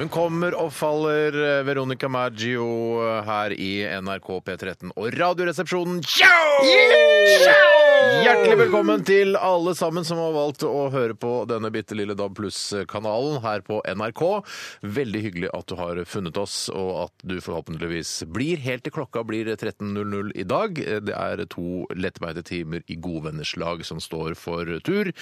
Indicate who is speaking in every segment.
Speaker 1: Hun kommer og faller, eh, Veronica Maggio, eh, her i NRK P13 og Radioresepsjonen. Tjau! Hjertelig velkommen til alle sammen som har valgt å høre på denne bitte lille DAB Pluss-kanalen her på NRK. Veldig hyggelig at du har funnet oss, og at du forhåpentligvis blir helt til klokka blir 13.00 i dag. Eh, Det er to lettbeinte timer i godvenners lag som står for tur.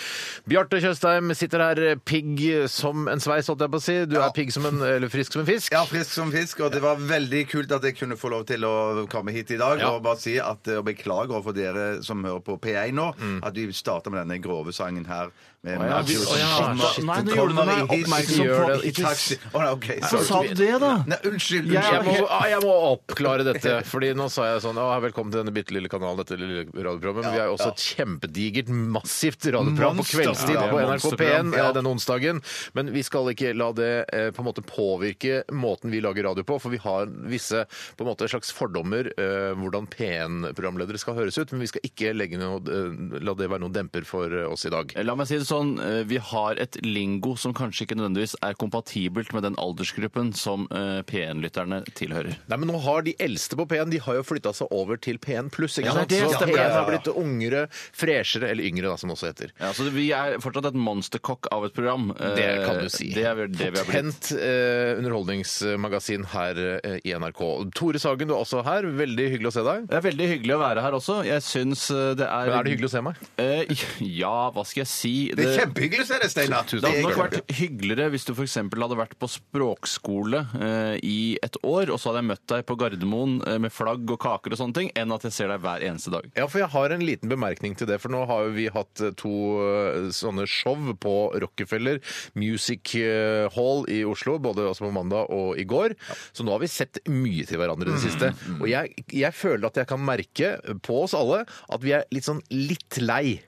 Speaker 1: Bjarte Tjøstheim sitter her pigg som en sveis, holdt jeg på å si. Du er pigg som en, eller frisk som en fisk.
Speaker 2: Ja, frisk som fisk, og det var veldig kult at jeg kunne få lov til å komme hit i dag
Speaker 1: Ja.
Speaker 2: og bare si at eh, og beklager overfor dere som hører på P1 nå,
Speaker 3: Mm.
Speaker 2: at vi starta med denne grove sangen her. Med
Speaker 1: Å ja,
Speaker 2: Mads
Speaker 1: vi-
Speaker 2: Johnsen.
Speaker 1: å ja,
Speaker 2: Kommer-
Speaker 1: shit,
Speaker 3: Nei, nå gjorde du
Speaker 2: kommer
Speaker 3: meg
Speaker 2: i hiss-
Speaker 3: oppmerksom
Speaker 1: gjør
Speaker 3: på
Speaker 1: det.
Speaker 2: I taxi. Å, nei, ok,
Speaker 3: Så sa
Speaker 2: sorry.
Speaker 3: du det, da?
Speaker 2: Nei, unnskyld.
Speaker 1: Jeg må, ah,
Speaker 2: unnskyld.
Speaker 1: jeg må oppklare dette, fordi nå sa jeg sånn Å, velkommen til denne bitte lille kanalen, dette lille radioprogrammet. Men vi har jo også et kjempedigert, massivt radioprogram på
Speaker 3: Monster-
Speaker 1: kveldstid
Speaker 3: Ja,
Speaker 1: på NRK P1
Speaker 3: monsterprogram, ja.
Speaker 1: eh, denne onsdagen. Men vi skal ikke la det eh, på en måte påvirke måten vi lager radio på, for vi har visse på en måte slags fordommer eh, hvordan P1-programledere skal høres ut, men vi skal ikke legge noe, eh, la det være noen demper for eh, oss i dag.
Speaker 3: La meg si det sånn, eh, vi har et lingo som kanskje ikke nødvendigvis er kompatibelt med den aldersgruppen som eh, P1-lytterne tilhører.
Speaker 1: Nei, men nå har De eldste på P1 de har jo flytta seg over til P1 pluss.
Speaker 3: Ja,
Speaker 1: ikke sant?
Speaker 3: det
Speaker 1: så
Speaker 3: stemmer.
Speaker 1: P1
Speaker 3: Ja,
Speaker 1: har
Speaker 3: ja, ja.
Speaker 1: blitt ungere, freshere, eller yngre, da, som det også heter.
Speaker 3: Ja, så vi er fortsatt et monsterkokk av et program. Eh,
Speaker 1: Det kan du si.
Speaker 3: Det er vel det vi har blitt.
Speaker 1: Potent eh, underholdningsmagasin her eh, i NRK. Tore Sagen, du er også her. Veldig hyggelig å se deg.
Speaker 3: Det er veldig hyggelig å være her også. Jeg syns eh, det er
Speaker 1: Men er det hyggelig å se meg?
Speaker 3: Eh, ja, hva skal jeg si?
Speaker 2: Det er kjempehyggelig å se deg, Steinar.
Speaker 1: Tusen
Speaker 3: Det
Speaker 2: er
Speaker 3: hadde nok
Speaker 2: kjempe-
Speaker 3: vært hyggeligere hvis du f.eks. hadde vært på språkskole eh, i et år, og så hadde jeg møtt deg på Gardermoen eh, med flagg og kaker og sånne ting, enn at jeg ser deg hver eneste dag.
Speaker 1: Ja, for jeg har en liten bemerkning til det. For nå har jo vi hatt eh, to eh, sånne show på Rockefeller Music eh, Hall i Oslo, både altså på mandag og i går. Så nå har vi sett mye til hverandre i det siste. Og jeg, jeg føler at jeg kan merke på oss alle at vi er litt sånn litt lei.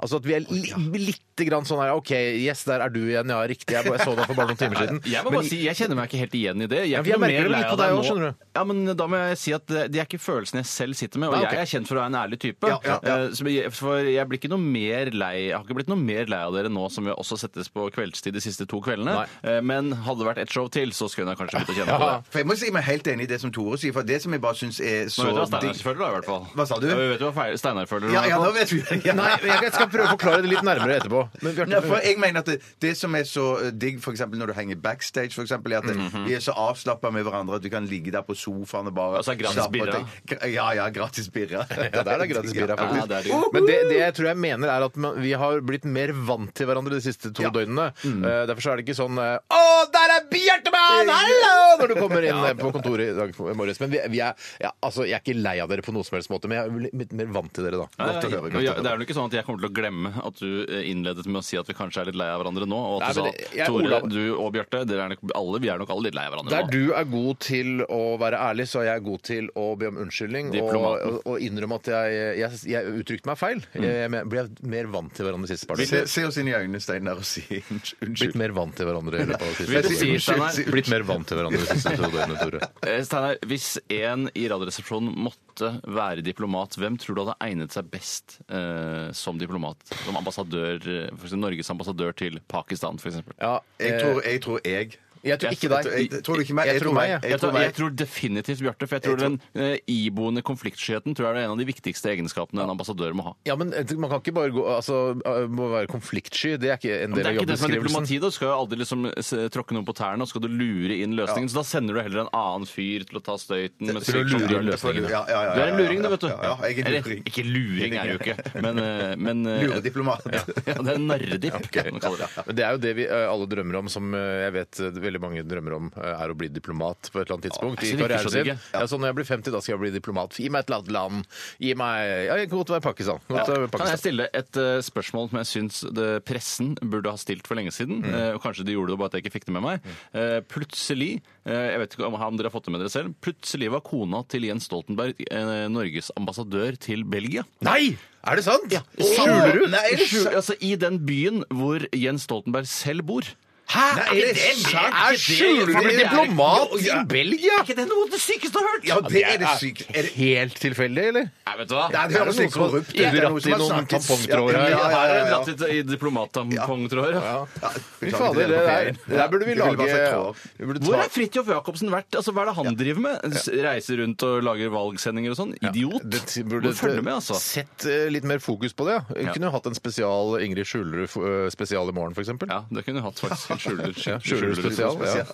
Speaker 1: Altså at vi er li, litt grann sånn her OK, yes, der er du igjen. Ja, riktig. Jeg, bare- jeg så deg for bare noen timer siden.
Speaker 3: Jeg må bare si, jeg kjenner meg ikke helt igjen i det. Jeg,
Speaker 1: Ja,
Speaker 3: er
Speaker 1: for jeg
Speaker 3: ikke noe mer
Speaker 1: merker det
Speaker 3: lei
Speaker 1: litt
Speaker 3: av
Speaker 1: på deg
Speaker 3: deg
Speaker 1: også,
Speaker 3: nå.
Speaker 1: skjønner du.
Speaker 3: Ja, men da må jeg si at det, det er ikke følelsen jeg selv sitter med, og
Speaker 1: Nei, ok.
Speaker 3: jeg er kjent for å være en ærlig type.
Speaker 1: Ja, ja, ja.
Speaker 3: Eh, så jeg- For jeg blir ikke noe mer lei Jeg har ikke blitt noe mer lei av dere nå som vi også settes på kveldstid de siste to kveldene.
Speaker 1: Nei.
Speaker 3: Eh, Men hadde det vært et show til, så skulle jeg kanskje begynt å kjenne på
Speaker 1: Ja.
Speaker 3: det.
Speaker 2: For jeg må si meg helt enig i det som Tore sier, for det som jeg bare syns er så
Speaker 3: Nå vet du hva Steinar
Speaker 2: digg-
Speaker 3: føler, da, i hvert fall.
Speaker 2: Hva sa du?
Speaker 3: Ja, vi vet jo hva feil- Steinar føler.
Speaker 2: Ja,
Speaker 3: i
Speaker 2: ja,
Speaker 3: hvert
Speaker 2: nå
Speaker 3: fall.
Speaker 2: vet vi ja.
Speaker 1: Nei, jeg skal prøve å forklare det litt nærmere etterpå. Men Bjarte,
Speaker 2: Nei, for jeg mener at det, det som er så eh, digg for eksempel når du henger backstage, for eksempel, er at vi er så avslappa med hverandre at du kan ligge der på sofaen og bare
Speaker 3: Altså, gratis
Speaker 2: slappe av
Speaker 3: birra.
Speaker 2: ting. Gra- Ja, ja, gratis birra.
Speaker 1: Ja, der er det gratis birra,
Speaker 3: Ja,
Speaker 1: faktisk.
Speaker 3: det er det jo.
Speaker 1: Men det, det jeg tror jeg mener, er at man, vi har blitt mer vant til hverandre de siste to døgnene.
Speaker 3: Mm.
Speaker 1: Eh, derfor så er det ikke sånn eh, Å, der er Bjertemann! Hallo! Når du kommer inn eh, på kontoret i dag morges. Men vi, vi er, ja, altså, jeg er ikke lei av dere på noen som helst måte, men jeg er litt mer vant til dere, da.
Speaker 3: Ja, ja,
Speaker 2: Godt å høre, godt å
Speaker 3: men ja,
Speaker 2: høre.
Speaker 3: Det er jo ikke sånn at jeg kommer til å glemme at du eh, innledet med å si at vi kanskje er litt lei av hverandre nå, og at du
Speaker 1: Nei, men
Speaker 3: sa
Speaker 1: jeg-
Speaker 3: Tore,
Speaker 1: Olav-
Speaker 3: du og Bjarte, dere er nok alle, vi er nok alle litt lei av hverandre
Speaker 1: Der
Speaker 3: nå.
Speaker 1: du er god til å være ærlig, så er jeg god til å be om unnskyldning og,
Speaker 3: Diplomaten. Mm.
Speaker 1: og, og innrømme at jeg, jeg, jeg uttrykte meg feil. Jeg, jeg ble mer vant til hverandre de siste par
Speaker 2: Se,
Speaker 1: dagene.
Speaker 2: se oss inn i øynene, Steinar, og si unnskyld.
Speaker 1: Blitt mer vant til hverandre. i løpet av det siste.
Speaker 3: Vil du
Speaker 1: Jeg
Speaker 3: si,
Speaker 1: sier
Speaker 3: Steinar?
Speaker 1: unnskyld. Blitt mer vant til hverandre de siste to døgnene, Tore.
Speaker 3: Eh, Steinar, hvis en i Radioresepsjonen måtte være diplomat, hvem tror du hadde egnet seg best eh, som diplomat? Som ambassadør, eh, for eksempel Norges ambassadør til Pakistan, f.eks.
Speaker 1: Ja,
Speaker 2: Jeg
Speaker 1: eh,
Speaker 2: tror jeg. Tror jeg.
Speaker 1: jeg tror ikke deg.
Speaker 2: Jeg, tror du ikke meg?
Speaker 1: Jeg tror meg,
Speaker 3: Jeg
Speaker 2: Jeg
Speaker 3: tror,
Speaker 2: tror meg.
Speaker 3: jeg tror definitivt Bjarte, for jeg tror den eh, iboende konfliktskyheten tror jeg er en av de viktigste egenskapene en ambassadør må ha.
Speaker 1: Ja, men eh, Man kan ikke bare gå altså, må være konfliktsky. Det er ikke en
Speaker 3: Men
Speaker 1: del
Speaker 3: det
Speaker 1: av
Speaker 3: er ikke det som er
Speaker 1: jobbeskrivelsen.
Speaker 3: diplomati. da. Du skal jo aldri liksom se- tråkke noen på tærne, og skal du lure inn løsningen. Så da sender du heller en annen fyr til å ta støyten. mens
Speaker 1: til å
Speaker 3: du-
Speaker 1: lure inn
Speaker 3: du-
Speaker 1: løsningen,
Speaker 2: ja. Ja, ja, ja,
Speaker 3: Du er en
Speaker 2: ja,
Speaker 3: luring,
Speaker 2: ja,
Speaker 3: du, vet du.
Speaker 2: ja, ja, jeg er en
Speaker 3: Eller,
Speaker 2: luring.
Speaker 3: Ikke luring er jo ikke, men, eh, men eh,
Speaker 2: Lurediplomat.
Speaker 3: Ja, det er en nerddipp, kan man kalle det.
Speaker 1: Men det er jo det vi eh, alle drømmer om, som eh, jeg vet eh, veldig mange drømmer om, eh, er å bli diplomat på et eller annet tidspunkt.
Speaker 3: Ja,
Speaker 1: i
Speaker 3: det virker
Speaker 1: karrieren
Speaker 3: sånn
Speaker 1: sin.
Speaker 3: ikke.
Speaker 1: Ja, så når jeg blir 50, da skal jeg bli diplomat. Gi meg et eller annet land. Gi meg Ja, jeg kan godt være Pakistan. Godt være
Speaker 3: Kan jeg
Speaker 1: Pakistan.
Speaker 3: stille et eh, spørsmål som jeg syns det- pressen burde ha stilt for lenge siden? eh, og Kanskje de gjorde det bare at jeg ikke fikk det med meg. Eh, plutselig, eh, jeg vet ikke om om dere har fått det med dere selv, plutselig var kona til Jens Stoltenberg eh, Norges ambassadør til Belgia.
Speaker 1: Nei! Er det sant?
Speaker 3: Skjuler du?
Speaker 4: Nei, er det
Speaker 3: Skjul- altså, I den byen hvor Jens Stoltenberg selv bor.
Speaker 1: Hæ?
Speaker 4: Nei, er det sant?
Speaker 1: Er skjuler du
Speaker 4: Det er-
Speaker 1: diplomat
Speaker 4: Jo, ja.
Speaker 1: i Belgia?
Speaker 3: det noe av det sykeste jeg har hørt?
Speaker 4: Ja, det er det sykt. Er det,
Speaker 1: Helt tilfeldig, eller?
Speaker 3: Nei, vet du hva?
Speaker 4: Nei, det høres litt korrupt ut.
Speaker 1: Ja,
Speaker 4: Det er noe som
Speaker 1: dratt i
Speaker 4: har
Speaker 1: noen
Speaker 4: snakkes.
Speaker 1: tampongtråder
Speaker 4: Ja,
Speaker 1: her.
Speaker 4: ja, ja,
Speaker 3: Her har
Speaker 4: ja,
Speaker 3: jeg
Speaker 4: ja.
Speaker 3: dratt litt i diplomattampongtråder. Ja.
Speaker 4: Ja,
Speaker 1: Fy
Speaker 4: beklager,
Speaker 1: fader, det
Speaker 4: er på
Speaker 1: der,
Speaker 4: ferien.
Speaker 1: det der burde vi
Speaker 4: Du ville bare sagt
Speaker 1: lage
Speaker 4: tråd.
Speaker 1: vi burde
Speaker 3: Hvor
Speaker 1: ta-
Speaker 3: har Fridtjof Jacobsen vært? Altså, Hva er det han driver med? S- Reiser rundt og lager valgsendinger og sånn? Idiot!
Speaker 1: Det
Speaker 3: Må følge med, altså.
Speaker 1: Sett eh, litt mer fokus på det. Ja. Vi
Speaker 3: Ja.
Speaker 1: Kunne jo hatt en spesial Ingrid Skjulerud eh, spesial i morgen, f.eks.
Speaker 3: Ja, det kunne du hatt faktisk. En Skjuler.
Speaker 1: Ja, Skjulerud
Speaker 3: Skjuler-
Speaker 1: spesial. Ja.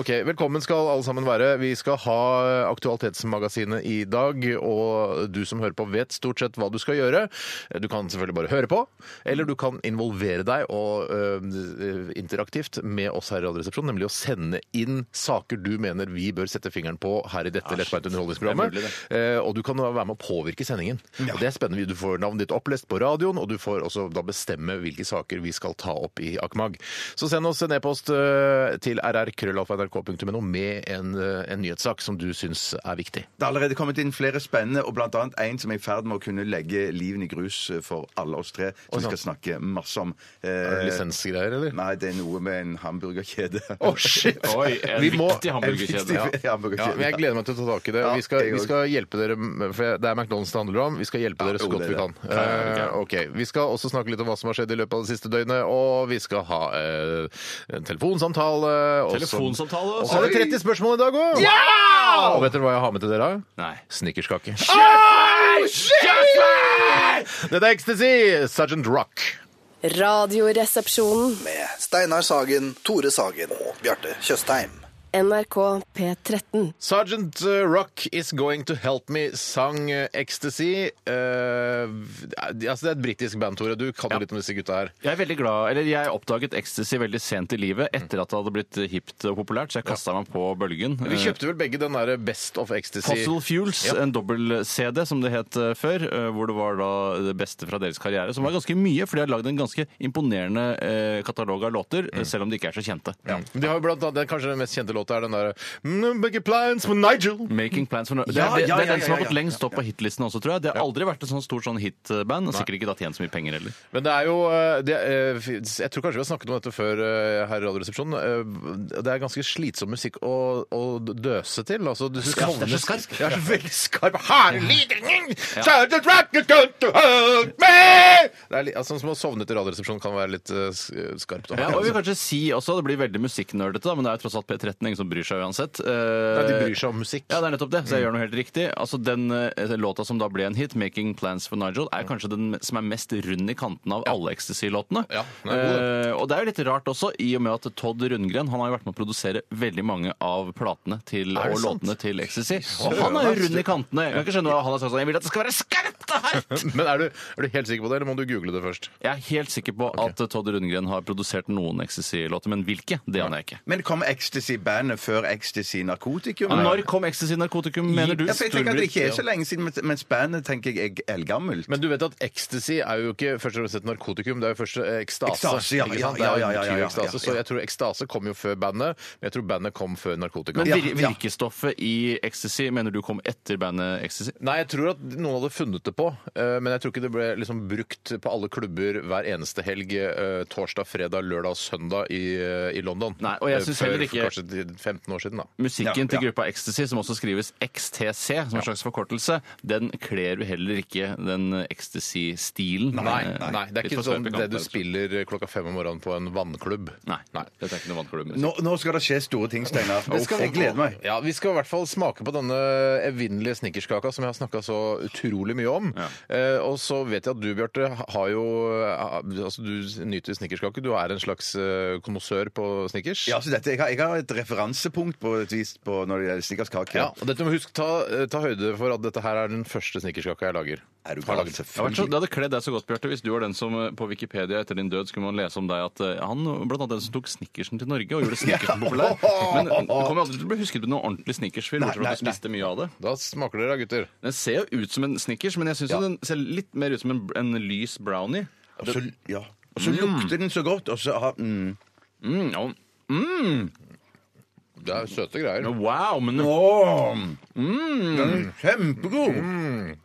Speaker 1: Ok, Velkommen skal alle sammen være. Vi skal ha eh, Aktualitetsmagasinet i dag. Og du som hører på, vet stort sett hva du skal gjøre. Eh, Du kan selvfølgelig bare høre på, eller du kan involvere deg og eh, interaktivt med oss her i Radioresepsjonen, nemlig å sende inn saker du mener vi bør sette fingeren på her i dette lettbeinte underholdningsprogrammet.
Speaker 3: Ah, det er mulig,
Speaker 1: Eh, og du kan da være med å påvirke sendingen. Og det er spennende. Du får navnet ditt opplest på radioen, og du får også da bestemme hvilke saker vi skal ta opp i Akmag. Så send oss en e-post eh, til rrkrøllalfa.nrk.no med en, eh, en nyhetssak som du syns er viktig.
Speaker 4: Det har allerede kommet inn flere spennende, og blant annet en som er i ferd med å kunne legge liven i grus for alle oss tre, som vi
Speaker 1: sant.
Speaker 4: skal snakke masse om.
Speaker 1: Er
Speaker 4: Eh,
Speaker 1: det lisensgreier, eller?
Speaker 4: Nei, det er noe med en hamburgerkjede.
Speaker 1: Å, shit!
Speaker 3: Oi, en
Speaker 1: Vi må-
Speaker 3: viktig hamburgerkjede.
Speaker 4: En
Speaker 3: Ja.
Speaker 4: viktig
Speaker 1: Ja,
Speaker 4: hamburgerkjede.
Speaker 1: men Jeg gleder meg til å ta tak i det.
Speaker 4: Ja,
Speaker 1: Vi skal,
Speaker 4: jeg
Speaker 1: vi
Speaker 4: også.
Speaker 1: skal hjelpe dere, med- for Det er McDonald's det handler om. Vi skal hjelpe dere så
Speaker 4: jo,
Speaker 1: godt
Speaker 4: det
Speaker 1: vi
Speaker 4: er
Speaker 1: kan. Eh, ok, Vi skal også snakke litt om hva som har skjedd i løpet av det siste døgnet. Og vi skal ha eh, en telefonsamtale. og så-
Speaker 3: Telefonsamtale, altså.
Speaker 1: Og så har vi 30 spørsmål i dag òg! Og vet dere hva jeg har med til dere?
Speaker 3: Nei.
Speaker 1: Snickerskake. Ah! Dette er Ecstasy! Sergeant Rock.
Speaker 5: Radioresepsjonen.
Speaker 6: med Steinar Sagen, Tore Sagen og Bjarte Tjøstheim.
Speaker 5: NRK P13.
Speaker 1: Sergeant eh, Rock is going to help me sang eh, Ecstasy. Eh, altså det er et britisk band, Tore. Du kan jo litt om disse gutta her.
Speaker 3: Jeg er veldig glad, eller jeg oppdaget ecstasy veldig sent i livet etter at det hadde blitt hipt og populært, så jeg kasta meg på bølgen. Eh,
Speaker 1: Vi kjøpte vel begge den derre Best of Ecstasy.
Speaker 3: Fossil Fuels, en dobbel-CD som det het eh, før, eh, hvor det var da det beste fra deres karriere, som var ganske mye, for de har lagd en ganske imponerende eh, katalog av låter, eh, selv om de ikke er så kjente.
Speaker 1: Mm.
Speaker 3: Mm.
Speaker 1: Ja. De har jo blant annet, den, kanskje den mest kjente låta er den derre "Mm, Big Plans for Nigel.
Speaker 3: Making Plans for No... Det er,
Speaker 4: Ja,
Speaker 3: det,
Speaker 4: ja,
Speaker 3: det er
Speaker 4: ja,
Speaker 3: den som
Speaker 4: ja,
Speaker 3: har gått
Speaker 4: ja,
Speaker 3: lengst opp på hitlistene også, tror jeg. Det har aldri vært et sånn stort sånn hitband, og sikkert ikke da tjent så mye penger heller.
Speaker 1: Men det er jo eh, det, eh, Jeg tror kanskje vi har snakket om dette før eh, her i Radioresepsjonen. Eh, Det er ganske slitsom musikk å, å døse til. Altså, du
Speaker 3: Skarpt, det er så skarpt.
Speaker 1: Det er så veldig skarp. Herligheten! Sergeant Rock is going to help me! Det er litt, altså, som å sovne til Radioresepsjonen kan være litt eh, s- skarpt.
Speaker 3: Ja, og vi vil kanskje si også, Det blir veldig musikknerdete, da, men det er jo tross alt P13 ingen som bryr seg uansett.
Speaker 1: Nei, de bryr seg om musikk.
Speaker 3: Ja, det er nettopp det, så jeg gjør noe helt riktig. Altså, Den eh, låta som da ble en hit, 'Making Plans for Nigel', er kanskje den som er mest rund i kanten av alle Ecstasy-låtene.
Speaker 1: Ja, den er god, den.
Speaker 3: Eh, og det er jo litt rart også, i og med at Todd Rundgren han har jo vært med å produsere veldig mange av platene til,
Speaker 1: Er det
Speaker 3: og
Speaker 1: sant?
Speaker 3: låtene til Ecstasy. Og han er jo rund i kantene. Jeg kan ikke skjønne hva han har sagt sånn. Jeg vil at det skal være skarpt og hardt!
Speaker 1: Men er du, er du helt sikker på det, eller må du google det først?
Speaker 3: Jeg er helt sikker på at Todd Rundgren har produsert noen Ecstasy-låter, men hvilke? Det aner jeg ikke.
Speaker 4: Men kom Ecstasy-bandet før Ecstasy Narkotikum?
Speaker 3: Men når kom ecstasy narkotikum, mener du?
Speaker 4: Ja, for jeg tenker at det ikke er så lenge siden, men- mens bandet tenker jeg er eldgammelt.
Speaker 1: Men du vet at ecstasy er jo ikke først og fremst et narkotikum, det er jo først eh, ekstase.
Speaker 4: Ekstase, ja,
Speaker 1: ikke
Speaker 4: ja,
Speaker 1: sant?
Speaker 4: ja, ja,
Speaker 1: Det er jo
Speaker 4: ja, ja,
Speaker 1: betyr
Speaker 4: ja,
Speaker 1: ekstase,
Speaker 4: ja, ja.
Speaker 1: Så jeg tror ekstase kom jo før bandet, men jeg tror bandet kom før narkotika.
Speaker 3: Men
Speaker 4: Ja,
Speaker 3: vir
Speaker 4: ja.
Speaker 3: virkestoffet i ecstasy mener du kom etter bandet Ecstasy?
Speaker 1: Nei, jeg tror at noen hadde funnet det på, eh, men jeg tror ikke det ble liksom brukt på alle klubber hver eneste helg eh, torsdag, fredag, lørdag og søndag i, eh, i London.
Speaker 3: Nei, og jeg
Speaker 1: Eh,
Speaker 3: synes
Speaker 1: Før
Speaker 3: heller ikke-
Speaker 1: for Kanskje 15 år siden, da.
Speaker 3: Musikken
Speaker 4: Ja,
Speaker 3: til
Speaker 4: ja.
Speaker 3: gruppa Ecstasy, som også skrives XTC som en slags forkortelse, den kler jo heller ikke den Ecstasy-stilen.
Speaker 1: Nei,
Speaker 3: Eh,
Speaker 1: nei, det er
Speaker 3: litt
Speaker 1: ikke
Speaker 3: for
Speaker 1: sånn
Speaker 3: skarpe
Speaker 1: det du
Speaker 3: kanter. altså.
Speaker 1: spiller klokka fem om morgenen på en vannklubb.
Speaker 3: Nei, dette er ikke noe vannklubb.
Speaker 4: Nå, nå skal det skje store ting, Steinar. Jeg gleder meg.
Speaker 1: Ja, Vi skal i hvert fall smake på denne evinnelige snickerskaka som jeg har snakka så utrolig mye om. Eh, og så vet jeg at du, Bjarte, har jo Altså, du nyter snickerskake. Du er en slags eh, konnoissør på snickers.
Speaker 4: Ja, så dette, jeg, har, jeg har et referansepunkt på et vis på når det gjelder snickerskake.
Speaker 1: Ja, og dette må husk, ta, eh, ta høyde for at dette her er den første snickerskaka jeg lager.
Speaker 2: Er du
Speaker 1: Har
Speaker 2: gal?
Speaker 1: laget-
Speaker 3: Det hadde vært så-
Speaker 2: Selvfølgelig.
Speaker 3: det hadde kledd deg så godt, Bjarte, hvis du var den som eh, på Wikipedia etter din død skulle man lese om deg at eh, han blant annet den som tok snickersen til Norge og gjorde snickersen populær. Men den kommer jo aldri til å bli husket på noen ordentlig snickersfilm, bortsett fra at du spiste mye av det.
Speaker 1: Da smaker dere da, gutter.
Speaker 3: Den ser jo ut som en snickers, men jeg syns den ser litt mer ut som en, en lys brownie.
Speaker 2: Og så, ja. og så lukter den så godt, og så har mm.
Speaker 3: Mm, ja.
Speaker 1: Det er søte greier.
Speaker 3: Men Wow, men,
Speaker 2: Åh, Den er kjempegod!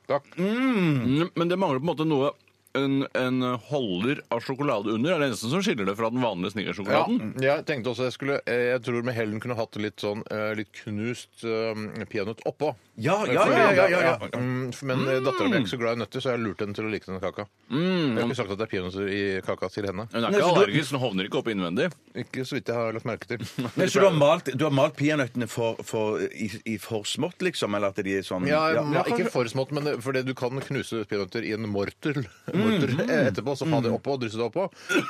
Speaker 1: Takk.
Speaker 3: men det mangler på en måte noe en, en holder av sjokolade under er det eneste som skiller det fra den vanlige
Speaker 1: Ja,
Speaker 3: snickersjokoladen.
Speaker 1: jeg tenkte også jeg skulle eh, Jeg tror med hellen kunne hatt litt sånn eh, litt knust eh, peanøtt oppå.
Speaker 2: Ja, ja,
Speaker 1: Fordi-
Speaker 2: ja, ja, ja, ja.
Speaker 1: Mm, Men mm. dattera mi er ikke så glad i nøtter, så jeg har lurt henne til å like den kaka. Jeg har ikke sagt at det er peanøtter i kaka til henne.
Speaker 3: Hun er
Speaker 2: Nei,
Speaker 3: ikke
Speaker 2: så du-
Speaker 3: allergisk, så den hovner ikke opp innvendig.
Speaker 1: Ikke så vidt jeg har lagt merke til.
Speaker 2: Men så du har malt, du har malt peanøttene for, for, i, i for smått, liksom? Eller at de er sånn
Speaker 1: Ja,
Speaker 2: ja.
Speaker 1: ma- Ikke for smått, men det- fordi du kan knuse peanøtter i en mortel, mortel eh, etterpå. Så ha det oppå og drysse det oppå.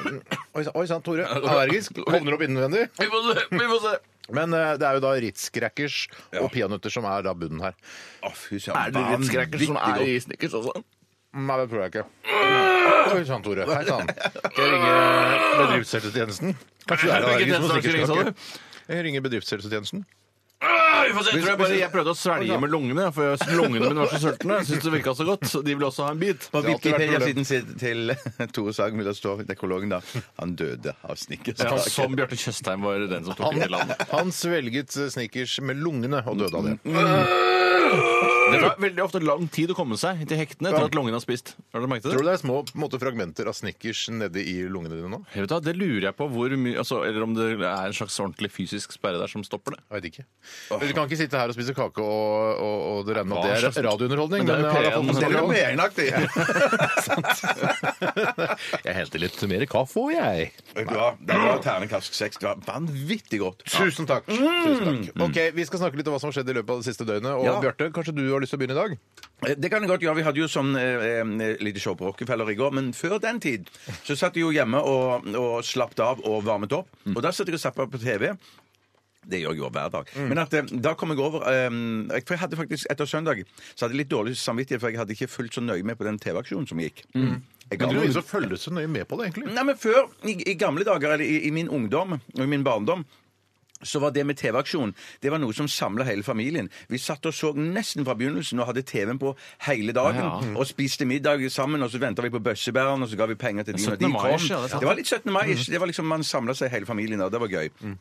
Speaker 1: Mm. Oi sann, oi sann, Tore. Allergisk. Hovner opp innvendig.
Speaker 3: Vi får se! Vi får se.
Speaker 1: Men eh, det er jo da Ritz Crackers og peanøtter som er da bunnen her.
Speaker 2: Å, fy
Speaker 3: Er det
Speaker 2: søren.
Speaker 3: litt skrekker som er
Speaker 2: vanvittig
Speaker 3: i snickers også?
Speaker 1: Mm, Nei, det tror jeg ikke. Oi sann, Tore. Hei sann. Mm. Skal jeg ringe bedriftshelsetjenesten? Kanskje det er
Speaker 3: Hvilken
Speaker 1: allergisk mot
Speaker 3: tjeneste skal jeg ringe, sa du?
Speaker 1: snickerskake. Jeg ringer bedriftshelsetjenesten.
Speaker 3: Vi får se. Jeg tror jeg bare jeg prøvde å svelge med lungene, for jeg- lungene mine var så sultne. Jeg synes det virka så godt. så De ville også ha en bit.
Speaker 2: På
Speaker 1: Det har alltid vært
Speaker 2: Wikipedia-siden sin- til Tore Sagemiller står nekologen da Han døde av
Speaker 3: Ja,
Speaker 2: snickerskake.
Speaker 3: som Bjarte Tjøstheim var den som tok
Speaker 1: Han,
Speaker 3: det landet.
Speaker 1: han svelget eh, Snickers med lungene og døde av det.
Speaker 3: Det tar veldig ofte lang tid å komme seg til hektene etter at lungene har spist. Har dere merket det?
Speaker 1: Tror du det er små på en måte, fragmenter av Snickers nedi i lungene dine nå?
Speaker 3: Jeg vet da, det lurer jeg på hvor mye altså, Eller om det er en slags ordentlig fysisk sperre der som stopper det.
Speaker 1: Jeg vet ikke. Men Du kan ikke sitte her og spise kake og, og, og det regner med
Speaker 3: Hva
Speaker 1: at det
Speaker 3: slags-
Speaker 1: er radiounderholdning.
Speaker 3: Men det er jo
Speaker 1: men jeg har i
Speaker 3: P1
Speaker 1: hvert fall fått
Speaker 2: Det er jo
Speaker 1: kontroll.
Speaker 2: megenaktig!
Speaker 1: Jeg henter litt mer kaffe, og jeg.
Speaker 2: Vet du hva? Det var ternekast seks. Det var vanvittig godt.
Speaker 1: Tusen takk. Ok, Vi skal snakke litt om hva som har skjedd i løpet av det siste døgnet. Og
Speaker 2: Ja.
Speaker 1: Bjarte, kanskje du har lyst til å begynne i dag?
Speaker 2: Eh, Det kan jeg godt gjøre. Vi hadde jo sånn eh, eh, lite show på Rockefeller i går, men før den tid så satt jeg jo hjemme og, og slappet av og varmet opp.
Speaker 1: Mm.
Speaker 2: Og da satt jeg og zappa på TV. Det gjør jeg jo hver dag.
Speaker 1: Mm.
Speaker 2: Men at, eh, da kom jeg over eh, For jeg hadde faktisk etter søndag så hadde jeg litt dårlig samvittighet, for jeg hadde ikke fulgt så nøye med på den TV-aksjonen som gikk. Jeg ga
Speaker 1: Mm. Du
Speaker 2: meg-
Speaker 1: viser å følge så nøye med på det, egentlig.
Speaker 2: Nei, men før, i, i gamle dager, eller i, i min ungdom og i min barndom, så var det med TV-aksjon det var noe som samla hele familien. Vi satt og så nesten fra begynnelsen og hadde TV-en på hele dagen. Og spiste middag sammen, og så venta vi på bøssebæren, og så ga vi penger til de når
Speaker 3: 17.
Speaker 2: de
Speaker 3: mai,
Speaker 2: kom.
Speaker 3: ja, det er sant.
Speaker 2: Det var litt 17. mai.
Speaker 1: Mhm.
Speaker 2: Det var liksom, Man samla seg hele familien, og det var gøy.
Speaker 1: Mm.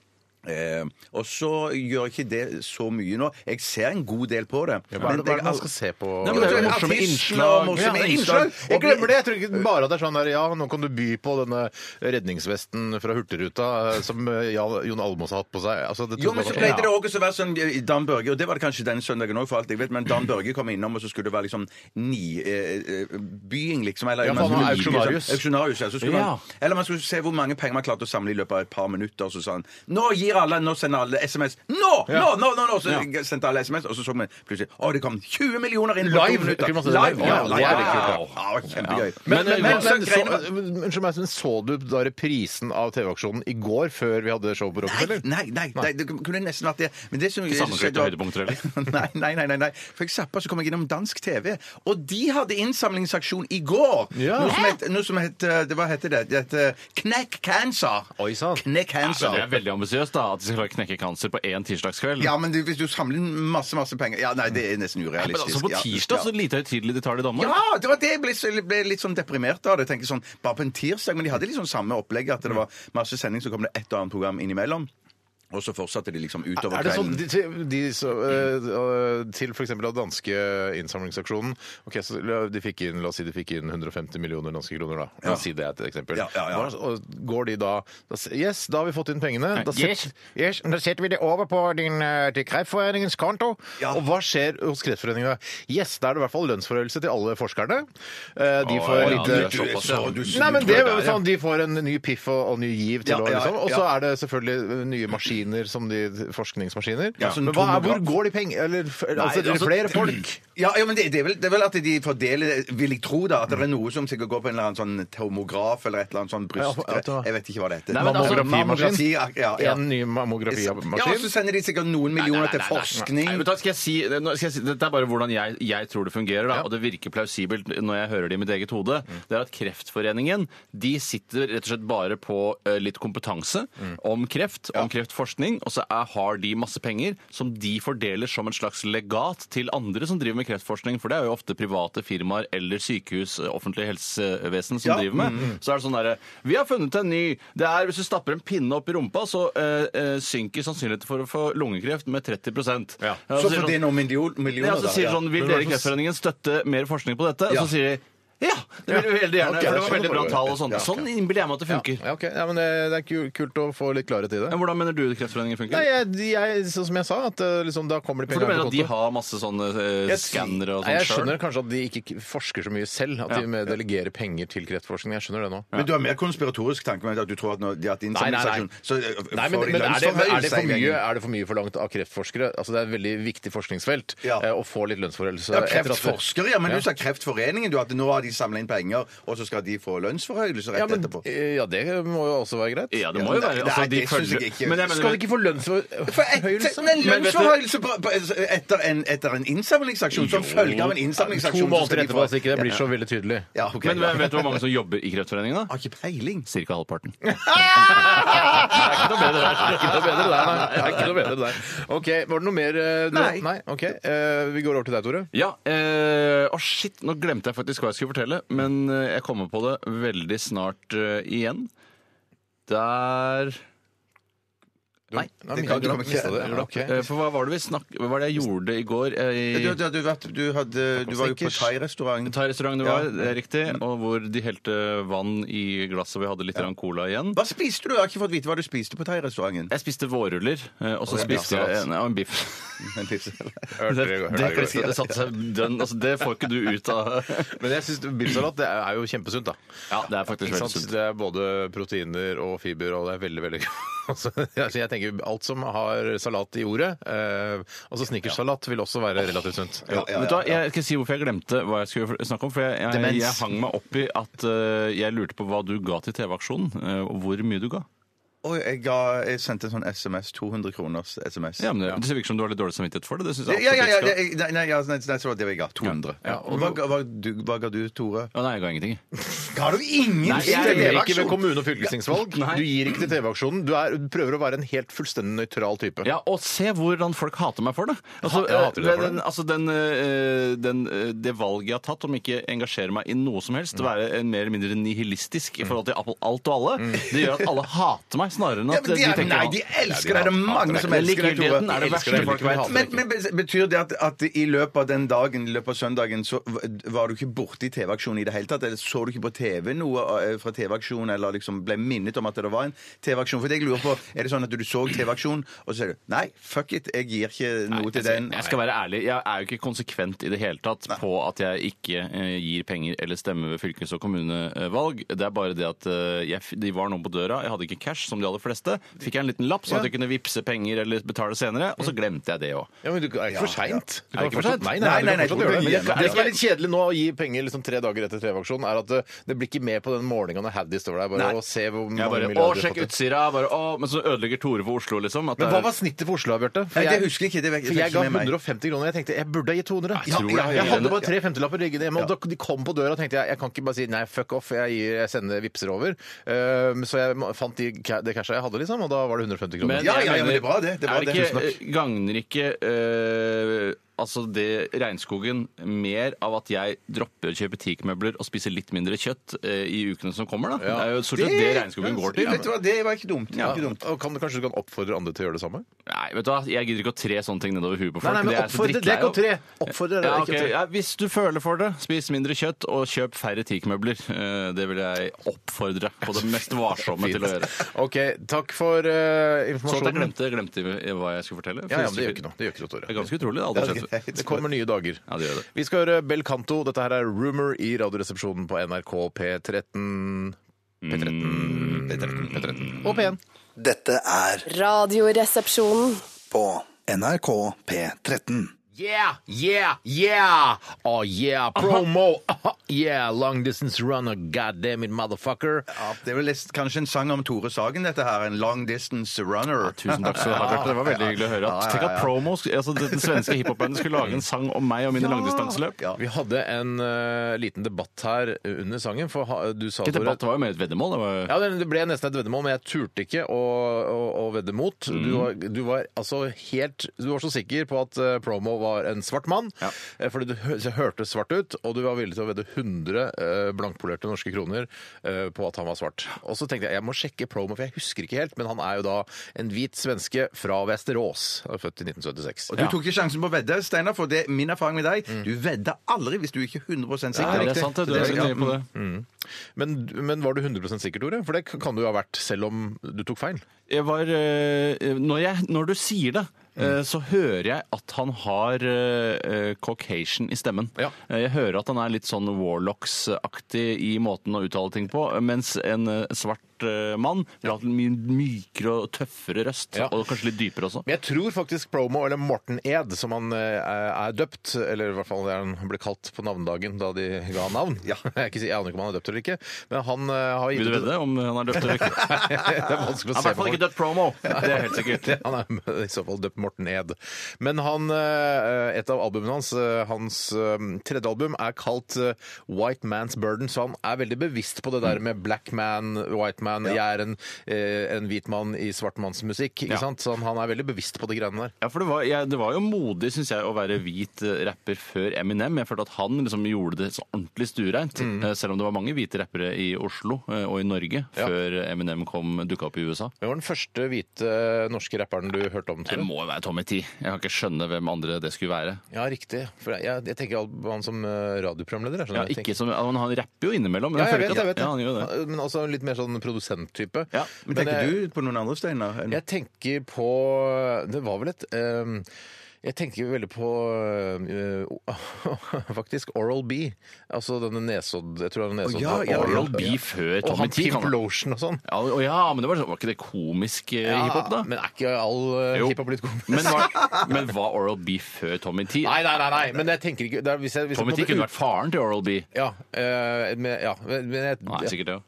Speaker 2: Eh, og så gjør ikke det så mye nå. Jeg ser en god del på det.
Speaker 1: Hva er
Speaker 2: Men
Speaker 1: det, hva
Speaker 2: jeg
Speaker 1: er det man
Speaker 2: al-
Speaker 1: skal se på?
Speaker 2: Nei, men det er jo morsomme
Speaker 3: Artisten
Speaker 2: innslag.
Speaker 3: og
Speaker 2: morsomme
Speaker 1: Ja,
Speaker 2: innslag.
Speaker 1: Jeg glemmer det. Jeg tror ikke bare at det er sånn der, ja, nå kan du by på denne redningsvesten Mm, fra Hurtigruta eh, som eh, Jan- Jon Almaas har hatt på seg. Altså, det tror
Speaker 2: Jo, men så
Speaker 1: jeg bare-
Speaker 2: pleide det også å være sånn eh, Dan Børge, og det var det kanskje den søndagen òg, for alt jeg vet, men Dan Børge kom innom, og så skulle det være liksom nibying, liksom. Eller
Speaker 1: Ja, for han var
Speaker 2: man skulle-
Speaker 1: auksjonarius.
Speaker 2: Auksjonarius, ja. Så skulle
Speaker 3: Ja.
Speaker 2: man, eller man skulle se hvor mange penger man klarte å samle i løpet av et par minutter, og så sa han Nå gir alle, nå sender alle SMS. Nå! Nå, nå, nå! nå! Så sendte alle SMS, og så så vi plutselig Å, det kom 20 millioner inn på to
Speaker 1: Live!
Speaker 2: minutter!
Speaker 1: Kunne man se det live?
Speaker 2: Live! Ja,
Speaker 1: Ja,
Speaker 2: live.
Speaker 1: det er
Speaker 2: Ja,
Speaker 1: kult,
Speaker 2: ja, kjempegøy.
Speaker 1: Men,
Speaker 3: Men-
Speaker 1: men, men,
Speaker 3: men-
Speaker 1: men,
Speaker 2: greiene
Speaker 1: så, unnskyld meg, men så du da reprisen av TV-aksjonen i går før vi hadde show på
Speaker 2: Nei,
Speaker 1: Rockefeller?
Speaker 2: nei, nei, nei, det kunne nesten vært det. Men det som
Speaker 3: sammenslåtte høydepunkter,
Speaker 2: eller? nei, nei, nei, nei, nei. For jeg zappa, så kom jeg innom dansk TV, og de hadde innsamlingsaksjon i går.
Speaker 1: Ja.
Speaker 2: Noe som het, noe som het eh, det, Hva heter det? Det heter Knekk cancer.
Speaker 1: Oi, sann.
Speaker 2: Knekk
Speaker 3: Så
Speaker 2: cancer.
Speaker 3: det er veldig ambisiøst da, at de skal klare å knekke cancer på én tirsdagskveld.
Speaker 2: Ja, men du, hvis du samler masse, masse penger Ja, nei, det er nesten
Speaker 3: Ja, men altså
Speaker 2: urealistisk.
Speaker 3: På
Speaker 2: Ja,
Speaker 3: tirsdag, så lite høytidelig de tar det i Danmark.
Speaker 2: Ja, det var det jeg ble, ble litt sånn deprimert av. det. Jeg tenker sånn, Bare på en tirsdag, men de hadde liksom samme opplegg, at
Speaker 3: Mm.
Speaker 2: det var masse sending, så kom det et og annet program innimellom. Og så fortsatte de liksom utover
Speaker 1: Er det sånn
Speaker 2: kvelden.
Speaker 1: de, de, de, så, eh, eh, Til f.eks. den danske innsamlingsaksjonen Ok, så la- de fikk inn, La oss si de fikk inn 150 millioner danske kroner, da. La oss si det er et eksempel.
Speaker 2: Ja, ja, ja.
Speaker 1: Hva- Og går de da, da s- Yes, da har vi fått inn pengene. Da,
Speaker 3: Yes.
Speaker 1: set- yes, da setter vi det over på din, eh, til Kreftforeningens konto.
Speaker 2: Ja.
Speaker 1: Og hva skjer hos Kreftforeningen? Yes, da er det i hvert fall lønnsforhøyelse til alle forskerne. Eh, De
Speaker 3: Å,
Speaker 1: får
Speaker 3: ja,
Speaker 1: lite
Speaker 3: det er såpass, ja.
Speaker 7: sånn.
Speaker 2: Du- du-
Speaker 1: Nei, men
Speaker 2: du-
Speaker 1: det
Speaker 2: du-
Speaker 1: er jo sånn, De får en ny piff og, og ny giv til
Speaker 2: Ja,
Speaker 1: å
Speaker 2: ja,
Speaker 1: liksom. Og så
Speaker 2: ja.
Speaker 1: er det selvfølgelig eh, nye
Speaker 7: maskiner som de forskningsmaskiner.
Speaker 2: Ja, sånn
Speaker 7: Men hva er, hvor
Speaker 2: tomograf.
Speaker 7: går de pengene? Eller f- altså, det
Speaker 2: altså,
Speaker 7: er flere folk?
Speaker 2: Ja, ja men det, det, er vel, det er vel at de fordeler det, vil jeg tro, da. At det er noe som sikkert går på en eller annen sånn tomograf eller et eller annet sånn bryst...
Speaker 7: Ja, at det var-
Speaker 2: Jeg vet ikke hva det heter.
Speaker 3: Nei, men altså,
Speaker 7: Mammografimaskin?
Speaker 2: ja, ja, ja.
Speaker 7: En ny
Speaker 2: Ja, og så
Speaker 7: mammografimaskin?
Speaker 2: sender de sikkert noen millioner til forskning.
Speaker 3: Nei, vet du hva, skal jeg si, nå skal jeg si, Dette er bare hvordan jeg, jeg tror det fungerer, da, og det virker plausibelt når jeg hører det i mitt eget hode. Det er at Kreftforeningen de sitter rett og slett bare på eh, litt kompetanse om kreft, om kreftforskning, og så er, har de masse penger som de fordeler som en slags legat til andre som driver med kreftforskning, for det er jo ofte private firmaer eller sykehus, eh, offentlig helsevesen, som
Speaker 2: Ja.
Speaker 3: driver med. Så er det sånn derre Vi har funnet en ny Det er hvis du stapper en pinne opp i rumpa, så eh, eh, synker sannsynligheten for å få lungekreft med 30
Speaker 7: Ja.
Speaker 3: og
Speaker 2: Så
Speaker 3: sier
Speaker 2: får de noen million- millioner,
Speaker 7: altså,
Speaker 3: ja, så sier
Speaker 2: da.
Speaker 3: sånn, Vil dere i Kreftforeningen støtte mer forskning på dette? Og
Speaker 2: Ja.
Speaker 3: Så sier de ja! Det vil vi veldig gjerne. for
Speaker 7: Ok, det
Speaker 3: det var
Speaker 7: skjønner
Speaker 3: veldig bra
Speaker 7: jeg.
Speaker 3: tall og sånn.
Speaker 7: Ja, ok.
Speaker 3: Sånn innbiller jeg meg at det funker.
Speaker 7: Ja, ok. ja, men det, det er ku- kult å få litt klarhet i det.
Speaker 3: Men hvordan mener du Kreftforeningen funker?
Speaker 7: Nei, jeg, jeg, sånn som jeg sa, at eh, liksom, da kommer de
Speaker 3: for du
Speaker 7: pengene
Speaker 3: mener
Speaker 7: på
Speaker 3: at de
Speaker 7: konto.
Speaker 3: har masse sånne eh,
Speaker 2: Jeg sier-
Speaker 3: skannere og
Speaker 7: Nei, jeg
Speaker 3: sånn
Speaker 7: skjønner kanskje at de ikke k- forsker så mye selv, at
Speaker 3: Ja.
Speaker 7: de med- delegerer penger til kreftforskning. Jeg skjønner det nå.
Speaker 2: Men du har mer konspiratorisk tanke med at du tror at når de har hatt innsamlingsaksjon, så eh,
Speaker 7: Nei, men,
Speaker 2: får de
Speaker 7: men er, det, er, det
Speaker 2: lønnsforhøyelse
Speaker 7: for
Speaker 2: en gang.
Speaker 7: mye, er det for mye forlangt av kreftforskere? Altså, det er et veldig viktig forskningsfelt
Speaker 2: Ja.
Speaker 7: eh, å få litt lønnsforhøyelse.
Speaker 2: Ja,
Speaker 7: etter at det-
Speaker 2: kreftforskere, ja, men du sa Kreftforeningen. Du at nå har de samla inn penger, og så skal de få lønnsforhøyelse rett
Speaker 7: Ja, men,
Speaker 2: etterpå.
Speaker 7: eh, ja, det må jo også være greit.
Speaker 3: Ja, det må jo
Speaker 2: Ja,
Speaker 3: være.
Speaker 2: nei,
Speaker 3: Altså,
Speaker 2: nei,
Speaker 3: de
Speaker 2: det synes jeg
Speaker 3: følger
Speaker 2: ikke.
Speaker 3: Men jeg mener-
Speaker 7: Skal de ikke få
Speaker 2: For et,
Speaker 7: lønnsforhøyelse?
Speaker 2: men
Speaker 3: Men vet du-
Speaker 2: lønnsforhøyelse på, på, etter, en, etter en innsamlingsaksjon, som følge av en
Speaker 7: To
Speaker 2: innsamlingsaksjon så skal
Speaker 7: måneder
Speaker 2: de
Speaker 7: etterpå,
Speaker 2: få-
Speaker 7: så ikke det blir så veldig tydelig.
Speaker 2: Ja, ok.
Speaker 3: Men
Speaker 2: ja.
Speaker 3: vet du hvor mange som jobber i Kreftforeningen, da?
Speaker 2: Har ikke peiling.
Speaker 3: Cirka halvparten.
Speaker 7: Ikke noe bedre der. Ikke noe bedre der, nei. Det er Ikke noe bedre der. Ok, Var det noe mer eh, du...
Speaker 2: Nei.
Speaker 7: Nei. ok. Eh, vi går over til deg, Tore.
Speaker 3: Ja. Å, eh, å, shit, nå glemte jeg faktisk hva jeg skulle fortelle, men eh, jeg kommer på det veldig snart eh, igjen. Der Nei.
Speaker 7: Nei,
Speaker 2: Det kan-
Speaker 7: du
Speaker 2: du kommer ikke-
Speaker 7: mistet det.
Speaker 3: Eh, For hva var det vi snakk... Hva var det jeg gjorde i går? eh,
Speaker 2: Du,
Speaker 3: I
Speaker 2: du, du, vet, du, hadde, du var jo på
Speaker 7: Snickers.
Speaker 2: thai-restaurant.
Speaker 3: thairestaurant det var, det er riktig, og hvor de helte vann i glasset, og vi hadde litt grann cola igjen.
Speaker 2: Hva spiste du? Jeg har ikke fått vite hva du spiste på thai-restauranten.
Speaker 3: Jeg spiste vårruller, eh, og så
Speaker 2: en
Speaker 3: spiste
Speaker 2: biffsalat.
Speaker 3: jeg en, ja, en biff.
Speaker 2: En pizza.
Speaker 3: Det,
Speaker 7: det
Speaker 3: det,
Speaker 7: går,
Speaker 3: det,
Speaker 7: hørte det
Speaker 3: satte seg dønn Altså, det får ikke du ut av
Speaker 7: Men jeg syns biffsalat det er jo kjempesunt, da.
Speaker 3: Ja, det er faktisk
Speaker 7: Ikke
Speaker 3: veldig
Speaker 7: sant?
Speaker 3: sunt.
Speaker 7: Det er både proteiner og fiber, og det er veldig, veldig altså, altså, Jeg tenker alt som har salat i ordet, eh, altså snickersalat, vil også være relativt sunt.
Speaker 2: ja,
Speaker 3: Vet du hva, Jeg skal si hvorfor jeg glemte hva jeg skulle snakke om. For jeg, jeg,
Speaker 2: Demens.
Speaker 3: jeg hang meg opp i at eh, jeg lurte på hva du ga til TV-aksjonen, eh, og hvor mye du ga.
Speaker 2: Og jeg, ga, jeg sendte en sånn SMS. 200 kroners SMS.
Speaker 3: Ja, men det, det virker som du har litt dårlig samvittighet for det. det synes
Speaker 2: Ja,
Speaker 3: jeg
Speaker 2: ja, ja,
Speaker 3: absolutt
Speaker 2: ja,
Speaker 3: ikke skal.
Speaker 2: nei, nei, ja, nei, så var det det jeg ga. 200.
Speaker 3: Ja, ja, og-
Speaker 2: hva, ga- hva, du, hva ga du, Tore?
Speaker 3: Å, nei, jeg ga ingenting.
Speaker 2: Ga du ingen
Speaker 3: Nei, jeg
Speaker 7: Du stemmer ikke ved
Speaker 2: TV-aksjon?
Speaker 7: kommune- og fylkestingsvalg.
Speaker 3: Nei.
Speaker 7: Du gir ikke til TV-aksjonen. Du, er, du prøver å være en helt fullstendig nøytral type.
Speaker 3: Ja, og se hvordan folk hater meg for det. Altså,
Speaker 7: Ja, jeg hater deg
Speaker 3: eh,
Speaker 7: for det.
Speaker 3: Den, altså den, eh, den, eh, det valget jeg har tatt om ikke engasjere meg i noe som helst,
Speaker 2: Mm.
Speaker 3: være en mer eller mindre nihilistisk i forhold til all- alt og alle, det gjør at alle hater meg snarere enn
Speaker 2: Mm. Ja,
Speaker 3: at
Speaker 2: men de,
Speaker 3: de
Speaker 2: er,
Speaker 3: tenker
Speaker 2: nei,
Speaker 3: «Å,
Speaker 2: de elsker deg. Det er mange som elsker
Speaker 3: Men
Speaker 2: deg, Tore.
Speaker 3: likegyldigheten er det
Speaker 7: elsker
Speaker 3: verste
Speaker 7: deg,
Speaker 3: folk
Speaker 7: men
Speaker 3: vet.
Speaker 7: hater
Speaker 2: Men, men Betyr det at, at i løpet av den dagen i løpet av søndagen så v- var du ikke borte i TV-aksjonen i det hele tatt? Eller så du ikke på TV noe eh, fra TV-aksjonen, eller liksom ble minnet om at det var en TV-aksjon? For jeg lurer på, Er det sånn at du så TV-aksjonen, og så sier du nei, fuck it, jeg gir ikke noe til den?
Speaker 3: altså, Jeg skal være ærlig, jeg er jo ikke konsekvent i det hele tatt på at jeg ikke eh, gir penger eller stemmer ved fylkes- og kommunevalg. Det er bare det at eh, jeg, f- de var noen på døra, jeg hadde ikke cash som de aller fleste. Fikk jeg en liten lapp sånn at jeg kunne vippse penger eller betale senere, og
Speaker 2: Mm.
Speaker 3: så glemte jeg det òg.
Speaker 7: Ja, men du, er ikke for seint.
Speaker 3: Er det ikke for sent?
Speaker 7: Nei,
Speaker 2: Nei,
Speaker 7: nei,
Speaker 2: nei, nei,
Speaker 7: du kan fortsatt
Speaker 2: det
Speaker 7: gjøre
Speaker 2: blir
Speaker 7: det. Men det,
Speaker 2: gjennom.
Speaker 7: det som er litt kjedelig nå, å gi penger liksom tre dager etter TV-aksjonen, er at det, det blir ikke med på den målinga når Haddy står der bare,
Speaker 2: Nei.
Speaker 7: og ser hvor mange
Speaker 3: Jeg bare,
Speaker 7: milliarder
Speaker 3: å,
Speaker 7: du har
Speaker 3: sjekk
Speaker 7: fått inn».
Speaker 3: Utsira! Bare, å, men så ødelegger Tore for Oslo, liksom. At
Speaker 7: Men
Speaker 3: det
Speaker 7: hva
Speaker 3: er-
Speaker 7: var snittet for Oslo, Bjarte? For
Speaker 2: Nei, det husker jeg ikke, det vet jeg
Speaker 7: for jeg
Speaker 2: ikke
Speaker 7: ga
Speaker 2: med meg.
Speaker 7: 150 kroner. Jeg tenkte jeg burde gi 200.
Speaker 3: Jeg tror det er høyere
Speaker 7: jeg hadde
Speaker 3: enn
Speaker 7: bare
Speaker 3: det.
Speaker 7: tre femtelapper liggende hjemme, og da de kom på døra, tenkte jeg jeg kan ikke bare si nei, fuck off, jeg, gir, jeg sender vipser over. Um, så jeg må- fant de, ca- det cashet jeg hadde, liksom, og da var det 150 kroner.
Speaker 3: Men
Speaker 2: Ja,
Speaker 3: jeg
Speaker 2: ja, ja, men
Speaker 3: mener,
Speaker 2: det er bra det, det er bra det.
Speaker 3: ikke,
Speaker 2: Tusen takk.
Speaker 3: Gagner ikke eh, altså det regnskogen mer av at jeg dropper å kjøpe teakmøbler og spiser litt mindre kjøtt eh, i ukene som kommer, da? Det er jo stort sett det regnskogen går til.
Speaker 2: Vet du hva, Det var ikke dumt. Det var ikke dumt.
Speaker 7: Og kan, kanskje du kan oppfordre andre til å gjøre det samme?
Speaker 3: Nei, vet du hva, jeg gidder ikke å tre sånne ting nedover huet på folk.
Speaker 7: Nei, nei,
Speaker 3: Det
Speaker 7: men
Speaker 3: er jeg så
Speaker 7: oppfordre- det er
Speaker 3: drittlei
Speaker 7: ikke å
Speaker 3: av.
Speaker 7: tre. Oppfordre er
Speaker 3: ja,
Speaker 7: ikke å
Speaker 3: ok.
Speaker 7: tre.
Speaker 3: Ja, hvis du føler for det, spis mindre kjøtt og kjøp færre teakmøbler. Eh, Det vil jeg oppfordre på det mest varsomme til å gjøre.
Speaker 7: OK, takk for eh,
Speaker 3: Så at jeg
Speaker 7: informasjonen.
Speaker 3: glemte, glemte hva jeg skulle fortelle.
Speaker 7: Ja, ja, men det gjør ikke noe. Det gjør ikke noe,
Speaker 3: Det er
Speaker 7: Tore.
Speaker 3: ganske utrolig. Det har aldri skjedd.
Speaker 7: Det kommer nye dager.
Speaker 3: Ja, det gjør det.
Speaker 7: Vi skal høre Bel Canto. Dette her er Rumor i
Speaker 3: Mm,
Speaker 7: Radioresepsjonen på NRK P13. P13. P13. P13. Og P1.
Speaker 6: Dette er
Speaker 5: Radioresepsjonen.
Speaker 6: på NRK P13.
Speaker 7: Yeah, yeah, yeah! Oh yeah, promo! Yeah, long distance runner, goddamn it, motherfucker.
Speaker 2: Ja, det er vel lest- kanskje en sang om Tore Sagen, dette her. En long distance runner.
Speaker 3: Tusen takk skal du ha, Bjarte. Det var veldig hyggelig å høre. At, tenk at promo, sk- altså Den svenske hiphopbandet skulle
Speaker 7: Mm.
Speaker 3: lage en sang om meg og mine langdistanseløp.
Speaker 2: Ja.
Speaker 7: Vi hadde en eh, liten debatt her under sangen, for ha, du sa
Speaker 3: Ikke
Speaker 7: Tore-
Speaker 3: debatt, det var jo mer et veddemål. Det var jo
Speaker 7: Ja, det det ble nesten et veddemål, men jeg turte ikke å, å, å vedde mot. Du, var, du var altså helt Du var så sikker på at eh, Promo var en svart mann, eh, fordi du hø hørtes svart ut, og du var villig til å vedde 100 eh, blankpolerte norske kroner eh, på at han var svart. Og så tenkte jeg jeg må sjekke Promo, for jeg husker ikke helt, men han er jo da en hvit svenske fra Vesterås, han er født i 1976.
Speaker 2: Og Du tok ikke sjansen på å vedde, Steinar, for det er min erfaring med deg. Du vedder aldri hvis du ikke er 100 sikker.
Speaker 3: Nei, det er sant, det. Du er
Speaker 2: Så
Speaker 3: så
Speaker 2: ja,
Speaker 3: nøye på det.
Speaker 7: Mm. Men, men var du 100 sikker, Tore? For det kan du jo ha vært, selv om du tok feil.
Speaker 3: Jeg var eh, når, jeg, når du sier det
Speaker 7: Mm.
Speaker 3: eh, så hører jeg at han har eh, eh, Caucasian i stemmen.
Speaker 7: Ja.
Speaker 3: Eh, Jeg hører at han er litt sånn Warlocks-aktig i måten å uttale ting på, eh, mens en eh, svart eh, mann vil ha en mye mykere og tøffere røst,
Speaker 7: Ja.
Speaker 3: og kanskje litt dypere også.
Speaker 7: Men jeg tror faktisk Promo, eller Morten Ed, som han eh, er døpt, eller i hvert fall det han ble kalt på navnedagen da de ga han navn jeg, er ikke, si- jeg aner ikke om han er døpt eller ikke, men han eh, har gitt
Speaker 3: Vil du vedde om han er døpt eller ikke? Han
Speaker 7: det er vanskelig å
Speaker 3: er i
Speaker 7: se
Speaker 3: hvert fall
Speaker 7: for
Speaker 3: ikke døpt promo! Det er helt sikkert.
Speaker 7: Det- Han er i så fall døpt Morten Ed. Men han, eh, et av albumene hans, eh, hans eh, tredje album, er kalt eh, White Man's Burden, så han er veldig bevisst på det der
Speaker 3: Mm.
Speaker 7: med black man, white man, jeg er en, eh, en hvit mann i svart manns musikk, ikke
Speaker 3: Ja.
Speaker 7: sant? Så han, han er veldig bevisst på de greiene der.
Speaker 3: Ja, for det var, jeg, det var jo modig, syns jeg, å være hvit eh, rapper før Eminem. Jeg følte at han liksom gjorde det så ordentlig stuereint.
Speaker 7: Mm.
Speaker 3: eh, Selv om det var mange hvite rappere i Oslo eh, og i Norge før Eminem kom dukka opp i USA.
Speaker 7: Hvem var den første hvite eh, norske rapperen du hørte om?
Speaker 3: Det
Speaker 7: Tore?
Speaker 3: må jo være Tommy T. Jeg kan ikke skjønne hvem andre det skulle være.
Speaker 7: Ja, riktig. For jeg, jeg tenker alt på han som eh, radioprogramleder. jeg skjønner
Speaker 3: Ja,
Speaker 7: jeg
Speaker 3: ikke
Speaker 7: tenker.
Speaker 3: som, ja, men han rapper jo innimellom. men
Speaker 7: ja, jeg
Speaker 3: føler
Speaker 7: vet
Speaker 3: ikke
Speaker 7: det.
Speaker 3: at-
Speaker 7: jeg vet det.
Speaker 3: Ja, han gjør jo det.
Speaker 7: Men altså litt mer sånn produsenttype.
Speaker 3: Ja,
Speaker 2: Men tenker
Speaker 7: jeg,
Speaker 2: du på noen andre, Steinar? enn-
Speaker 7: Jeg tenker på Det var vel et eh, jeg tenker veldig på eh, faktisk Oral B. Altså denne Nesodd Jeg tror han er Nesodd.
Speaker 2: ja, ja,
Speaker 3: Oral B før
Speaker 7: Og
Speaker 3: Tommy
Speaker 7: han
Speaker 3: T.
Speaker 7: Pimp
Speaker 3: kan-
Speaker 7: Lotion og sånn.
Speaker 3: Ja, og ja, men det var, sånn- var ikke det komisk eh, hiphop, da?
Speaker 7: men er ikke all eh,
Speaker 3: Jo.
Speaker 7: hiphop litt komisk?
Speaker 3: Men var, men var Oral B før Tommy T?
Speaker 7: Nei, nei, nei, nei, men jeg tenker ikke det er, hvis jeg, hvis jeg
Speaker 3: Tommy
Speaker 7: på en
Speaker 3: T
Speaker 7: måte
Speaker 3: kunne
Speaker 7: ut-
Speaker 3: vært faren til Oral B.
Speaker 7: Ja, eh, men, ja, men men jeg,
Speaker 3: Nei, sikkert det.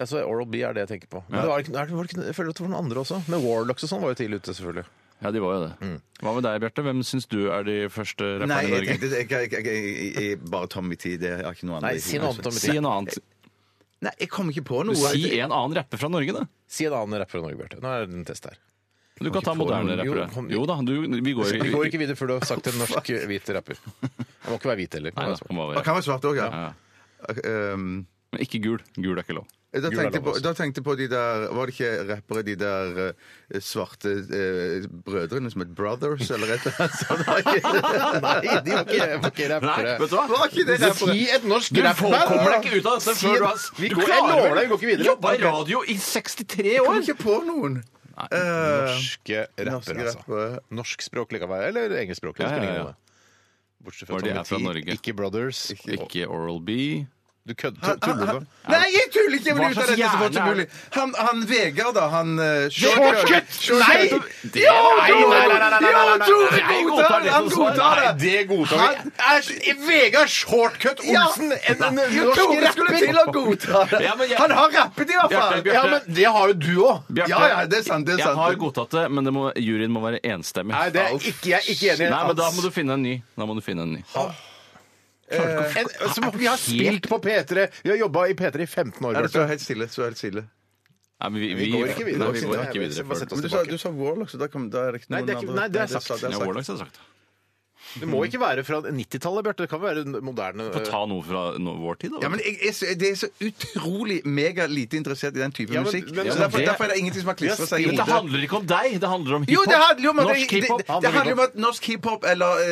Speaker 7: altså, Oral B er det jeg tenker på. Men det var, ikke- er det- var det ikke, jeg føler at det var noen andre også. Men Warlocks og sånn var jo tidlig ute, selvfølgelig.
Speaker 3: Ja, de var jo det.
Speaker 7: Mm.
Speaker 3: Hva med deg, Bjarte? Hvem syns du er de første rapperne
Speaker 2: Nei,
Speaker 3: i
Speaker 2: jeg
Speaker 3: Norge?
Speaker 2: tenkte jeg, jeg, jeg, jeg, jeg, Bare Tommy T. Det er ikke noe annet.
Speaker 7: Nei, si noe annet, Tommy
Speaker 3: Si
Speaker 7: T.
Speaker 3: en annen.
Speaker 2: Nei, jeg kom ikke på noe.
Speaker 3: Si en annen rapper fra Norge, da.
Speaker 7: Si en annen rapper enn Norge, Bjarte. Nå er det en test her.
Speaker 3: Du kan ta
Speaker 7: få
Speaker 3: moderne
Speaker 7: noen- jo,
Speaker 3: rappere.
Speaker 7: kom-
Speaker 3: Jo da, du, vi går
Speaker 7: Vi går ikke videre før du har sagt en norsk eh, hvit rapper. Han må ikke være hvit heller.
Speaker 3: Nei, da,
Speaker 7: Han er svart.
Speaker 3: han må
Speaker 2: Det
Speaker 3: være.
Speaker 2: kan være svart òg, ja.
Speaker 3: Ja.
Speaker 2: Um,
Speaker 3: Men ikke gul. Gul er ikke lov.
Speaker 2: da
Speaker 7: Jul er
Speaker 2: tenkte, jeg
Speaker 7: lov,
Speaker 2: på,
Speaker 7: altså.
Speaker 2: da tenkte jeg på de der Var det ikke rappere, de der eh, svarte eh, brødrene som het Brothers, eller et eller annet sånt? Var ikke-
Speaker 7: Nei, de var ikke, var ikke rappere.
Speaker 3: vet du hva?
Speaker 2: Var ikke det rappere?
Speaker 7: Si et norsk
Speaker 3: Du
Speaker 7: rapper!
Speaker 3: kommer deg ikke ut av dette
Speaker 7: Si
Speaker 3: før
Speaker 7: en-
Speaker 3: du har
Speaker 7: Vi
Speaker 3: du
Speaker 7: går, jeg
Speaker 3: klarer
Speaker 7: lover
Speaker 3: det.
Speaker 7: deg, vi går ikke videre.
Speaker 3: Jobba i radio i 63
Speaker 2: Kom
Speaker 3: år!
Speaker 2: ikke på noen! Eh,
Speaker 7: Norske rapper,
Speaker 2: Norske
Speaker 7: altså.
Speaker 2: rappere.
Speaker 7: Norskspråklig kan være, eller engelskspråklig. det
Speaker 3: Ja, ja,
Speaker 7: spiller ingen
Speaker 3: ja.
Speaker 7: rolle. Bortsett fra
Speaker 3: Bare de
Speaker 7: Tommy
Speaker 3: er fra
Speaker 7: T,
Speaker 3: Norge.
Speaker 7: Ikke Brothers.
Speaker 3: Ikke Oral B.
Speaker 7: Du kødder. Tuller du?
Speaker 2: Nei, jeg tuller ikke! Jeg
Speaker 3: Hva
Speaker 2: vil ut av
Speaker 3: slags
Speaker 2: dette så fort som
Speaker 3: hjerne er
Speaker 2: mulig.
Speaker 3: det?
Speaker 2: Han, han Vegard, da. Han eh,
Speaker 7: Shortcut! Nei!
Speaker 3: Det-
Speaker 2: Jo,
Speaker 3: Nei,
Speaker 2: Tore!
Speaker 3: nei, nei, nei, nei,
Speaker 2: Jo,
Speaker 3: nei, nei,
Speaker 2: Tore
Speaker 3: nei, jeg
Speaker 2: godtar det! Han
Speaker 3: som svar.
Speaker 2: godtar det!
Speaker 7: det godtar vi. Æsj, Vegard Shortcut Olsen, en, en
Speaker 2: Jo,
Speaker 7: norsk
Speaker 2: Tore skulle til
Speaker 7: rapper!
Speaker 2: å godta det!
Speaker 3: Ja, men jeg-
Speaker 2: Han har rappet, i hvert
Speaker 3: Bjarte,
Speaker 2: fall!
Speaker 3: Bjarte.
Speaker 7: Ja, men det har jo du òg.
Speaker 3: Bjarte,
Speaker 2: Ja, ja, det er sant. det er
Speaker 3: jeg
Speaker 2: sant.
Speaker 3: har godtatt det, men det må, juryen må være enstemmig.
Speaker 7: Nei, det er ikke, jeg er ikke enig i.
Speaker 3: Nei, men da må du finne en ny. Da må du finne en ny.
Speaker 7: en, som, vi har spilt på P3. Vi har jobba i P3 i 15
Speaker 2: Ja,
Speaker 7: år.
Speaker 2: det
Speaker 7: Bjarte.
Speaker 2: står helt stille. Står helt stille.
Speaker 3: Nei, men vi,
Speaker 7: Vi går ikke videre.
Speaker 3: Nei, vi går ikke videre
Speaker 7: Bare
Speaker 3: før.
Speaker 7: sett oss
Speaker 2: Men du sa,
Speaker 7: tilbake.
Speaker 2: du sa Warlock, så da, kom, da er det ikke
Speaker 7: Nei,
Speaker 2: noen
Speaker 7: det er ikke-
Speaker 2: andre
Speaker 7: nei, det er sagt.
Speaker 2: sa- det
Speaker 3: Ja,
Speaker 2: sagt.
Speaker 3: Warlocks er sagt.
Speaker 7: Det må ikke være fra 90-tallet, Bjarte. Det kan være moderne.
Speaker 3: Få ta noe fra nå- vår tid, da.
Speaker 2: Ja, men jeg, jeg, er så- det er så utrolig mega lite interessert i den type
Speaker 7: Ja, men-
Speaker 2: musikk.
Speaker 7: men-
Speaker 2: så
Speaker 7: ja,
Speaker 2: derfor,
Speaker 3: det-
Speaker 2: derfor er det ingenting som har klistra seg i
Speaker 3: Dette
Speaker 2: hodet.
Speaker 3: handler ikke om deg, det handler om
Speaker 2: Jo,
Speaker 3: hiphop.
Speaker 2: det handler jo om at, det,
Speaker 3: Norsk hiphop.
Speaker 2: det, det handler om at norsk hiphop eller eh,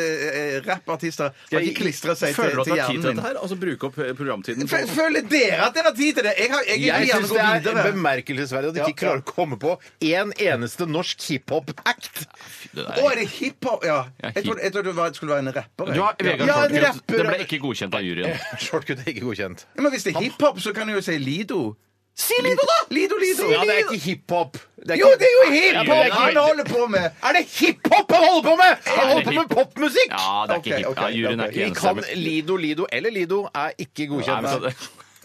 Speaker 2: eh, rappartister har ikke klistra seg til,
Speaker 3: Føler du at
Speaker 2: til
Speaker 3: det er tid til
Speaker 2: hjernen
Speaker 3: dette
Speaker 2: min.
Speaker 3: her? Altså bruke opp eh, programtiden på
Speaker 2: Fø- Føler dere at dere har tid til det? Jeg, har, jeg, vil
Speaker 7: Jeg
Speaker 2: gjerne
Speaker 7: syns
Speaker 2: gå
Speaker 7: det er
Speaker 2: videre.
Speaker 7: bemerkelsesverdig at de ikke klarer å komme på én eneste norsk hiphop-act.
Speaker 3: det
Speaker 2: Å, er det hiphop? Ja.
Speaker 3: Ja,
Speaker 2: Jeg trodde, jeg trodde det var, skulle være en rapper. jeg.
Speaker 3: Du har Vegard
Speaker 7: Ja, en
Speaker 3: Shortcut.
Speaker 7: rapper.
Speaker 3: Det ble ikke godkjent av juryen.
Speaker 7: Shortcut er ikke godkjent.
Speaker 2: Ja, Men hvis det er hiphop, så kan jeg jo si Lido.
Speaker 3: Si Lido, da!
Speaker 4: Lido, Lido!
Speaker 1: Ja, det er ikke hiphop. Det er
Speaker 4: Jo,
Speaker 1: ikke-
Speaker 4: det er jo
Speaker 1: Ja,
Speaker 4: hiphop
Speaker 1: men det er ikke-
Speaker 4: han holder på med!
Speaker 1: Er det hiphop han holder på med?! Han holder på
Speaker 3: hip-
Speaker 1: med popmusikk!
Speaker 3: Ja, det er
Speaker 4: Ok,
Speaker 3: ikke hipp.
Speaker 4: ok,
Speaker 3: Ja, juryen er
Speaker 4: ok.
Speaker 3: ikke
Speaker 1: Vi kan Lido, Lido eller Lido er ikke
Speaker 3: Nei,
Speaker 1: godkjent.
Speaker 3: men så-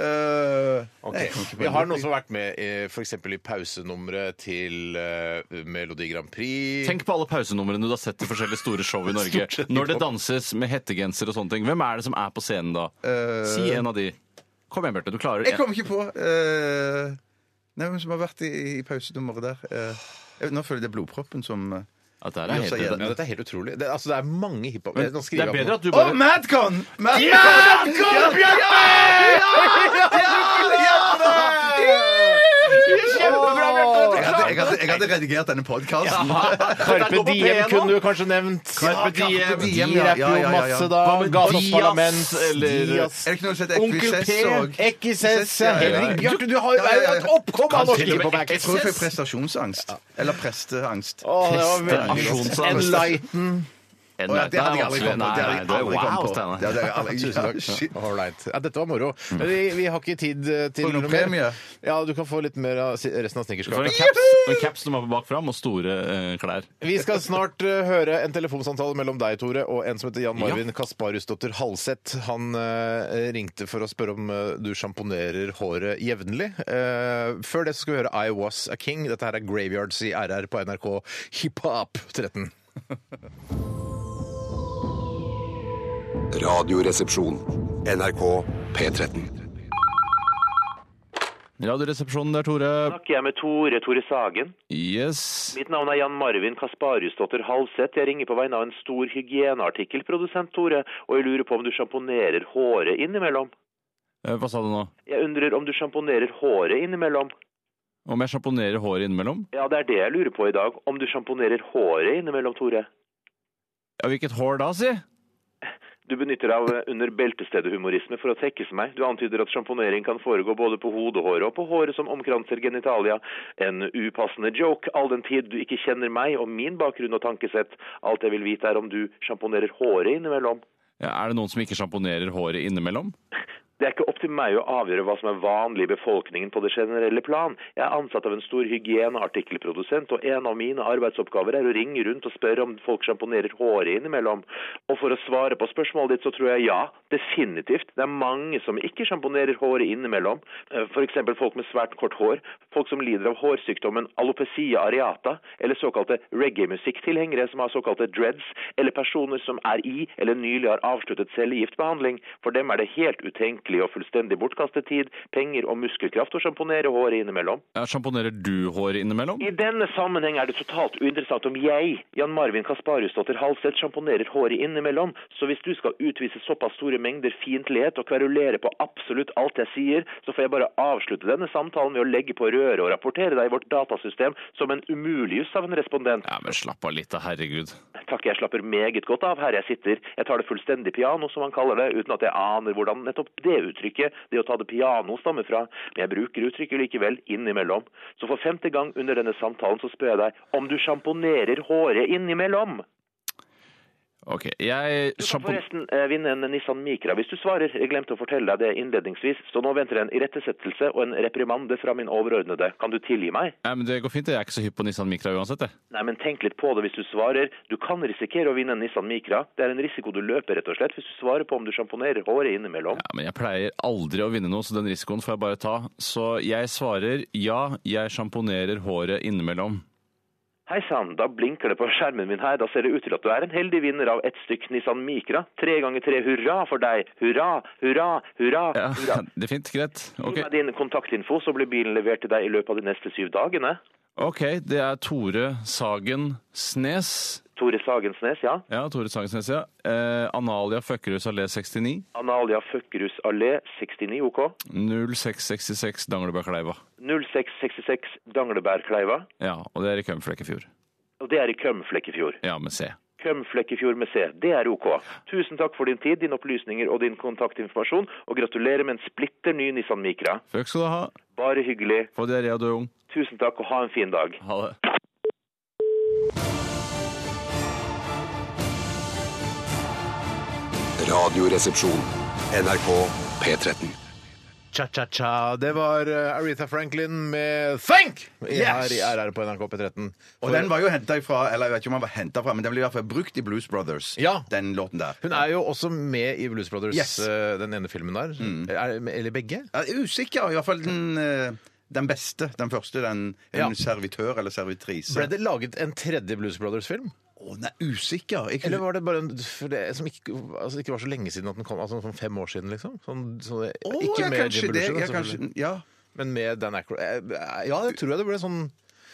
Speaker 4: Øh,
Speaker 1: Ok. Vi har noen som
Speaker 7: eh,
Speaker 1: har vært med f.eks. i pausenummeret til eh, Melodi Grand Prix.
Speaker 3: Tenk på alle pausenumrene du har sett i forskjellige store show i Norge.
Speaker 1: Stort sett.
Speaker 3: Når det danses med hettegenser og sånne ting, hvem er det som er på scenen da? Si en av de. Kom igjen, Bjarte. Du klarer
Speaker 4: Eh, jeg
Speaker 3: det.
Speaker 4: kom ikke på øh, Nei, hvem som har vært i, i pausenummeret der? Øh, jeg- nå føler jeg det er blodproppen som øh.
Speaker 3: At det, er
Speaker 4: Gjør seg
Speaker 3: helt,
Speaker 1: Ja, dette er helt utrolig. Det, altså, det er mange hiphop...
Speaker 3: Men
Speaker 1: Nå
Speaker 3: det
Speaker 1: skriver
Speaker 3: er
Speaker 1: jeg
Speaker 3: bedre
Speaker 1: på.
Speaker 3: at du
Speaker 4: Å,
Speaker 3: bare
Speaker 4: Madcon! Madcon!
Speaker 1: Madcon,
Speaker 4: Kjempebra, Bjarte! Jeg hadde- jeg hadde- Jeg hadde redigert denne podkasten.
Speaker 1: Carpe Diem kunne du kanskje nevnt.
Speaker 4: Carpe Diem.
Speaker 1: De
Speaker 4: Ja,
Speaker 1: rapper
Speaker 4: ja, ja,
Speaker 1: jo
Speaker 4: ja.
Speaker 1: masse da.
Speaker 3: Hva med
Speaker 1: Gatas
Speaker 3: Dias,
Speaker 1: Parlament.
Speaker 3: eller-
Speaker 1: Dias.
Speaker 4: Er det ikke noe som heter
Speaker 1: Onkel
Speaker 4: Equisess
Speaker 1: P,
Speaker 4: og
Speaker 1: Equisess ja,
Speaker 4: Ja, ja, ja.
Speaker 1: Henrik Bjarte, du har jo
Speaker 4: Ja, ja, ja.
Speaker 1: et oppkom av norsk
Speaker 3: til og med
Speaker 1: hiphop her.
Speaker 4: Jeg tror jeg fikk prestasjonsangst. Eller presteangst.
Speaker 1: Å, det var veldig godt.
Speaker 3: Prestasjonsangst.
Speaker 1: Enlighten.
Speaker 3: En-
Speaker 4: Å, ja, det
Speaker 3: er
Speaker 4: hadde jeg aldri
Speaker 3: vanskelig.
Speaker 4: kommet på. Det
Speaker 3: Nei,
Speaker 4: hadde
Speaker 3: nei,
Speaker 4: jeg
Speaker 3: det er
Speaker 4: aldri
Speaker 3: wow,
Speaker 4: kommet på.
Speaker 3: Steinar.
Speaker 4: Det hadde jeg aldri-
Speaker 1: Tusen takk.
Speaker 4: Shit.
Speaker 1: All right. Ja, dette var moro.
Speaker 4: Mm.
Speaker 1: Men vi, vi har ikke tid eh, til
Speaker 4: Får du noen
Speaker 1: mer.
Speaker 4: premie?
Speaker 1: Ja, du kan få litt mer av si- resten av
Speaker 3: Du får en
Speaker 1: snickerskapet.
Speaker 3: caps, en caps som er på bak fram, og store eh, klær.
Speaker 1: Vi skal snart eh, høre en telefonsamtale mellom deg, Tore, og en som heter Jan Marvin Kasparusdottir Halseth. Han eh, ringte for å spørre om eh, du sjamponerer håret jevnlig. Eh, før det så skal vi høre I Was A King. Dette her er Graveyards i RR på NRK Hiphop 13.
Speaker 8: Radioresepsjon. NRK P13.
Speaker 3: Radioresepsjonen der, Tore.
Speaker 7: snakker jeg med Tore Tore Sagen.
Speaker 3: Yes.
Speaker 7: Mitt navn er Jan Marvin Kasparusdotter Halseth. Jeg ringer på vegne av en stor hygieneartikkelprodusent, Tore, og jeg lurer på om du sjamponerer håret innimellom.
Speaker 3: Eh, Hva sa du nå?
Speaker 7: Jeg undrer om du sjamponerer håret innimellom.
Speaker 3: Om jeg sjamponerer håret innimellom?
Speaker 7: Ja, det er det jeg lurer på i dag. Om du sjamponerer håret innimellom, Tore.
Speaker 3: Ja, hvilket hår da, si?
Speaker 7: Du benytter deg av eh, under beltestedet-humorisme for å tekkes meg. Du antyder at sjamponering kan foregå både på hodehåret og på håret som omkranser genitalia. En upassende joke, all den tid du ikke kjenner meg og min bakgrunn og tankesett. Alt jeg vil vite er om du sjamponerer håret innimellom.
Speaker 3: Ja, er det noen som ikke sjamponerer håret innimellom?
Speaker 7: Det er ikke opp til meg å avgjøre hva som er vanlig i befolkningen på det generelle plan. Jeg er ansatt av en stor hygieneartikkelprodusent, og en av mine arbeidsoppgaver er å ringe rundt og spørre om folk sjamponerer håret innimellom. Og for å svare på spørsmålet ditt, så tror jeg ja, definitivt. Det er mange som ikke sjamponerer håret innimellom. F.eks. folk med svært kort hår, folk som lider av hårsykdommen alopecia areata, eller såkalte reggae-musikktilhengere som har såkalte dreads, eller personer som er i eller nylig har avsluttet cellegiftbehandling. For dem er det helt utenkelig og fullstendig bortkastet tid, penger og muskelkraft å sjamponere håret innimellom.
Speaker 3: Ja, sjamponerer du håret innimellom?
Speaker 7: I denne sammenheng er det totalt uinteressant om jeg, Jan Marvin Kasparusdotter Halseth, sjamponerer håret innimellom, så hvis du skal utvise såpass store mengder fiendtlighet og kverulere på absolutt alt jeg sier, så får jeg bare avslutte denne samtalen med å legge på røret og rapportere deg i vårt datasystem som en umuligjus av en respondent.
Speaker 3: Ja, men slapp av litt, da. Herregud.
Speaker 7: Takk, jeg slapper meget godt av her jeg sitter. Jeg tar det fullstendig piano, som han kaller det, uten at jeg aner hvordan nettopp det uttrykket, det å ta det piano, stammer fra. Men jeg bruker uttrykket likevel innimellom. Så for femte gang under denne samtalen så spør jeg deg om du sjamponerer håret innimellom.
Speaker 3: Ok, jeg
Speaker 7: Du kan
Speaker 3: sjampon...
Speaker 7: forresten eh, vinne en Nissan Micra hvis du svarer. Jeg glemte å fortelle deg det innledningsvis, så nå venter en irettesettelse og en reprimande fra min overordnede. Kan du tilgi meg?
Speaker 3: Nei, men det går fint, det. jeg er ikke så hypp på Nissan Micra uansett. Jeg.
Speaker 7: Nei, men tenk litt på det hvis du svarer. Du kan risikere å vinne en Nissan Micra. Det er en risiko du løper, rett og slett, hvis du svarer på om du sjamponerer håret innimellom.
Speaker 3: Ja, men jeg pleier aldri å vinne noe, så den risikoen får jeg bare ta. Så jeg svarer ja, jeg sjamponerer håret innimellom.
Speaker 7: Hei sann, da blinker det på skjermen min her. Da ser det ut til at du er en heldig vinner av ett stykk Nissan Micra. Tre ganger tre, hurra for deg! Hurra, hurra, hurra!
Speaker 3: Ja,
Speaker 7: hurra.
Speaker 3: det er fint, greit. Ok,
Speaker 7: Gi meg din kontaktinfo, så blir bilen levert til deg i løpet av de neste syv dagene.
Speaker 3: Ok, det er Tore Sagen Snes.
Speaker 7: Tore Sagensnes, ja.
Speaker 3: Ja, Tore Sagen Snes, ja. Eh, Analia Føkkerhus allé 69,
Speaker 7: Analia Føkkerus allé 69 OK.
Speaker 3: 0666 Danglebakleiva.
Speaker 7: 0666 Danglebærkleiva.
Speaker 3: Ja, og det er i Kømflekkefjord.
Speaker 7: Og det er i Kømflekkefjord.
Speaker 3: Ja, med C.
Speaker 7: Kømflekkefjord med C. Det er OK. Tusen takk for din tid, dine opplysninger og din kontaktinformasjon, og gratulerer med en splitter ny Nissan Micra.
Speaker 3: Føkk skal du ha.
Speaker 7: Bare hyggelig.
Speaker 3: Få diaré og dø ung.
Speaker 7: Tusen takk, og ha en fin dag.
Speaker 3: Ha det.
Speaker 8: Radioresepsjon. NRK P13.
Speaker 1: Cha-cha-cha. Det var eh, Aretha Franklin med Thank! Her i RR på NRK P13.
Speaker 2: Og
Speaker 1: For-
Speaker 2: den var jo henta ifra, eller jeg vet ikke om den var hentet fra, men den ble i hvert fall brukt i Blues Brothers.
Speaker 1: Ja.
Speaker 2: Den låten der.
Speaker 1: Hun er jo også med i Blues Brothers,
Speaker 2: Yes. Mm.
Speaker 1: eh, den ene filmen der. Er, eller begge?
Speaker 2: Jeg er usikker. Iallfall den, eh, den beste. Den første. Den, en
Speaker 1: Ja.
Speaker 2: servitør eller servitrise.
Speaker 1: Ble det laget en tredje Blues Brothers-film?
Speaker 2: Å, nei, usikker. Jeg,
Speaker 1: Eller var det bare en for det, som ikke, altså, ikke var så lenge siden at den kom? Altså sånn fem år siden, liksom? Sånn, sånn,
Speaker 2: Å,
Speaker 1: ikke
Speaker 2: ja,
Speaker 1: med
Speaker 2: kanskje
Speaker 1: Jim
Speaker 2: det.
Speaker 1: Belushi, da,
Speaker 2: Ja,
Speaker 1: selvfølgelig.
Speaker 2: kanskje, ja.
Speaker 1: men med Dan Aykroyd. Eh, Ja, det tror jeg det ble sånn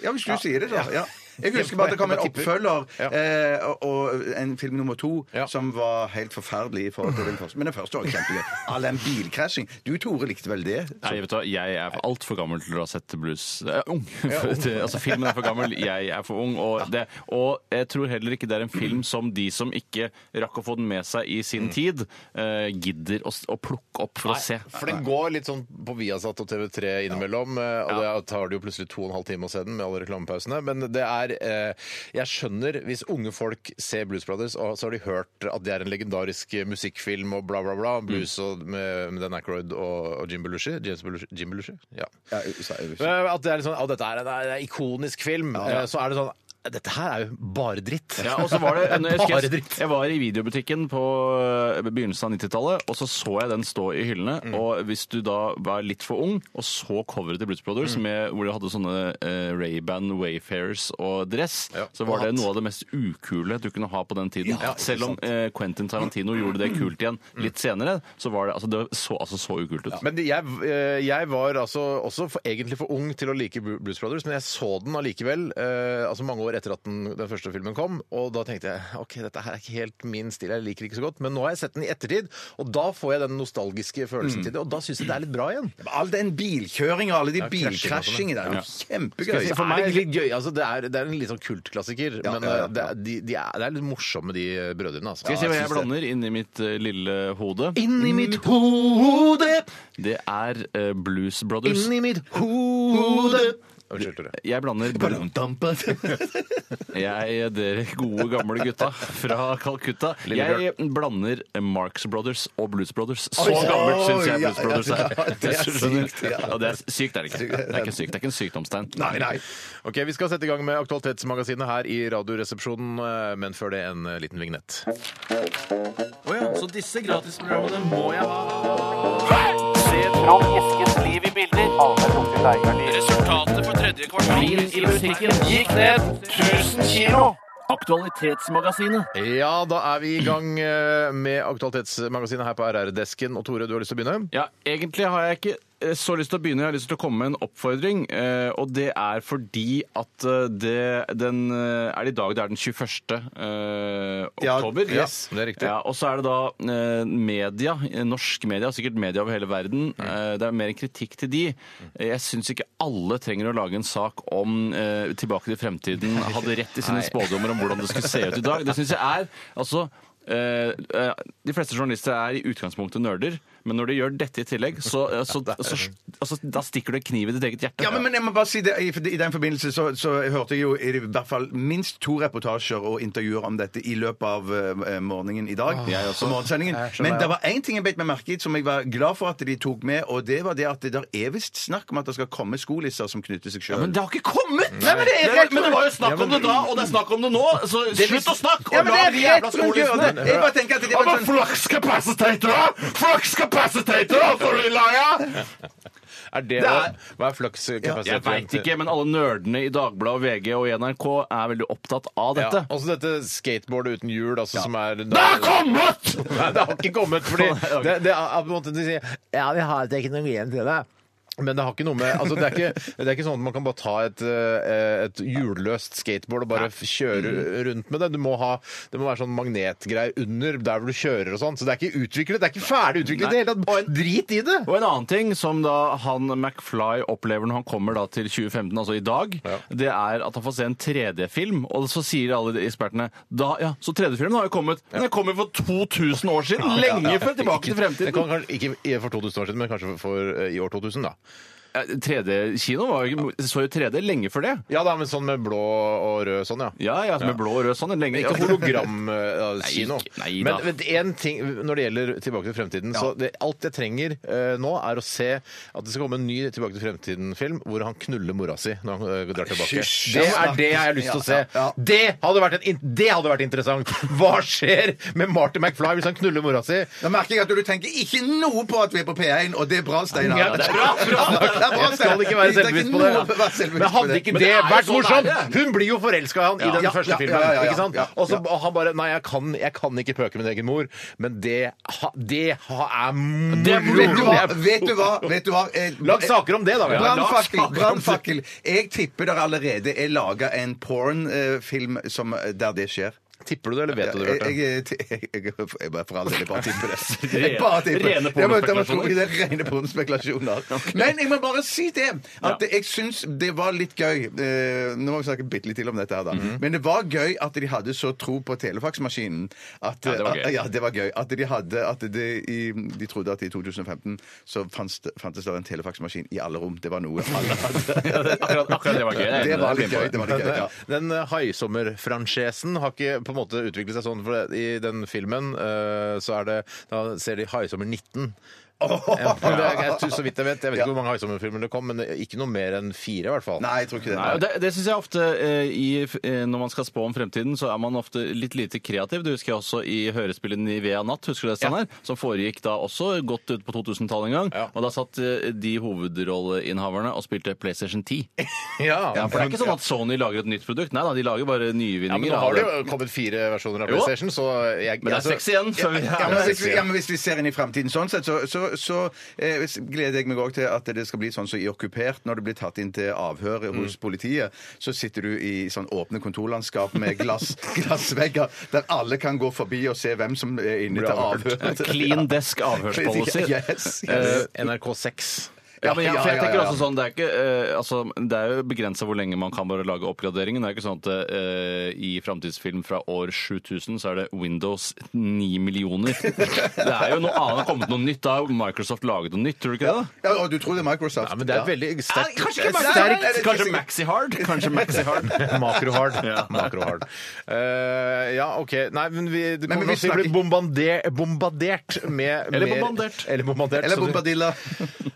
Speaker 2: ja, hvis du sier det, da. Ja. Jeg
Speaker 1: Jeg
Speaker 2: husker bare at det kom en
Speaker 1: bare tipper.
Speaker 2: oppfølger
Speaker 1: Ja.
Speaker 2: eh, og, og en film nummer to
Speaker 1: Ja.
Speaker 2: som var helt forferdelig. i forhold til den første. Men den første var jo kjempegøy. All den bilkrasjing. Du, Tore, likte vel det?
Speaker 3: Nei, vet du hva, jeg er altfor gammel til å ha sett blues. Jeg er ung. For, til, altså, filmen er for gammel, jeg er for ung. Og, det, og jeg tror heller ikke det er en film som de som ikke rakk å få den med seg i sin tid, eh, gidder å, s- å plukke opp for å se.
Speaker 1: For den går litt sånn på Viasat og TV3 innimellom, eh, og da tar det jo plutselig to og en halv time å se den med alle reklamepausene. Men det er eh, Jeg skjønner hvis unge folk ser Blues Brothers, og så har de hørt at det er en legendarisk musikkfilm og bla, bla, bla.
Speaker 3: Mm.
Speaker 1: Blues og, med, med Dan Aykroyd og, og Jim Belushi. James Belushi? Jim Belushi? Ja.
Speaker 2: Ja, sa jeg visst.
Speaker 1: Eh, At det er litt sånn, «Å, dette er en, er en ikonisk film. Eh, Så er det sånn Dette her er jo bare dritt.
Speaker 3: Ja, og så var det, jeg, husker
Speaker 1: bare
Speaker 3: jeg,
Speaker 1: dritt.
Speaker 3: jeg var i videobutikken på eh, begynnelsen av 90-tallet, og så så jeg den stå i hyllene. Og hvis du da var litt for ung og så coveret til Blues Brothers, med, hvor de hadde sånne eh, Ray-Ban Wayfarers og dress,
Speaker 1: Ja,
Speaker 3: så
Speaker 1: og
Speaker 3: var det
Speaker 1: hatt.
Speaker 3: noe av det mest ukule du kunne ha på den tiden.
Speaker 1: Ja, ikke
Speaker 3: Selv om eh, Quentin Tarantino gjorde det kult igjen litt senere, så var det altså, det så, altså, så ukult ut.
Speaker 1: Men jeg, eh, jeg var altså også for, egentlig for ung til å like Bru- Blues Brothers, men jeg så den allikevel eh, altså mange år etter at den, den første filmen kom. Og da tenkte jeg ok, dette her er ikke helt min stil, jeg liker det ikke så godt. Men nå har jeg sett den i ettertid, og da får jeg den nostalgiske følelsen til det. Og da syns jeg det er litt bra igjen.
Speaker 2: All den bilkjøringa, alle de
Speaker 1: Ja, krasjing og sånn,
Speaker 2: bilkrasjingene der.
Speaker 1: Skal
Speaker 2: Kjempegøy.
Speaker 1: jeg si, For meg er det litt gøy. Altså, det, er, det er en litt sånn kultklassiker,
Speaker 2: Ja,
Speaker 1: men
Speaker 2: ja, ja.
Speaker 1: eh, Det, er, de, de er, det er litt morsomme, de brødrene. Altså.
Speaker 3: Skal vi se hva jeg
Speaker 1: synes det.
Speaker 3: blander inni mitt eh, lille hode?
Speaker 1: Inni mitt hode!
Speaker 3: Det er eh, Blues Brothers.
Speaker 1: Inni mitt hode! Unnskyld, Tore.
Speaker 3: Jeg blander Jeg, dere gode gamle gutta fra Calcutta. Jeg blander Marx Brothers og Blues Brothers. Så
Speaker 2: Oi,
Speaker 3: gammelt syns jeg
Speaker 2: ja,
Speaker 3: Blues Brothers
Speaker 2: ja,
Speaker 3: er.
Speaker 2: det er
Speaker 3: Skjønner.
Speaker 2: sykt, ja.
Speaker 3: Ja, det er sykt, er det ikke. Det er ikke sykt, det er ikke en sykdomstegn.
Speaker 2: Nei, nei.
Speaker 1: Ok, Vi skal sette i gang med Aktualitetsmagasinet her i Radioresepsjonen, eh, men før det en eh, liten vignett.
Speaker 3: Så disse gratisprogrammene må jeg ha. Resultatet på tredje kvartal i musikken gikk ned 1000 kilo. Aktualitetsmagasinet.
Speaker 1: Ja, da er vi i gang eh, med Aktualitetsmagasinet her på RR-desken. Og Tore, du har lyst til å begynne?
Speaker 3: Ja, egentlig har jeg ikke eh, så lyst til å begynne. Jeg har lyst til å komme med en oppfordring. eh, Og det er fordi at eh, det den, eh, er det i dag det er den 21. eh,
Speaker 1: Ja,
Speaker 3: oktober.
Speaker 1: yes, det er riktig.
Speaker 3: Ja, og så er det da eh, media, eh, norsk media, sikkert media over hele verden. eh, Det er mer en kritikk til de. Eh, Jeg syns ikke alle trenger å lage en sak om eh, Tilbake til fremtiden hadde rett i sine spådommer om hvordan det skulle se ut i dag. Det syns jeg er altså eh, eh, de fleste journalister er i utgangspunktet nerder, men når de gjør dette i tillegg, så, eh, så, så, altså, da stikker du en kniv i ditt eget hjerte.
Speaker 2: Ja, men, men jeg må bare si det, i, I den forbindelse så, så hørte jeg jo i hvert fall minst to reportasjer og intervjuer om dette i løpet av eh, morgenen i dag.
Speaker 3: Jeg også.
Speaker 2: på morgensendingen.
Speaker 1: Jeg er så lei
Speaker 2: Men det
Speaker 1: av-
Speaker 2: var én ting jeg beit meg merke i som jeg var glad for at de tok med, og det var det at det der er visst snakk om at det skal komme skolisser som knytter seg sjøl.
Speaker 3: Men det har ikke kommet!
Speaker 2: men det er
Speaker 3: er-
Speaker 2: helt-
Speaker 3: men det var jo
Speaker 1: Ja,
Speaker 3: snakk
Speaker 1: men-
Speaker 3: om det da, og det er snakk om det nå! Så slutt å snakke!
Speaker 2: Ja, men det er
Speaker 3: jævla
Speaker 2: rett å gjøre det! Jeg bare tenker at det var sånn
Speaker 3: flakskapasiteter! Flakskapasiteter for å lage!
Speaker 1: Er det,
Speaker 3: er-
Speaker 1: Hva er flaks?
Speaker 3: Jeg veit ikke, men alle nerdene i Dagbladet, VG og i NRK er veldig opptatt av
Speaker 1: Ja,
Speaker 3: dette.
Speaker 1: også dette skateboardet uten hjul, altså, som er
Speaker 3: kommet!
Speaker 1: Nei, det har ikke kommet, fordi det, det er på en måte de sier Ja, vi har teknologien til det. Men det har ikke noe med altså det, er ikke, det er ikke sånn at man kan bare ta et, eh, et hjulløst skateboard og bare f- kjøre rundt med det. Du må ha, det må være sånn magnetgreier under der hvor du kjører og sånn. Så det er ikke utviklet, det er ikke ferdig utviklet i det hele tatt. Drit i det!
Speaker 3: Og en annen ting som da han McFly opplever når han kommer da til 2015, altså i dag, det er at han får se en 3D-film, og så sier alle de ekspertene da, ja, så 3D-filmen har jo kommet, men den kom jo for 2000 år siden, lenge før tilbake til
Speaker 1: Det kan
Speaker 3: fremtiden.
Speaker 1: kanskje, ikke i- for 2000 år siden, men kanskje for eh, i år 2000, da.
Speaker 3: eh, 3D-kino var jo ikke- så jo 3D lenge før det.
Speaker 1: Ja da, men sånn med blå og rød sånn, ja.
Speaker 3: Ja, ja, med blå og rød sånn. Lenge.
Speaker 1: Ikke hologramkino.
Speaker 3: Nei, nei da.
Speaker 1: Men vet, en ting når det gjelder Tilbake til fremtiden så det, Alt jeg trenger eh, nå, er å se at det skal komme en ny Tilbake til fremtiden-film hvor han knuller mora si når han eh, drar tilbake.
Speaker 4: Hysj.
Speaker 1: Det er det jeg har lyst til å se.
Speaker 4: Ja,
Speaker 1: Det, hadde vært en, in- det hadde vært interessant! Hva skjer med Marty McFly hvis han knuller mora si?
Speaker 2: Da merker jeg at du tenker ikke noe på at vi er på P1, og det er bra, Steinar.
Speaker 1: Ja, det er bra, bra.
Speaker 2: Det er bra,
Speaker 1: Jeg skal ikke være
Speaker 2: Vi trenger
Speaker 1: selvbevisst på
Speaker 2: noe
Speaker 1: det.
Speaker 2: å være selvbevisst
Speaker 1: Men
Speaker 2: på
Speaker 1: hadde
Speaker 2: det.
Speaker 1: ikke
Speaker 3: Men
Speaker 1: det
Speaker 3: det er jo
Speaker 1: vært
Speaker 3: sånn
Speaker 1: morsomt?
Speaker 3: det er.
Speaker 1: Hun blir jo forelska i han i den
Speaker 2: Ja,
Speaker 1: første
Speaker 2: ja,
Speaker 1: filmen.
Speaker 2: ja, ja, ja,
Speaker 1: ikke sant?
Speaker 2: ja,
Speaker 1: Og så og han bare Nei, jeg kan, jeg kan ikke pøke min egen mor, men det, ha- det ha- er moro.
Speaker 3: Det er moro.
Speaker 2: Vet du hva? Vet du hva? Vet du hva? Eh,
Speaker 1: Lag saker om det, da. vel?
Speaker 2: Brannfakkel!
Speaker 1: Lag saker om det.
Speaker 2: Brannfakkel! Jeg tipper det allerede er laga en pornfilm som- der det skjer.
Speaker 1: Tipper du det, eller vet du det?
Speaker 2: Jeg,
Speaker 1: Bjarte?
Speaker 2: jeg, jeg, jeg, jeg bare for all del, jeg bare tipper det.
Speaker 3: Rene-
Speaker 2: Jeg bare tipper.
Speaker 3: rene
Speaker 2: Ja, men det var
Speaker 3: pornospekulasjoner.
Speaker 2: tro- det er Rene pornospekulasjoner. Men jeg må bare si det, at
Speaker 3: Ja.
Speaker 2: jeg syns det var litt gøy eh, Nå må vi snakke bitte litt til om dette her, da.
Speaker 3: Mhm.
Speaker 2: Men det var gøy at de hadde så tro på telefaksmaskinen at
Speaker 3: Ja, det var gøy.
Speaker 2: at- ja, det var gøy. At de hadde At de, i, de trodde at i 2015 så fanns det- fantes det en telefaksmaskin i alle rom. Det var noe alle hadde.
Speaker 3: Akkurat, akkurat det var gøy. Jeg er enig
Speaker 2: Det var
Speaker 3: med
Speaker 2: litt
Speaker 3: deg.
Speaker 2: gøy. Det var litt gøy ja.
Speaker 1: Den eh, haisommerfranchesen har ikke på en måte utviklet seg sånn, for det- i den filmen eh, så er det Da ser de Haisommer 19. Ja, for det er, jeg, så vidt jeg vet. Jeg vet ikke hvor mange Haisommer-filmer det kom, men ikke noe mer enn fire, i hvert fall.
Speaker 2: Nei, jeg tror ikke det.
Speaker 3: Nei, og det det syns jeg ofte eh, i, f- eh, Når man skal spå om fremtiden, så er man ofte litt lite kreativ. Det husker jeg også i hørespillet Nivea Natt, husker du det, Steinar? Som foregikk da også godt ut på 2000-tallet en gang.
Speaker 1: Ja.
Speaker 3: Og da satt eh, de hovedrolleinnehaverne og spilte PlayStation 10.
Speaker 1: Ja,
Speaker 3: Ja, for det er ikke sånn at Sony lager et nytt produkt. Nei da, de lager bare
Speaker 1: Ja, men
Speaker 3: nyvinninger.
Speaker 1: nå
Speaker 3: av
Speaker 1: har det
Speaker 3: det.
Speaker 1: jo kommet fire versjoner av
Speaker 3: Jo.
Speaker 1: PlayStation, så jeg
Speaker 3: men det er
Speaker 1: altså-
Speaker 3: seks igjen. Så vi
Speaker 2: Ja, men, hvis vi,
Speaker 1: ja.
Speaker 2: ja, men hvis vi ser inn i fremtiden sånn sett, så, så, så eh, hvis- gleder jeg meg òg til at det skal bli sånn som i Okkupert, når du blir tatt inn til avhør
Speaker 1: Mm.
Speaker 2: hos politiet. Så sitter du i sånn åpne kontorlandskap med glass, glassvegger, der alle kan gå forbi og se hvem som er inne
Speaker 1: Blir
Speaker 2: til
Speaker 1: avhørt.
Speaker 2: avhør.
Speaker 3: Clean desk avhørspolicy.
Speaker 2: Yes, yes.
Speaker 3: Eh,
Speaker 1: NRK6.
Speaker 3: Ja, men jeg, for jeg
Speaker 2: ja, ja,
Speaker 3: tenker
Speaker 2: ja.
Speaker 3: også sånn, Det er, ikke, eh, altså, det er jo begrensa hvor lenge man kan bare lage oppgraderingen. Det er ikke sånn at eh, I framtidsfilm fra år 7000 så er det Windows 9 millioner. Det er jo noe annet det har kommet noe nytt. Da har Microsoft laget noe nytt, tror du ikke det? da?
Speaker 2: Ja, og du tror det er Microsoft?
Speaker 1: sånn- Ja, men det er et veldig sterkt
Speaker 3: Kanskje,
Speaker 2: ikke Maxi- Nei, nei, nei, det er
Speaker 3: sterkt, kanskje
Speaker 2: ikke sikkert.
Speaker 3: Maxi-Hard? Kanskje Maxi-Hard.
Speaker 1: Makrohard. Makrohard. Eh, ja, OK. Nei, men vi, det
Speaker 2: Men vi
Speaker 1: kommer nok til å bli
Speaker 2: snakker-
Speaker 1: bombarder, bombardert med
Speaker 3: Eller
Speaker 1: mer-
Speaker 3: bombardert.
Speaker 1: Eller bombardert.
Speaker 2: Eller
Speaker 1: som du-
Speaker 2: Bombadilla.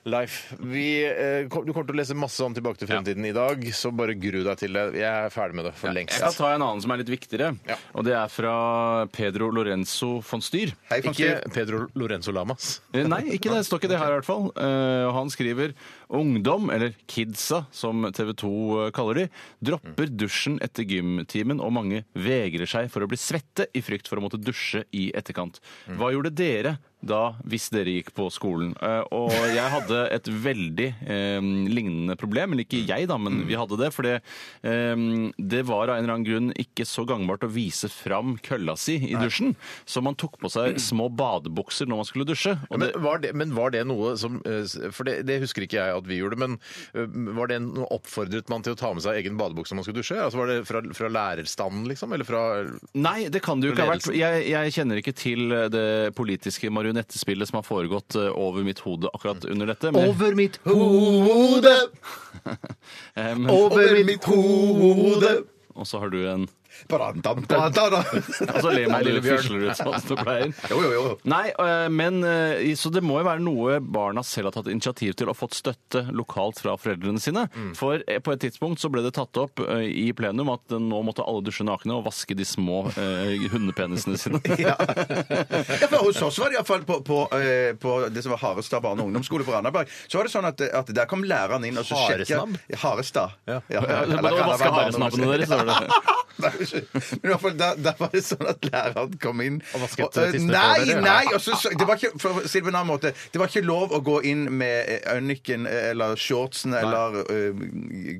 Speaker 1: Life. Vi, eh, kom- du kommer til å lese masse om Tilbake til fremtiden i dag, så bare gru deg til det. Jeg er ferdig med det for lengst.
Speaker 3: Jeg skal ta en annen som er litt viktigere.
Speaker 1: Ja.
Speaker 3: Og det er fra Pedro Lorenzo von Styr.
Speaker 2: Hei, von Styr.
Speaker 1: Ikke Pedro Lorenzo Lamas.
Speaker 3: Eh, Nei, ikke det. det står ikke det her i hvert fall. Eh, og han skriver ungdom, eller kidsa som TV 2 kaller de, dropper dusjen etter gymtimen, og mange vegrer seg for å bli svette i frykt for å måtte dusje i etterkant. Hva gjorde dere da, hvis dere gikk på skolen? Eh, og jeg hadde et veldig eh, lignende problem, men ikke jeg da, men vi hadde det, for det, eh, det var av en eller annen grunn ikke så gangbart å vise fram kølla si i dusjen, så man tok på seg små badebukser når man skulle dusje. Og det,
Speaker 1: Men var, det, men var det noe som eh, For det, det husker ikke jeg at vi gjorde, men eh, var det noe oppfordret man til å ta med seg egen badebukse når man skulle dusje? Altså Var det fra, fra lærerstanden, liksom? Eller fra
Speaker 3: Nei, det kan det jo ikke ha vært. for Jeg, jeg kjenner ikke til eh, det politiske marionettespillet som har foregått eh, over mitt hode akkurat
Speaker 2: Mm.
Speaker 3: under dette. Men,
Speaker 1: mitt hode!
Speaker 3: eh, men,
Speaker 1: Over mitt hode!
Speaker 3: og så har du en Altså,
Speaker 2: Badam, badam.
Speaker 3: Og så ler man
Speaker 1: Nei,
Speaker 3: og
Speaker 1: Lillebjørn.
Speaker 3: fisler ut sånn som du pleier.
Speaker 2: Jo, jo, jo.
Speaker 3: Nei, øh, men øh, i- Så det må jo være noe barna selv har tatt initiativ til og fått støtte lokalt fra foreldrene sine.
Speaker 2: Mm.
Speaker 3: For eh, på et tidspunkt så ble det tatt opp øh, i plenum at nå måtte alle dusje nakne og vaske de små øh, hundepenisene sine.
Speaker 2: Ja, for Hos oss var det iallfall på, på, eh, på det som var Harestad barne- og ungdomsskole på Randaberg. Så var det sånn at, at der kom læreren inn og så sjekka
Speaker 1: Haresnabb?
Speaker 2: Harestad. Ja.
Speaker 3: Ja,
Speaker 2: eller
Speaker 3: det var å
Speaker 2: Randaberg
Speaker 3: vaske
Speaker 2: barne- og
Speaker 3: haresnappene deres. var det.
Speaker 2: Nei, unnskyld. Men i hvert fall, der, der var det sånn at læreren kom inn
Speaker 1: Og vasket,
Speaker 2: eh,
Speaker 1: eh, tissene på
Speaker 2: Nei,
Speaker 1: dere?
Speaker 2: nei! Og så, så, det var ikke, for å si det på en annen måte, det var ikke lov å gå inn med eh, øynikken eh, eller shortsen eller eh,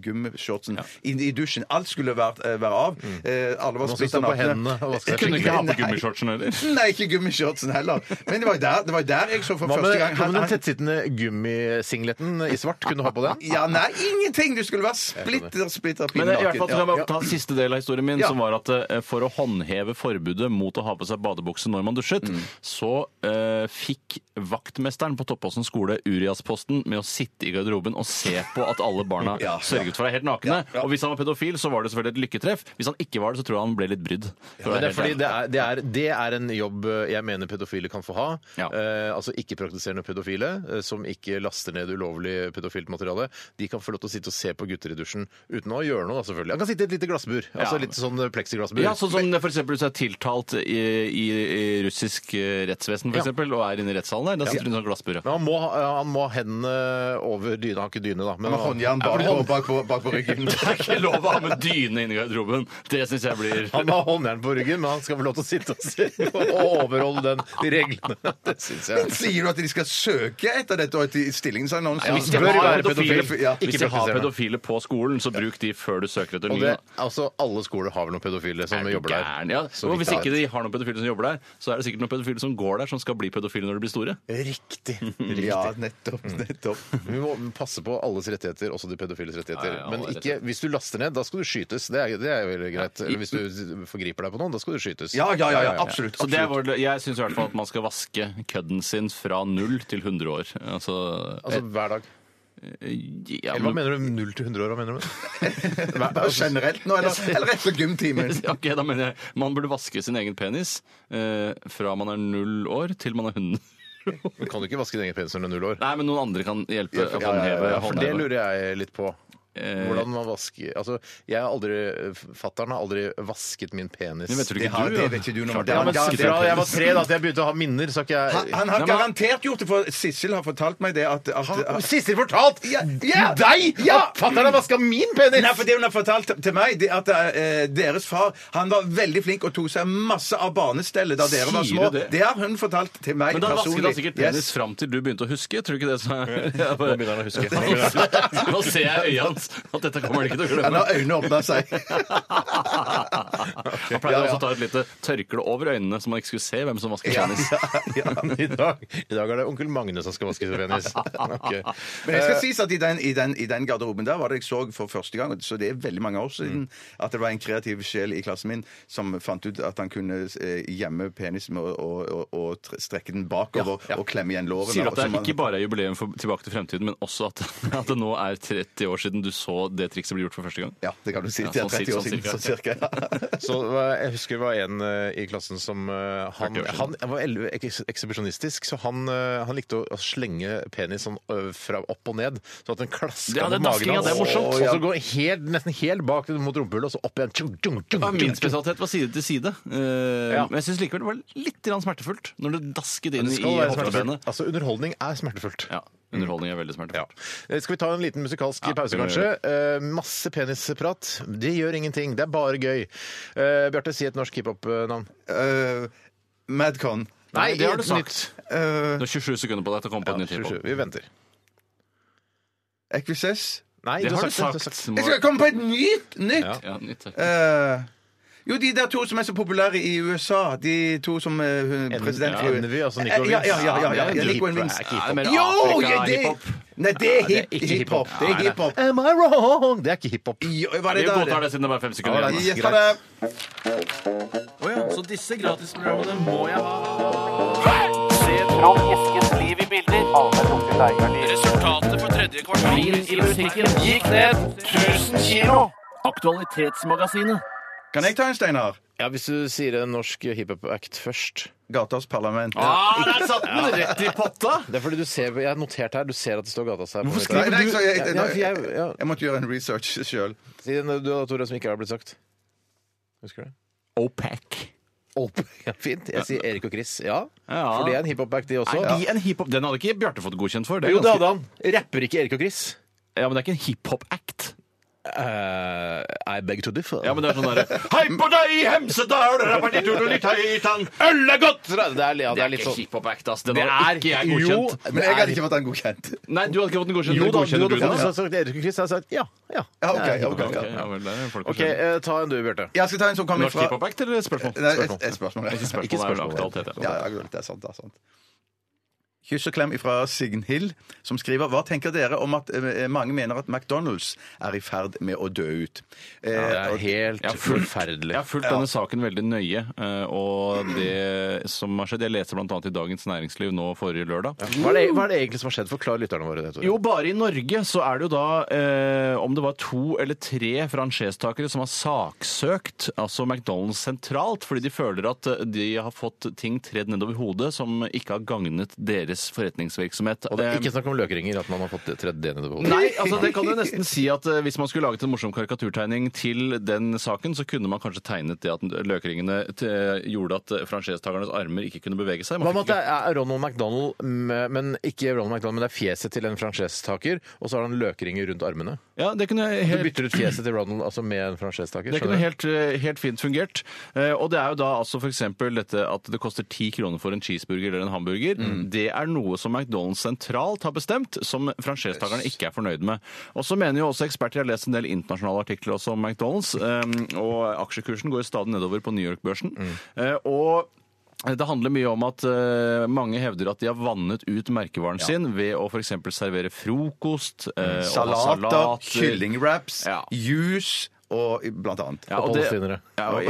Speaker 2: gummishortsen inn i dusjen. Alt skulle vært, eh, være av. Eh, alle var
Speaker 1: Man skal stå
Speaker 2: splitta
Speaker 1: på hendene og vaske
Speaker 3: Kunne
Speaker 1: seg.
Speaker 3: ikke ha på gummishortsen heller.
Speaker 2: Nei, ikke gummishortsen heller. Men det var jo der, det var jo der jeg så for
Speaker 1: Hva med,
Speaker 2: første gang
Speaker 1: hva
Speaker 2: han-
Speaker 1: med den
Speaker 2: han-
Speaker 1: tettsittende gummisingleten i svart? Kunne du ha på den?
Speaker 2: Ja, nei, ingenting! Du skulle være splitter, splitter
Speaker 3: Men i hvert
Speaker 2: naken.
Speaker 3: fall så
Speaker 2: Ja,
Speaker 3: kan man
Speaker 2: ja.
Speaker 3: ta siste del av historien min,
Speaker 2: Ja.
Speaker 3: som var at eh, for å håndheve forbudet mot å ha på seg badebukse når man dusjet, så eh, fikk vaktmesteren på Toppåsen skole Urias-posten med å sitte i garderoben og se på at alle barna
Speaker 2: Ja, ja.
Speaker 3: sørget for å være helt nakne. Og hvis han var pedofil, så var det selvfølgelig et lykketreff. Hvis han ikke var det, så tror jeg han ble litt brydd. For å
Speaker 1: Men
Speaker 3: være
Speaker 1: det er
Speaker 3: helt
Speaker 1: fordi
Speaker 3: ærlig.
Speaker 1: det er, det, er, det er en jobb eh, jeg mener pedofile kan få ha.
Speaker 3: Ja.
Speaker 1: Eh, altså ikke-praktiserende pedofile eh, som ikke laster ned ulovlig pedofilt materiale. De kan få lov til å sitte og se på gutter i dusjen uten å gjøre noe, da, selvfølgelig. Han kan sitte i et lite glassbur.
Speaker 3: Ja.
Speaker 1: Altså litt sånn eh, plexiglassbur.
Speaker 3: Ja, sånn som for eksempel hvis du er tiltalt i, i, i russisk eh, rettsvesen for
Speaker 1: Ja.
Speaker 3: eksempel, og er inne i rettssalen der, da sitter du i en sånn glassbur.
Speaker 1: Men han må, ha- ja, han må ha hendene over dyna. Han har ikke dyne, da. Men
Speaker 2: Med håndjern bak på, bak på, bak på ryggen.
Speaker 3: Det er ikke lov å ha med dyne inni garderoben. Det syns jeg blir
Speaker 1: han må ha håndjern på ryggen, men han skal få lov til å sitte og se og overholde den, de reglene. Det syns jeg.
Speaker 2: Sier du at de skal søke etter dette og etter stillingsannonsen?
Speaker 1: Hvis
Speaker 3: Hvis
Speaker 1: de
Speaker 3: de
Speaker 1: bør
Speaker 3: har
Speaker 1: være
Speaker 3: pedofile,
Speaker 1: pedofil, ja.
Speaker 3: hvis
Speaker 1: Ikke
Speaker 3: de har
Speaker 1: praktiserende.
Speaker 3: pedofile på skolen, så bruk de før du søker etter
Speaker 1: Og
Speaker 3: nye.
Speaker 1: det, altså, alle skoler har vel noen pedofile som
Speaker 3: Er du
Speaker 1: jobber der.
Speaker 3: gæren? Ja.
Speaker 1: Så
Speaker 3: Og
Speaker 1: vidt
Speaker 3: hvis
Speaker 1: jeg
Speaker 3: ikke
Speaker 1: vet.
Speaker 3: de har noen pedofile som jobber der, så er det sikkert noen pedofile som går der, som skal bli pedofile når de blir store.
Speaker 1: Riktig. Mm.
Speaker 2: Ja, nettopp. nettopp.
Speaker 1: Vi må passe på alles rettigheter, også de pedofiles rettigheter.
Speaker 3: Ja, ja, alle
Speaker 1: Men ikke, hvis du laster ned, da skal du skytes. Det er, det er veldig greit. Eller hvis du forgriper deg på noen, da skal du skytes.
Speaker 2: Ja, ja, ja, ja, absolutt.
Speaker 3: Så det er
Speaker 2: absolutt.
Speaker 3: vår, jeg syns i hvert fall at man skal vaske kødden sin fra null til 100 år. Altså,
Speaker 1: Altså hver dag.
Speaker 3: ja,
Speaker 1: Eller hva mener du? 0 til 100 år, hva mener du? Hva-
Speaker 2: Bare
Speaker 1: altså,
Speaker 2: generelt nå, eller, eller etter gymtimen?
Speaker 3: Ja, Ok, da mener jeg Man burde vaske sin egen penis eh, fra man er null år til man er hund.
Speaker 1: Kan du ikke vaske din egen penis under null år?
Speaker 3: Nei, men noen andre kan hjelpe. å
Speaker 1: Ja, ja,
Speaker 3: håndheve,
Speaker 1: ja, for det
Speaker 3: håndheve.
Speaker 1: lurer jeg litt på.
Speaker 3: Eh,
Speaker 1: Hvordan man vasker Altså, jeg har aldri Fattern har aldri vasket min penis.
Speaker 3: Det vet du
Speaker 2: Det,
Speaker 3: ikke
Speaker 2: har,
Speaker 3: du,
Speaker 2: det
Speaker 3: ja.
Speaker 2: vet ikke du noe om.
Speaker 3: Klart,
Speaker 2: Det
Speaker 3: ja,
Speaker 1: Men
Speaker 2: har-
Speaker 1: da,
Speaker 3: Vasket
Speaker 2: det-
Speaker 1: fra
Speaker 3: min
Speaker 1: jeg var tre da, til jeg begynte å ha minner, så har ikke
Speaker 2: Han,
Speaker 1: jeg
Speaker 2: han
Speaker 3: Nei,
Speaker 2: har
Speaker 3: men-
Speaker 2: garantert gjort det, for Sissel har fortalt meg det at, at
Speaker 1: Han-
Speaker 2: at-
Speaker 1: Sissel fortalt
Speaker 2: Ja, ja,
Speaker 1: deg
Speaker 2: ja.
Speaker 1: at fattern har vaska min penis!
Speaker 2: Nei, for Det hun har fortalt til meg, det at eh, deres far han var veldig flink og tok seg masse av barnestellet da dere var
Speaker 3: Sier
Speaker 2: små.
Speaker 3: du det?
Speaker 2: Det har hun fortalt til meg
Speaker 3: Men da vasket
Speaker 2: personlig.
Speaker 3: han sikkert penis
Speaker 2: Yes.
Speaker 3: fram til du begynte å huske. Tror du ikke det? Så... Ja,
Speaker 1: Nå begynner han å huske. Nå begynner han å
Speaker 3: bare- Nå ser jeg i øya hans at dette kommer han ikke til å
Speaker 2: Han
Speaker 3: glemme.
Speaker 2: har øynene åpna seg.
Speaker 3: Han pleide også å ta et lite tørkle over øynene, så man ikke skulle se hvem som vasket penis.
Speaker 1: I dag, I dag er det onkel Magne som skal vaske sin penis. Ok.
Speaker 2: Men jeg skal sies at i den, i, den, i den garderoben der var det jeg så for første gang, og så det er veldig mange år siden,
Speaker 3: Mm.
Speaker 2: at det var en kreativ sjel i klassen min som fant ut at han kunne eh, gjemme penisen med å, å, å, å tre- strekke den bakover og klemme igjen lårene.
Speaker 3: Sier du at det
Speaker 2: og så man-
Speaker 3: er ikke bare er jubileum for Tilbake til fremtiden, men også at, at det nå er 30 år siden du så det trikset bli gjort for første gang?
Speaker 2: Ja, det kan du si.
Speaker 3: Ja,
Speaker 2: det er
Speaker 3: sånn
Speaker 2: 30 år
Speaker 3: cirka,
Speaker 2: siden, sånn
Speaker 3: sånn
Speaker 2: cirka.
Speaker 1: Så det var- jeg husker det var en eh, i klassen som eh, Han,
Speaker 3: 40 år siden.
Speaker 1: han var elleve- eks- ekshibisjonistisk, så han, eh, han likte å, å slenge penis sånn ø, fra opp og ned, sånn at den
Speaker 3: Det
Speaker 1: klaska
Speaker 3: er
Speaker 1: på
Speaker 3: det
Speaker 1: magen
Speaker 3: daskinga, det er morsomt.
Speaker 1: Og så gå helt, nesten helt bak mot rumpehullet, og så opp igjen. Tjung, tjung, tjung,
Speaker 3: Ja, min
Speaker 1: tjung, tjung.
Speaker 3: spesialitet var side til side. Eh,
Speaker 1: Ja.
Speaker 3: Men jeg syns likevel det var litt grann smertefullt når det dasket inn
Speaker 1: Det
Speaker 3: i
Speaker 1: skal være smertefullt.
Speaker 3: hoftebenet.
Speaker 1: Altså, underholdning er smertefullt.
Speaker 3: Ja, underholdning er veldig smertefullt.
Speaker 1: Eh, Skal vi ta en liten musikalsk
Speaker 3: Ja,
Speaker 1: pause,
Speaker 3: vi må
Speaker 1: kanskje? Eh, masse penisprat. Det gjør ingenting. Det er bare gøy. Eh, Bjarte, si et norsk hiphop-navn.
Speaker 2: Eh, Madcon.
Speaker 3: Nei, det har
Speaker 1: et
Speaker 3: du sagt.
Speaker 1: nytt.
Speaker 2: Uh,
Speaker 3: Du har 27 sekunder på deg til å komme på
Speaker 1: Ja,
Speaker 3: et nytt
Speaker 1: 27.
Speaker 3: hiphop.
Speaker 1: Vi venter.
Speaker 2: Equises.
Speaker 1: Nei,
Speaker 3: Det
Speaker 1: du
Speaker 3: har
Speaker 1: har
Speaker 3: du
Speaker 1: sagt det.
Speaker 3: sagt.
Speaker 1: Du har
Speaker 2: Jeg
Speaker 1: sagt.
Speaker 2: skal komme på et nytt! nytt.
Speaker 3: Ja, nytt.
Speaker 2: Eh, jo, de der to som er så populære i USA. De to som eh, hun-
Speaker 1: En-
Speaker 2: president
Speaker 1: ja, Envy, altså Nico
Speaker 2: Eh, Ja, ja, ja. ja, ja,
Speaker 3: Ja, det er
Speaker 2: Nico
Speaker 3: hiphop.
Speaker 2: Wins.
Speaker 3: Er ikke hiphop.
Speaker 2: Jo,
Speaker 3: Afrika
Speaker 2: ja,
Speaker 3: er
Speaker 2: det
Speaker 3: hiphop.
Speaker 2: Nei, det er
Speaker 1: det er
Speaker 2: hip-
Speaker 1: ikke
Speaker 2: hiphop.
Speaker 1: hiphop.
Speaker 2: Det er hiphop.
Speaker 1: Am I wrong? Det er ikke hiphop.
Speaker 2: Jo, Var
Speaker 3: Vi
Speaker 2: det
Speaker 3: godtar
Speaker 2: der?
Speaker 3: det siden det er bare fem sekunder
Speaker 1: Ja,
Speaker 3: igjen.
Speaker 2: Yes, ha det.
Speaker 3: Så disse gratisprogrammene må jeg ha. Resultatet på tredje kvartal i musikken gikk ned 1000 kilo. Aktualitetsmagasinet.
Speaker 2: Kan jeg ta en, Steinar?
Speaker 1: Ja, Hvis du sier en norsk hiphop-act først
Speaker 2: Gatas parlament.
Speaker 3: Ah, der satt den! Rett i potta!
Speaker 1: Det er fordi du ser Jeg har notert her, du ser at det står gata seg. Hvorfor
Speaker 2: Nei, nei, så jeg,
Speaker 1: ja, ja, for jeg, ja.
Speaker 2: jeg måtte gjøre en research sjøl.
Speaker 1: Si den du da, Tore, som ikke har blitt sagt. Husker du det?
Speaker 3: OPEC.
Speaker 1: Opp. Ja, fint. Jeg sier Erik og Chris. Ja.
Speaker 3: Ja.
Speaker 1: For det er en hiphop-act, de også.
Speaker 3: Er de en hiphop? Den hadde ikke Bjarte fått godkjent for. Det er
Speaker 1: Jo, det
Speaker 3: ganske-
Speaker 1: hadde han. Rapper ikke Erik og Chris?
Speaker 3: Ja, men det er ikke en hiphop-act.
Speaker 1: Uh, I beg to differ.
Speaker 3: Ja, men det er sånn derre Hei på deg, Hemsedal! Rappadidudulitaitan! Øl er godt!
Speaker 1: det, er, ja, det er litt sånn
Speaker 3: hiphop-act, ass. Den
Speaker 1: Det
Speaker 3: hadde
Speaker 1: er-
Speaker 3: ikke jeg
Speaker 1: jo,
Speaker 3: godkjent.
Speaker 2: Men jeg hadde ikke fått den godkjent.
Speaker 3: Nei, du hadde ikke fått den godkjent.
Speaker 1: Jo
Speaker 3: Den
Speaker 1: da, du
Speaker 3: godkjenner
Speaker 1: hadde
Speaker 3: den, da.
Speaker 1: faktisk sagt Erik og Chris. Jeg hadde sagt ja. Ja,
Speaker 2: Ja, ok,
Speaker 1: det er
Speaker 2: ok,
Speaker 1: hiphop-act.
Speaker 2: ok.
Speaker 3: Ja, vel, det er folk
Speaker 1: OK,
Speaker 3: forskjellige.
Speaker 1: eh, ta en du, Bjarte.
Speaker 2: Jeg skal ta en som kommer
Speaker 3: Norsk
Speaker 2: fra
Speaker 3: hiphop-act eller spørsmål?
Speaker 2: Nei, et, et spørsmål.
Speaker 3: Ikke
Speaker 2: ja.
Speaker 3: spørsmål, det er aktualitet.
Speaker 2: Ja, ja, det er sant. Det er sant. Kyss og klem fra Signhild, som skriver Hva tenker dere om at eh, mange mener at McDonald's er i ferd med å dø ut? Eh,
Speaker 1: Det er
Speaker 2: og-
Speaker 1: helt
Speaker 3: Jeg har fulgt-
Speaker 1: forferdelig.
Speaker 3: Jeg har fulgt denne saken veldig nøye. eh, Og det som har skjedd Jeg leste bl.a. i Dagens Næringsliv nå forrige lørdag.
Speaker 1: Hva er, det, hva er det egentlig som har skjedd? Forklar lytterne våre det. Tore.
Speaker 3: Jo, bare i Norge så er det jo da eh, om det var to eller tre franchisetakere som har saksøkt altså McDonald's sentralt fordi de føler at eh, de har fått ting tredd nedover hodet som ikke har gagnet deres forretningsvirksomhet.
Speaker 1: Og det er
Speaker 3: Eh,
Speaker 1: ikke snakk om løkringer, at man har fått tredd det nedover hodet.
Speaker 3: Nei, altså det kan du nesten si at eh, Hvis man skulle laget en morsom karikaturtegning til den saken, så kunne man kanskje tegnet det at løkringene eh, gjorde at eh, franchisetakernes armer ikke kunne bevege seg. Man
Speaker 1: Hva med
Speaker 3: fikk
Speaker 1: at det er Ronald McDonald, m- men ikke Ronald McDonald, men det er fjeset til en franchisetaker, og så har han løkringer rundt armene?
Speaker 3: ikke- ja, det kunne jeg
Speaker 1: Du
Speaker 3: helt
Speaker 1: bytter ut fjeset til Ronald altså med en franchisetaker?
Speaker 3: Det kunne
Speaker 1: skjønner du?
Speaker 3: helt, eh, helt fint fungert. Eh, Og det er jo da altså f.eks. dette at det koster 10 kroner for en cheeseburger eller en hamburger. Det er noe som McDonald's sentralt har bestemt, som franchisetakerne ikke er fornøyd med. Og så mener jo også eksperter, jeg har lest en del internasjonale artikler også om McDonald's, eh, og aksjekursen går jo stadig nedover på New York-børsen. Eh, Og det handler mye om at eh, mange hevder at de har vannet ut merkevaren sin ved å f.eks. servere frokost,
Speaker 2: Mm.
Speaker 3: eh, og ha
Speaker 2: Salater,
Speaker 3: salater.
Speaker 2: kyllingwraps,
Speaker 3: Ja.
Speaker 2: juice og blant annet.
Speaker 3: Ja, og
Speaker 1: Og
Speaker 3: det-
Speaker 1: palestinere.
Speaker 3: Ja, og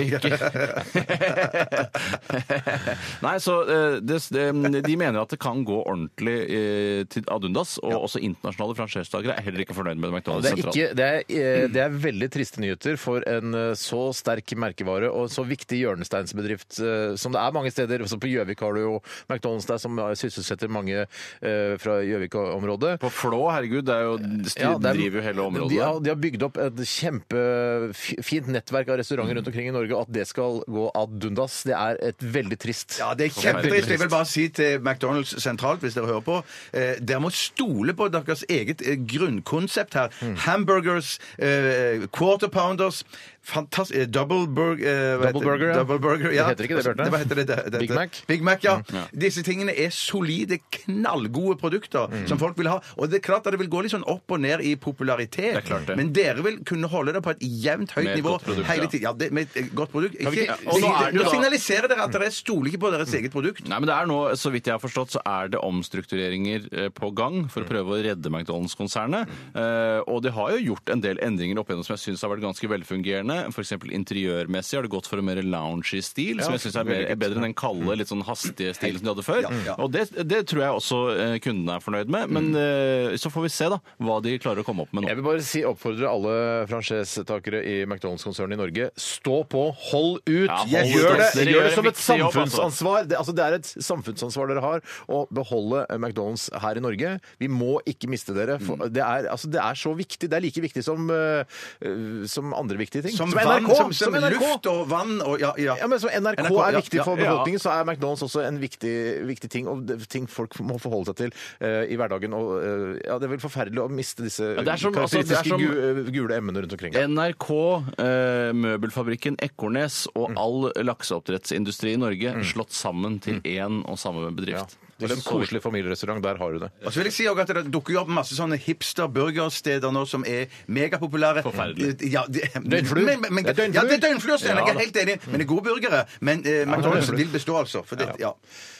Speaker 3: ikke Nei, så eh, det, det, de mener at det kan gå ordentlig eh, til ad undas, og også internasjonale franchisetakere er heller ikke fornøyd med McDonald's
Speaker 1: Det er,
Speaker 3: sentralt.
Speaker 1: ikke, det, er, eh, det er veldig triste nyheter for en eh, så sterk merkevare og en så viktig hjørnesteinsbedrift eh, som det er mange steder. Også på Gjøvik har du jo McDonald's der, som eh, sysselsetter mange eh, fra Gjøvik-området.
Speaker 3: På Flå, herregud, det er jo, de
Speaker 1: Ja, det er-
Speaker 3: driver jo hele området.
Speaker 1: De har, de har bygd opp et kjempefint nettverk av restauranter rundt omkring i Norge, og at det skal gå ad undas, det er et veldig trist.
Speaker 2: Ja, det er kjempetrist. Jeg vil bare si til McDonald's sentralt, hvis dere hører på, eh, dere må stole på deres eget eh, grunnkonsept her. Hamburgers, eh, quarter pounders, fantastisk eh, Double, burg, eh, hva
Speaker 1: Double
Speaker 2: heter-
Speaker 1: burger, ja.
Speaker 2: double burger, ja.
Speaker 1: Det heter ikke det, Bjarte.
Speaker 2: Hva heter det? det, det
Speaker 1: Big Mac?
Speaker 2: Big Mac, ja. Disse tingene er solide, knallgode produkter som folk vil ha. Og det er klart at det vil gå litt sånn opp og ned i popularitet,
Speaker 3: er klart det.
Speaker 2: men dere vil kunne holde det på et jevnt høyt
Speaker 3: Med et
Speaker 2: nivå
Speaker 3: godt produkt,
Speaker 2: hele
Speaker 3: ja.
Speaker 2: tiden. Ja, det, med et godt produkt.
Speaker 3: Kan vi
Speaker 2: Ikke,
Speaker 3: ikke- Og nå er det jo
Speaker 2: nå
Speaker 3: da-
Speaker 2: signaliserer dere at dere stoler ikke på deres eget produkt.
Speaker 3: Nei, men det er nå, Så vidt jeg har forstått, så er det omstruktureringer eh, på gang for å prøve å redde McDonald's-konsernet. Eh, og de har jo gjort en del endringer opp igjennom som jeg syns har vært ganske velfungerende. F.eks. interiørmessig har det gått for en mer loungy stil, som jeg syns er, mer- er bedre enn den kalde, litt sånn hastige stilen som de hadde før. Og det, det tror jeg også eh, kundene er fornøyd med. Men eh, så får vi se da, hva de klarer å komme opp med nå.
Speaker 1: Jeg vil bare si, oppfordre alle franchisetakere i McDonald's-konsernet i Norge. Stå på, hold ut!
Speaker 3: Ja, hold
Speaker 1: Yes,
Speaker 3: ut,
Speaker 1: gjør, det,
Speaker 3: ass. Dere
Speaker 1: gjør
Speaker 3: gjør
Speaker 1: det som
Speaker 3: en
Speaker 1: et
Speaker 3: viktig jobb, altså.
Speaker 1: samfunnsansvar. Det, altså, det er et samfunnsansvar dere har å beholde eh, McDonald's her i Norge. Vi må ikke miste dere. For
Speaker 3: Mm.
Speaker 1: det, er, altså, det er så viktig. Det er like viktig som, eh, eh, som andre viktige ting.
Speaker 2: Som, vann, som, som, luft og vann og ja, ja.
Speaker 1: Ja, men som NRK,
Speaker 2: NRK,
Speaker 1: er
Speaker 2: ja,
Speaker 1: viktig
Speaker 2: ja,
Speaker 1: for
Speaker 2: ja.
Speaker 1: befolkningen, så er McDonald's også en viktig, viktig ting, og det- ting folk må forholde seg til eh, i hverdagen. Og, eh, ja, det er vel forferdelig å miste disse
Speaker 3: det er som- altså, det er
Speaker 1: karakteristiske
Speaker 3: som-
Speaker 1: gu- eh, gule emmene rundt omkring.
Speaker 3: NRK, eh, møbelfabrikken Ekornes
Speaker 1: Mm.
Speaker 3: og all lakseoppdrettsindustri i Norge slått sammen til én og samme
Speaker 1: Mm. Ja.
Speaker 3: bedrift.
Speaker 1: Det er en koselig familierestaurant, der har du det.
Speaker 2: Og så vil jeg si også at Det dukker jo opp masse sånne hipster-burgersteder nå som er megapopulære. Eh,
Speaker 3: Forferdelig.
Speaker 2: Ja, det-
Speaker 1: Døgnfluer.
Speaker 2: Men- men-
Speaker 1: Det er døgnfluer.
Speaker 2: Ja, det er døgnfluer, Steinar. Jeg
Speaker 1: Ja,
Speaker 2: er helt enig. Men det er gode burgere. Men eh, McDonald's vil bestå, altså. For det, ja.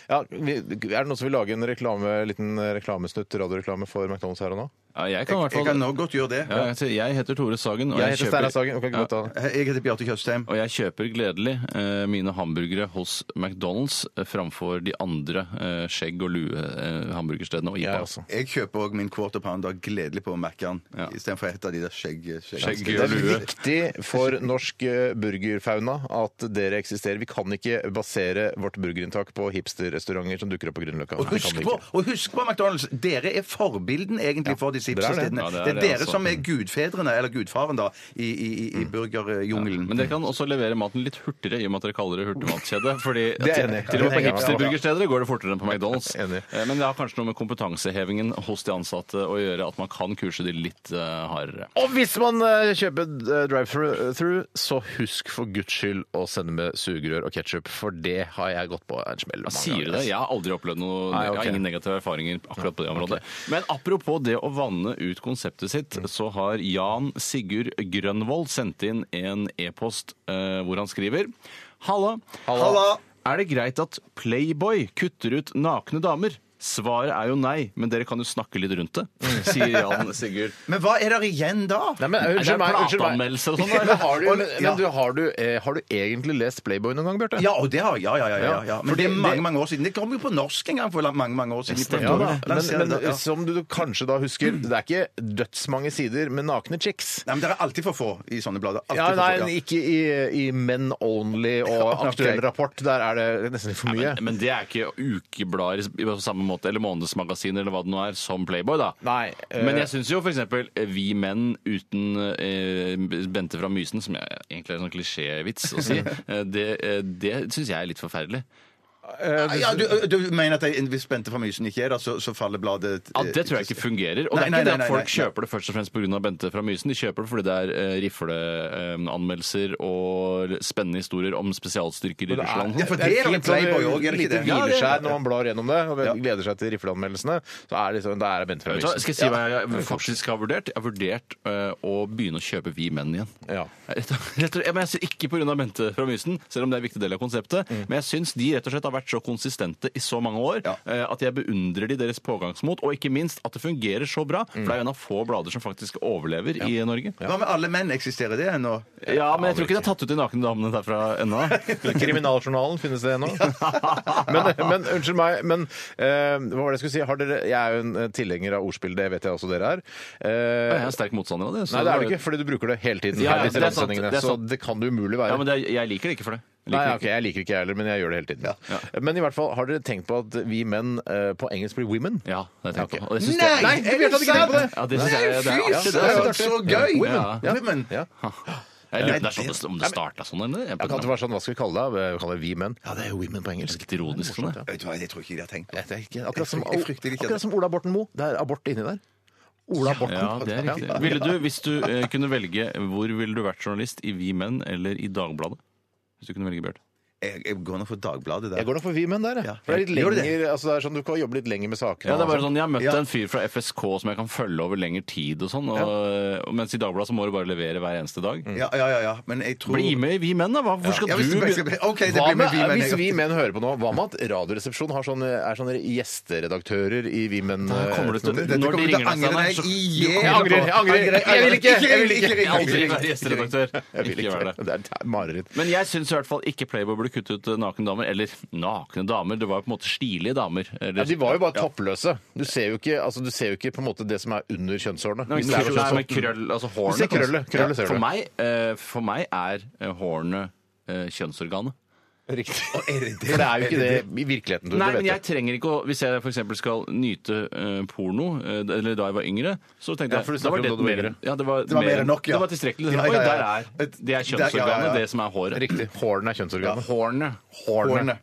Speaker 1: Ja, vi, er det noen som vil lage en reklame, liten reklamesnutt, radioreklame for McDonald's her og nå?
Speaker 3: Ja, jeg kan i hvert
Speaker 2: Jeg kan
Speaker 3: fall
Speaker 2: nå godt gjøre det.
Speaker 3: Ja, jeg heter- jeg heter Tore Sagen, og
Speaker 1: Jeg
Speaker 3: jeg,
Speaker 1: heter Steinar
Speaker 3: kjøper,
Speaker 1: Sagen. og kan ikke godt ta det.
Speaker 2: Jeg heter Bjarte Tjøstheim.
Speaker 3: og jeg kjøper gledelig eh, mine hamburgere hos McDonald's eh, framfor de andre eh, skjegg- og lue-hamburgerstedene og
Speaker 1: Jeg
Speaker 3: IPA.
Speaker 1: også.
Speaker 2: Jeg kjøper òg min quarter pounder gledelig på Mækkern
Speaker 3: Ja.
Speaker 2: istedenfor et av de der skjegg...
Speaker 3: Skjegg
Speaker 1: Det
Speaker 3: og
Speaker 1: er
Speaker 3: lue.
Speaker 1: viktig for norsk eh, burgerfauna at dere eksisterer. Vi kan ikke basere vårt burgerinntak på hipsterrestauranter som dukker opp på Grünerløkka.
Speaker 2: Og
Speaker 1: Det kan
Speaker 2: husk,
Speaker 1: vi
Speaker 2: på,
Speaker 1: ikke.
Speaker 2: og husk på, McDonald's, dere er forbilden egentlig for disse
Speaker 1: det er det.
Speaker 2: hipsterstedene.
Speaker 3: Ja, det er
Speaker 2: det, er
Speaker 3: det,
Speaker 2: dere
Speaker 3: altså.
Speaker 2: som er gudfedrene, eller gudfaren, da, i, i, i- i burgerjungelen.
Speaker 1: Mm.
Speaker 3: Men dere kan også levere maten litt hurtigere, i og med at dere kaller det hurtigmatkjede. fordi
Speaker 1: Det
Speaker 3: til-
Speaker 1: er enig.
Speaker 3: til og med på
Speaker 1: Enig.
Speaker 3: hipsterburgersteder går det fortere enn på McDonald's.
Speaker 1: Enig.
Speaker 3: Eh, Men det har kanskje noe med kompetansehevingen hos de ansatte å gjøre, at man kan kurse de litt eh, hardere.
Speaker 1: Og hvis man eh, kjøper eh, drive-through, så husk for guds skyld å sende med sugerør og ketsjup, for det har jeg gått på en smell.
Speaker 3: Ja,
Speaker 1: mange
Speaker 3: sier du
Speaker 1: ganger. altså.
Speaker 3: det? Jeg har aldri opplevd noe
Speaker 1: Nei, ok.
Speaker 3: Jeg har ingen negative erfaringer akkurat på det området. Men apropos det å vanne ut konseptet sitt,
Speaker 1: Mm.
Speaker 3: så har Jan Sigurd Grønvold sendt inn en e-post eh, hvor han skriver Halla.
Speaker 1: altså. Halla.
Speaker 3: Er det greit at Playboy kutter ut nakne damer? Svaret er jo nei, men dere kan jo snakke litt rundt det, sier Jan Sigurd.
Speaker 2: Men hva er der igjen da?
Speaker 1: Nei, men
Speaker 3: Er det
Speaker 1: unnskyld meg. unnskyld meg.
Speaker 3: plateanmeldelser og sånn, da,
Speaker 1: Men,
Speaker 3: eller?
Speaker 1: har du,
Speaker 2: Og-
Speaker 1: men,
Speaker 2: ja.
Speaker 1: men du, har, du, eh, har du egentlig lest Playboy noen gang, Bjarte?
Speaker 2: Ja, og det har ja, ja, ja, ja, ja. Men
Speaker 1: Fordi
Speaker 2: det er mange,
Speaker 1: det-
Speaker 2: mange år siden. Det kom jo på norsk en gang for mange, mange år siden.
Speaker 1: Ja, da.
Speaker 2: Lanserer det,
Speaker 1: Men,
Speaker 2: ja.
Speaker 1: men som du kanskje da husker, det er ikke dødsmange sider med nakne chicks.
Speaker 2: Nei, men dere er alltid for få i sånne blader. Alltid
Speaker 1: Ja,
Speaker 2: for få,
Speaker 1: nei, ikke i, i Men Only og
Speaker 2: ok.
Speaker 1: Aktuell Rapport. Der er det nesten litt for mye.
Speaker 3: Men det er ikke ukeblader i- på samme måte, eller månedsmagasiner eller hva det nå er, som Playboy, da.
Speaker 1: Nei, eh,
Speaker 3: Men jeg syns jo f.eks. Vi menn uten eh, Bente fra Mysen, som jeg, egentlig er en sånn klisjévits å si, eh, det, eh, det syns jeg er litt forferdelig.
Speaker 2: Ja, du, du mener at det- hvis Bente fra Mysen ikke er der, så, så faller bladet
Speaker 3: Ja, Det tror jeg eh, ikke fungerer. Og
Speaker 2: Nei,
Speaker 3: det er
Speaker 2: nei, nei,
Speaker 3: ikke det
Speaker 2: nei,
Speaker 3: at folk
Speaker 2: nei.
Speaker 3: kjøper det først og fremst pga. Bente fra Mysen. De kjøper det fordi det er eh, rifleanmeldelser og spennende historier om spesialstyrker i
Speaker 1: det er-
Speaker 3: Russland.
Speaker 2: Ja, for det er jo en
Speaker 1: fint sånn,
Speaker 2: Playboy òg, er det ikke
Speaker 1: lite
Speaker 2: det?
Speaker 1: hvileskjær
Speaker 2: Ja, det-
Speaker 1: når man blar gjennom det og gleder seg til rifleanmeldelsene. Så er det liksom, da er det Bente fra
Speaker 3: Vet du hva,
Speaker 1: Mysen.
Speaker 3: Skal jeg si hva jeg faktisk har vurdert? Jeg har vurdert eh, å begynne å kjøpe Vi menn igjen.
Speaker 1: Ja.
Speaker 3: Rett og, rett og, ja, men jeg synes Ikke pga. Bente fra Mysen, selv om det er en viktig del av konseptet, men jeg syns de rett og slett har vært så konsistente i så mange år
Speaker 2: Ja.
Speaker 3: eh, at jeg beundrer de deres pågangsmot, og ikke minst at det fungerer så bra. For det er jo en av få blader som faktisk overlever i Norge.
Speaker 2: Hva med alle menn? Eksisterer det ennå?
Speaker 3: Ja, men jeg tror ikke de har tatt ut de nakne damene derfra ennå.
Speaker 1: Kriminaljournalen, finnes det ennå? men, men unnskyld meg, men eh, hva var det jeg skulle si? Har dere, jeg er jo en eh, tilhenger av ordspill, det vet jeg også dere er. Eh,
Speaker 3: Jeg er sterk motstander av det. så-
Speaker 1: Nei, det er du ikke, fordi du bruker det hele tiden.
Speaker 3: Ja, ja,
Speaker 1: her i disse
Speaker 3: det er sant,
Speaker 1: radiosendingene,
Speaker 3: det er sant.
Speaker 1: Så det kan det umulig være.
Speaker 3: Ja, men det, er- jeg liker det ikke for det. Jeg
Speaker 1: Nei,
Speaker 3: liker
Speaker 1: ok, jeg liker det ikke jeg heller, men jeg gjør det hele tiden. Men i hvert fall, har dere tenkt på at vi menn eh, på engelsk blir women?
Speaker 3: Ja, det har jeg tenkt på.
Speaker 1: Ok.
Speaker 3: Og det synes
Speaker 2: Nei,
Speaker 3: jeg-
Speaker 2: Nei, jeg vet at ikke tenker på det!
Speaker 3: Ja, det synes jeg det er
Speaker 2: Fy
Speaker 3: artig, det
Speaker 2: søren,
Speaker 3: er
Speaker 2: så gøy!
Speaker 3: Ja.
Speaker 2: Ja. Women.
Speaker 1: Ja.
Speaker 3: Jeg lurer på om det er sånn det- om det starta sånn, eller? Jeg-
Speaker 1: Jeg kan ikke være sånn, Hva skal vi kalle det? Vi kaller det vi menn. Ja, det er jo women på engelsk.
Speaker 3: Litt ironisk, sånn, ja.
Speaker 2: Vet du hva, Jeg tror ikke de har tenkt på
Speaker 1: Jeg vet ikke. Akkurat som,
Speaker 2: Jeg frykter ikke det.
Speaker 1: akkurat som Ola Borten Moe. Det er abort inni der. Ola Borten.
Speaker 3: Ja, det er riktig.
Speaker 1: Ja.
Speaker 3: Ville du, hvis du eh, kunne velge, hvor ville du vært journalist? I Vi Menn eller i Dagbladet? Hvis du kunne velge, Bjarte.
Speaker 2: Jeg, jeg går nå for Dagbladet der.
Speaker 1: Jeg går nok for vi menn der, jeg.
Speaker 2: Ja.
Speaker 1: For det er litt
Speaker 2: Gjør du det?
Speaker 1: lenger, altså det er sånn, du kan jobbe litt lenger med sakene.
Speaker 3: Ja, det er bare
Speaker 1: og
Speaker 3: sånn, Jeg har møtt
Speaker 2: Ja.
Speaker 3: en fyr fra FSK som jeg kan følge over lengre tid. og sånn, og, og Mens i Dagbladet så må du bare levere hver eneste dag.
Speaker 2: Ja, ja, ja, ja. Men jeg tror
Speaker 3: Bli med i Vi Menn, da! Hva- Hvorfor skal
Speaker 2: ja, hvis
Speaker 3: du
Speaker 2: det-
Speaker 3: begynne?
Speaker 2: OK, det
Speaker 1: Hva
Speaker 2: blir
Speaker 1: med,
Speaker 2: med vi menn.
Speaker 1: hvis vi
Speaker 2: jeg-
Speaker 1: menn hører på nå, hva med at Radioresepsjonen har sånne, er sånne gjesteredaktører i Vi menn?
Speaker 3: Da kommer du til-
Speaker 1: eh,
Speaker 2: Dette
Speaker 3: Når
Speaker 2: kommer du
Speaker 3: de
Speaker 2: til å
Speaker 3: ringer deg,
Speaker 2: angre
Speaker 3: Steinar,
Speaker 2: deg
Speaker 3: så-
Speaker 2: i
Speaker 1: Jeg angrer, jeg angrer. Jeg vil ikke, jeg vil ikke.
Speaker 3: Jeg vil Aldri være gjesteredaktør. Ikke gjør det.
Speaker 1: Det er det er mareritt.
Speaker 3: Men jeg syns i hvert fall ikke Playboy burde kutte ut eh, nakne damer. Eller nakne damer, det var jo på en måte stilige damer. Eller,
Speaker 1: Ja, de var jo bare toppløse. Du ser jo ikke, altså, du ser jo ikke på en måte det som er under kjønnshårene.
Speaker 3: Nei, men
Speaker 1: Hvis det er
Speaker 2: sånn
Speaker 1: sånn
Speaker 3: krøll,
Speaker 1: kjønnshår.
Speaker 3: nei, men krøll, altså hårene.
Speaker 1: ser krøllet, krøllet
Speaker 3: Ja,
Speaker 1: ser du.
Speaker 3: for meg, eh, for meg er eh, hårene eh, kjønnsorganet.
Speaker 1: Riktig.
Speaker 2: Er det det?
Speaker 1: For det er jo ikke det i virkeligheten. Du,
Speaker 3: Nei,
Speaker 1: det
Speaker 3: men jeg
Speaker 1: vet du.
Speaker 3: trenger ikke å Hvis jeg f.eks. skal nyte eh, porno, eh, eller da jeg var yngre, så tenkte
Speaker 1: Ja,
Speaker 3: jeg
Speaker 1: for du snakker
Speaker 3: da var det
Speaker 1: om da du var
Speaker 3: mer-
Speaker 1: yngre.
Speaker 3: Ja, det var,
Speaker 2: Det var mer enn nok, ja.
Speaker 3: Det var tilstrekkelig.
Speaker 2: Ja, ja, ja.
Speaker 3: Oi, der er Det er
Speaker 2: Der- ja, ja,
Speaker 3: kjønnsorganet,
Speaker 2: ja.
Speaker 3: det som er håret.
Speaker 1: Riktig. Hårene er kjønnsorganet.
Speaker 3: Hårene.
Speaker 1: Hårene.
Speaker 2: Hårene.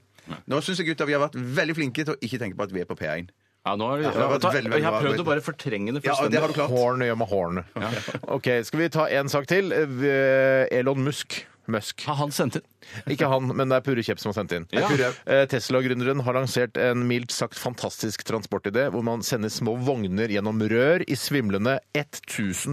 Speaker 2: Nå syns jeg gutta vi har vært veldig flinke til å ikke tenke på at vi er på P1.
Speaker 3: Ja, nå har vi,
Speaker 2: det var et
Speaker 3: ta-
Speaker 2: veldig, veldig
Speaker 3: jeg har
Speaker 2: bra
Speaker 3: prøvd
Speaker 2: arbeid.
Speaker 3: å bare fortrenge det
Speaker 2: Ja,
Speaker 3: fullstendig.
Speaker 2: det har du klart.
Speaker 1: Hårene gjør med hårene. OK, skal vi ta en sak til? Eh, Elon Musk. Musk.
Speaker 3: Har han sendt inn?
Speaker 1: Ikke han, men det er Purre Kjepp som har sendt inn.
Speaker 3: Ja.
Speaker 2: Purre.
Speaker 1: Eh, Tesla-gründeren har lansert en mildt sagt fantastisk transportidé, hvor man sender små vogner gjennom rør i svimlende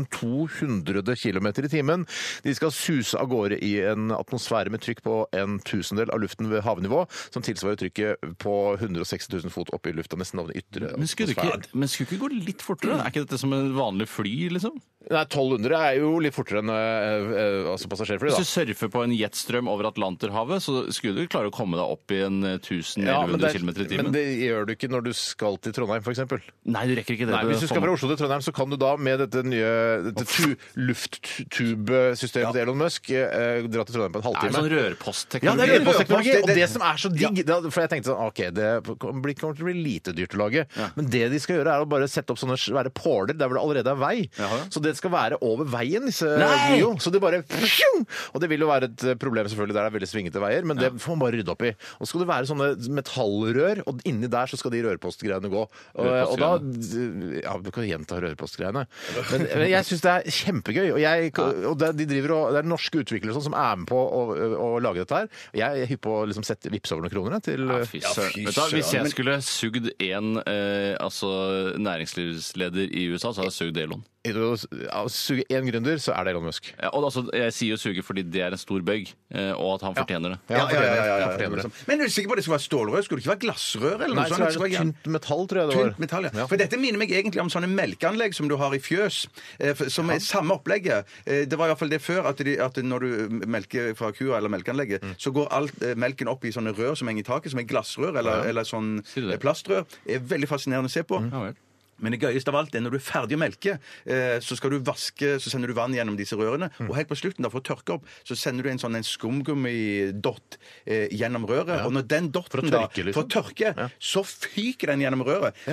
Speaker 1: 1200 km i timen. De skal suse av gårde i en atmosfære med trykk på en tusendel av luften ved havnivå, som tilsvarer trykket på 160 000 fot oppe i lufta, nesten over den ytre
Speaker 3: Men skulle, det
Speaker 1: atmosfæren.
Speaker 3: ikke, men skulle det ikke gå litt fortere? Er ikke dette som en vanlig fly, liksom?
Speaker 1: Nei, 1200 er jo litt fortere enn eh, eh, altså passasjerfly, da.
Speaker 3: Hvis du surfer på en jetstrøm over Atlanterhavet, så skulle du klare å komme deg opp i en eh, 1000
Speaker 1: Ja, men
Speaker 3: 1100
Speaker 1: det-
Speaker 3: km i timen.
Speaker 1: Men det gjør du ikke når du skal til Trondheim, f.eks.
Speaker 3: Nei, du rekker ikke det.
Speaker 1: Nei, Hvis du skal fra Oslo til Trondheim, så kan du da med dette nye dette tu- lufttubesystemet til Elon Musk eh, dra til Trondheim på en
Speaker 3: Det er sånn
Speaker 1: halvtime.
Speaker 3: rørpostteknologi.
Speaker 1: det er rørpostteknologi,
Speaker 2: rørpost, det-
Speaker 1: og det som er så digg da- For jeg tenkte sånn, ok, det blir- kommer til å bli lite dyrt å lage. Men det de skal gjøre, er å bare sette opp sånne svære påler der hvor det allerede er vei. Så det skal være over veien, disse
Speaker 3: Nei!
Speaker 1: jo. Så det bare pjong! Og det vil jo være et problem selvfølgelig der det er veldig svingete veier, men det får man bare rydde opp i. Og så skal det være sånne metallrør, og inni der så skal de rørpostgreiene gå. Og, og da Ja, du kan gjenta rørpostgreiene. Men, men jeg syns det er kjempegøy. Og, jeg, og det, de driver og, det er norske utviklere og sånn som er med på å, å lage dette her. Jeg er hypp på å liksom sette vippse over noen kroner jeg, til
Speaker 3: Ja, fy søren. Vet du hva, Hvis jeg skulle sugd én eh, altså, næringslivsleder i USA, så hadde jeg sugd Elon.
Speaker 1: Elon av- suge én gründer, så er det Elon Musk.
Speaker 3: Ja, og altså, jeg sier jo suge fordi det er en stor bøgg, eh, og at han fortjener det.
Speaker 1: Ja,
Speaker 2: Ja, ja, ja, ja, Sånn- ja, liksom.
Speaker 1: han fortjener det.
Speaker 2: Men er du sikker på at det skulle være stålrør? Skulle det ikke være glassrør? eller
Speaker 1: Nei,
Speaker 2: noe
Speaker 1: så
Speaker 2: sånt?
Speaker 1: er det
Speaker 2: jern-
Speaker 1: tynt metall, tror jeg det var.
Speaker 2: sånn Tynt metall, ja. For dette minner meg egentlig om sånne melkeanlegg som du har i fjøs, eh, for- som er samme opplegget. Eh, Det var iallfall det før, at, de, at når du melker fra kua eller melkeanlegget, så går alt eh, melken opp i sånne rør som henger i taket, som er glassrør eller, eller sånn
Speaker 3: du det? Mm.
Speaker 2: eh, plastrør. Det er veldig fascinerende å se på.
Speaker 3: Ja, vel.
Speaker 2: Men det gøyeste av alt er når du er ferdig å melke, eh, så skal du vaske, så sender du vann gjennom disse rørene,
Speaker 1: Mm.
Speaker 2: og helt på slutten da, for å tørke opp, så sender du en sånn en skumgummidott eh, gjennom røret, og når den dotten
Speaker 1: å
Speaker 2: da,
Speaker 1: tørke, liksom.
Speaker 2: for å tørke, så fyker den gjennom røret.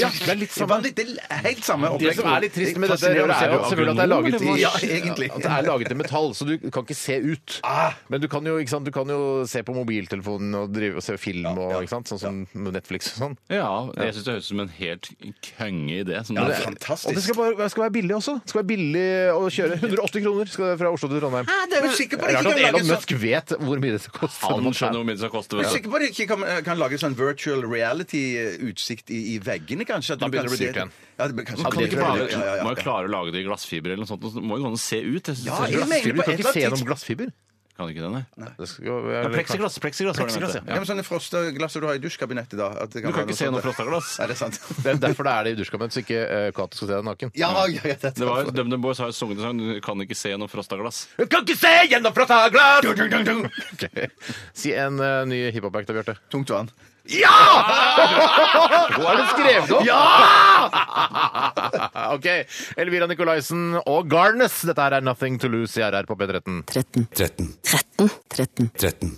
Speaker 2: Ja.
Speaker 1: det er litt samme.
Speaker 2: vanlig- Det er helt samme
Speaker 1: Det som er litt trist med dette, røret, er jo selvfølgelig at det
Speaker 3: Agronom,
Speaker 1: er laget i,
Speaker 3: eller hva?
Speaker 2: Ja, egentlig.
Speaker 1: At det er laget i metall, så du kan ikke se ut.
Speaker 2: Ah.
Speaker 1: Men du kan jo, ikke sant, du kan jo se på mobiltelefonen og, drive, og se film og ikke sant, sånn som Netflix og sånn.
Speaker 3: Ja, jeg syns det høres ut som en helt konge idé. Sånn
Speaker 2: det
Speaker 3: der.
Speaker 2: er fantastisk.
Speaker 1: Og det skal, bare, det skal være billig også. Det skal være billig å kjøre. 180 kroner skal det fra Oslo til Trondheim.
Speaker 2: Ah, det er du sikker på
Speaker 1: Det
Speaker 2: at
Speaker 1: er
Speaker 2: de
Speaker 1: Rart
Speaker 2: Mm. ikke kan lage
Speaker 1: at Elon
Speaker 2: sånn-
Speaker 1: Musk vet hvor mye det koster.
Speaker 3: Han skjønner hvor mye det skal koste.
Speaker 2: Er du
Speaker 3: vet du.
Speaker 2: sikker på at de ikke kan, kan lage sånn virtual reality-utsikt i, i veggene, kanskje? At du
Speaker 1: Da
Speaker 2: kan
Speaker 1: begynner det å bli
Speaker 2: se-
Speaker 1: dyrt igjen.
Speaker 2: Ja, det blir kanskje
Speaker 3: Kan de ikke
Speaker 2: Ja,
Speaker 3: bare,
Speaker 2: ja, ja, ja.
Speaker 3: Må jo klare å lage det i glassfiber eller noe sånt. og så Må jo gå an å se ut. Jeg synes
Speaker 2: Ja,
Speaker 3: det er
Speaker 2: jeg mener-
Speaker 1: Glassfiber, Du kan
Speaker 2: på et eller
Speaker 1: ikke se
Speaker 2: annet
Speaker 1: gjennom glassfiber.
Speaker 3: glass- Kan ikke det, nei.
Speaker 1: Det skal være-
Speaker 3: Plexiglass, plexiglass, var det jeg
Speaker 1: Plexiglass,
Speaker 3: mente.
Speaker 2: Ja,
Speaker 3: Ja.
Speaker 2: men sånne frosteglasser du har i dusjkabinettet, da. At det
Speaker 3: Du
Speaker 2: være
Speaker 3: kan ikke se
Speaker 2: sånt.
Speaker 3: noe frostaglass.
Speaker 2: Nei, det er sant.
Speaker 1: Det er derfor det er det i dusjkammen, så ikke eh, Kate skal se deg naken.
Speaker 2: Ja, ja, ja, det
Speaker 3: Det var jo- DumDum Boys har jo sunget en sang Du kan ikke se noe frostaglass.
Speaker 1: Du kan ikke se gjennom frostaglass! Ok. Si en eh, ny hiphop-act da, Bjarte.
Speaker 2: tungt vann.
Speaker 1: Nå er det skrevet opp! Ja! OK. Elvira Nicolaisen og Garnes. Dette her er Nothing to Lose i RR på P13.
Speaker 9: 13,
Speaker 8: 13,
Speaker 9: 13, 13,
Speaker 8: 13,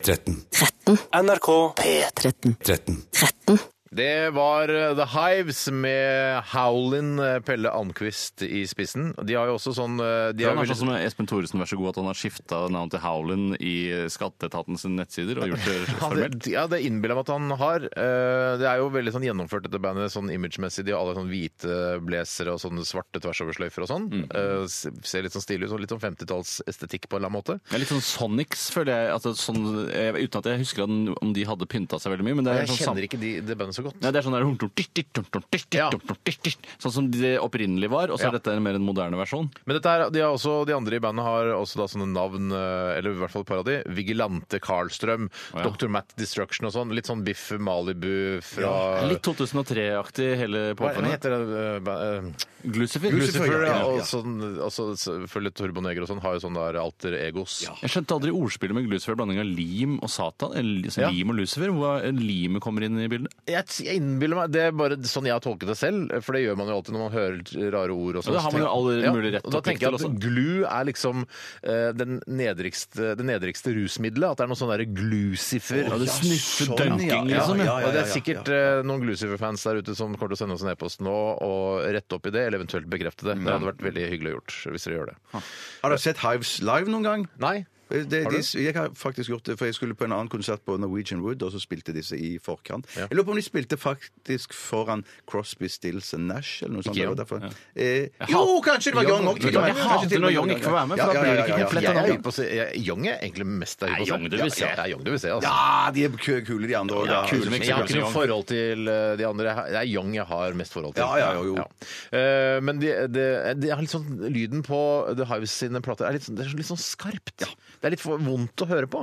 Speaker 9: 13, 13,
Speaker 8: 13,
Speaker 9: 13,
Speaker 10: NRK P13.
Speaker 9: 13,
Speaker 8: 13.
Speaker 9: 13.
Speaker 1: Det var eh, The Hives med Howlin' eh, Pelle Almquist i spissen. De har jo også sånn eh, de
Speaker 3: Det
Speaker 1: er
Speaker 3: er
Speaker 1: veldig-
Speaker 3: sånn som Espen Thoresen, vær så god, at han har skifta navn til Howlin i Skatteetaten sine nettsider og gjort det
Speaker 1: Ja,
Speaker 3: formelt.
Speaker 1: det, ja, det innbiller jeg meg at han har. Eh, Det er jo veldig sånn gjennomført, dette bandet, sånn imagemessig. De har alle sånn hvite blazere og sånne svarte tversoversløyfer og sånn. Eh, se- Ser litt sånn stilig ut. Sånn, litt sånn 50-tallsestetikk på en eller annen måte.
Speaker 3: Det er litt sånn Sonics, føler jeg. Altså, sånn, jeg uten at jeg husker at- om de hadde pynta seg veldig mye. Men det er
Speaker 1: Jeg
Speaker 3: sånn sam-
Speaker 1: kjenner ikke de, det bandet så godt.
Speaker 3: Nei, det er sånn der hum-tum, titt, titt, hum-tum, titt, titt,
Speaker 1: Ja.
Speaker 3: hum-tum, titt, titt. Sånn som det opprinnelig var, og så
Speaker 1: Ja.
Speaker 3: er dette en mer en moderne versjon.
Speaker 1: Men dette er, de, har også, de andre i bandet har også da sånne navn, eh, eller i hvert fall et par av de. Vigilante Karlstrøm,
Speaker 3: ja.
Speaker 1: Dr. Matt Destruction og sånn. Litt sånn Biff Malibu fra
Speaker 3: Litt 2003-aktig, hele
Speaker 1: hva, hva
Speaker 3: popen.
Speaker 1: heter det? eh, ba- eh,
Speaker 3: Glucifer.
Speaker 1: Lucifer
Speaker 2: ja, ja,
Speaker 1: og
Speaker 2: ja.
Speaker 1: sånn, altså, selvfølgelig Turbo Negro og sånn, har jo sånne der alter egos.
Speaker 3: Jeg skjønte aldri ordspillet med Lucifer, blanding av lim og Satan. Eller, altså,
Speaker 1: Ja.
Speaker 3: Lim og Lucifer, hvor limet kommer inn i bildet.
Speaker 1: Jeg, t- jeg innbiller meg, Det er bare sånn jeg har tolket det selv, for det gjør man jo alltid når man hører rare ord. og sånn.
Speaker 3: Ja, det har man jo all mulig rett
Speaker 1: og Da
Speaker 3: og plikt
Speaker 1: tenker jeg
Speaker 3: til
Speaker 1: at
Speaker 3: også.
Speaker 1: glu er liksom eh, den nedrigste, det nedrigste rusmiddelet. At det er noe sånn derre glucifer.
Speaker 3: Ja, det sniffer
Speaker 2: sånn,
Speaker 3: dunking,
Speaker 2: ja, ja,
Speaker 3: liksom.
Speaker 2: ja,
Speaker 3: Ja.
Speaker 2: ja.
Speaker 1: og det er sikkert eh, noen Glucifer-fans der ute som kommer til å sende oss en e-post nå og rette opp i det, eller eventuelt bekrefte det. Det hadde vært veldig hyggelig gjort hvis dere gjør det.
Speaker 2: Har du sett Hives live noen gang?
Speaker 1: Nei?
Speaker 2: Eh, Det, de,
Speaker 1: Har du?
Speaker 2: jeg har faktisk gjort det, for jeg skulle på en annen konsert på Norwegian Wood, og så spilte disse i forkant. Jeg lurer på om de spilte faktisk foran Crosby, Stills and Nash, eller noe sånt.
Speaker 1: Ikke
Speaker 2: det var derfor. Eh,
Speaker 3: Jeg
Speaker 2: jo, kanskje det var Young
Speaker 1: Young.
Speaker 2: òg.
Speaker 3: Vet du hva, jeg hater når Young ikke får være med, for da blir det ikke komplett.
Speaker 1: Jeg er hypp på å se, jeg, Young er egentlig mest jeg
Speaker 3: Nei,
Speaker 1: er hypp på å se.
Speaker 3: Young du vil se.
Speaker 1: Ja, det er Young du vil se, altså.
Speaker 2: Ja, de er kø- kule, de andre òg.
Speaker 3: Ja, kule, men
Speaker 1: Men jeg har ikke noe
Speaker 3: Young.
Speaker 1: forhold til eh, de andre. Det er Young jeg har mest forhold til.
Speaker 2: Ja, ja, jo, jo.
Speaker 1: Eh, Men det de, de har litt sånn lyden på The Hives sine plater er litt, sånn- det er så- litt sånn skarpt. Det er litt for vondt å høre på.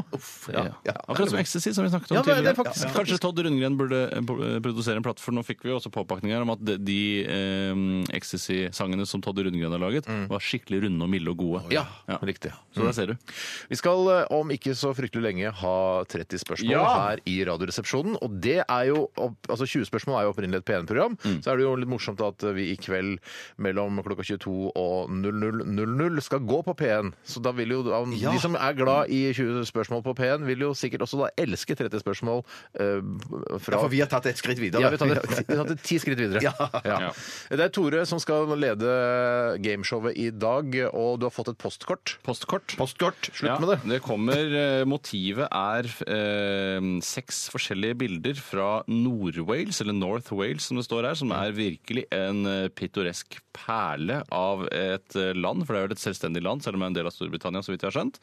Speaker 3: Ja. Akkurat som ecstasy, som vi snakket om
Speaker 1: Ja, det er
Speaker 3: tidligere.
Speaker 1: det faktisk.
Speaker 3: Ja. Kanskje Todd Rundgren burde eh, pro- produsere en platt, for nå fikk vi jo også påpakninger om at de- de eh, ecstasy-sangene som Todd Rundgren har laget, var skikkelig runde og milde og gode.
Speaker 1: Mm. Ja, Mm. riktig.
Speaker 3: Så der ser du.
Speaker 1: Vi skal eh, om ikke så fryktelig lenge ha 30 spørsmål
Speaker 3: Ja.
Speaker 1: her i Radioresepsjonen. Og det er jo opp, altså 20 spørsmål er jo opprinnelig et P1-program. Så er det jo litt morsomt at vi i kveld mellom klokka 22 og 00.00 skal gå på P1. Så da vil jo da, de som er glad i 20 spørsmål på P1, vil jo sikkert også da elske 30 spørsmål eh, fra
Speaker 2: For vi har tatt et skritt videre.
Speaker 1: ja, vi tar det, vi tar det ti skritt videre.
Speaker 2: Ja.
Speaker 1: Ja. Det er Tore som skal lede gameshowet i dag, og du har fått et postkort.
Speaker 3: Postkort.
Speaker 1: Postkort, slutt
Speaker 3: Ja,
Speaker 1: med det.
Speaker 3: Det kommer eh, Motivet er eh, seks forskjellige bilder fra Nord-Wales, eller North Wales som det står her, som er virkelig en eh, pittoresk perle av et eh, land. For det er vel et selvstendig land, selv om det er en del av Storbritannia, så vidt jeg har skjønt.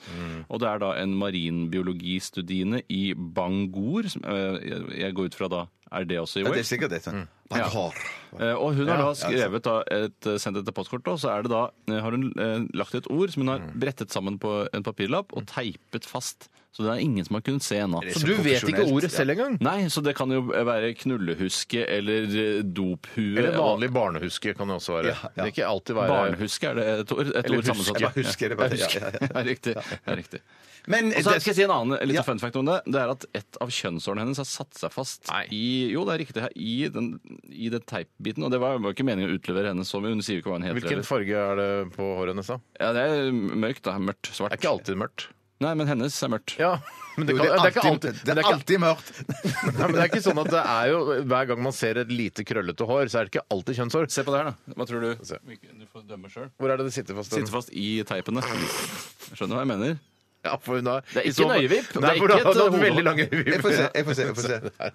Speaker 3: Og det er da en marinbiologistudiene i Bangor. Som, eh, jeg går ut fra da Er det også i
Speaker 2: Ja, det er
Speaker 3: Wales? Mm.
Speaker 2: sikkert det. Sånn. Banghor.
Speaker 3: Eh, Og hun har
Speaker 1: Ja,
Speaker 3: da skrevet da et, eh, sendt dette postkortet, og så er det da, eh, har hun eh, lagt et ord som hun har
Speaker 1: Mm.
Speaker 3: brettet sammen på en papirlapp og teipet fast. Så det er ingen som har kunnet se ennå.
Speaker 1: Så du vet ikke ordet selv engang?
Speaker 3: Nei, så det kan jo være knullehuske eller eh, dophue.
Speaker 1: Eller vanlig barnehuske kan det også være. Det er ikke alltid være
Speaker 3: Barnehuske er det et ord, et
Speaker 1: Eller
Speaker 3: ord
Speaker 1: huske.
Speaker 3: sammensatt.
Speaker 1: Jeg bare
Speaker 2: husker det bare.
Speaker 3: Ja, husker.
Speaker 2: Ja, ja,
Speaker 3: Det er riktig. Det er riktig.
Speaker 2: Men
Speaker 3: Og så skal jeg si en annen liten
Speaker 2: Ja.
Speaker 3: fun fact om det. Det er at et av kjønnsårene hennes har satt seg fast i Jo, det er riktig. her, I den, i den teipbiten. Og det var jo ikke meningen å utlevere henne så mye. Hun sier jo ikke hva hun heter.
Speaker 1: Hvilken
Speaker 3: eller-
Speaker 1: farge er det på håret hennes, da?
Speaker 3: Ja, det er mørkt, da. Mørkt. Svart.
Speaker 1: Det er ikke alltid mørkt.
Speaker 3: Nei, men hennes er mørkt.
Speaker 1: Ja, men det, kan,
Speaker 2: det, er
Speaker 1: det er ikke
Speaker 2: alltid,
Speaker 1: alltid,
Speaker 2: det
Speaker 1: men
Speaker 2: er
Speaker 1: det er ikke,
Speaker 2: alltid mørkt.
Speaker 1: nei, men det er ikke sånn at det er jo Hver gang man ser et lite krøllete hår, så er det ikke alltid kjønnshår.
Speaker 3: Se på det her, da. Hva tror du?
Speaker 1: Se.
Speaker 3: Du får dømme sjøl.
Speaker 1: Hvor er det det sitter fast?
Speaker 3: Sitter fast i teipene. Jeg skjønner hva jeg mener.
Speaker 1: Ja, for hun har,
Speaker 3: Det er
Speaker 1: i
Speaker 3: ikke
Speaker 1: så
Speaker 3: en
Speaker 1: fall-
Speaker 3: øyevipp, og det er
Speaker 1: Nei, for
Speaker 3: ikke
Speaker 1: hun har
Speaker 3: et
Speaker 1: hatt
Speaker 3: hode.
Speaker 1: veldig lange øyevipp.
Speaker 2: Jeg får se, jeg får se, jeg får se.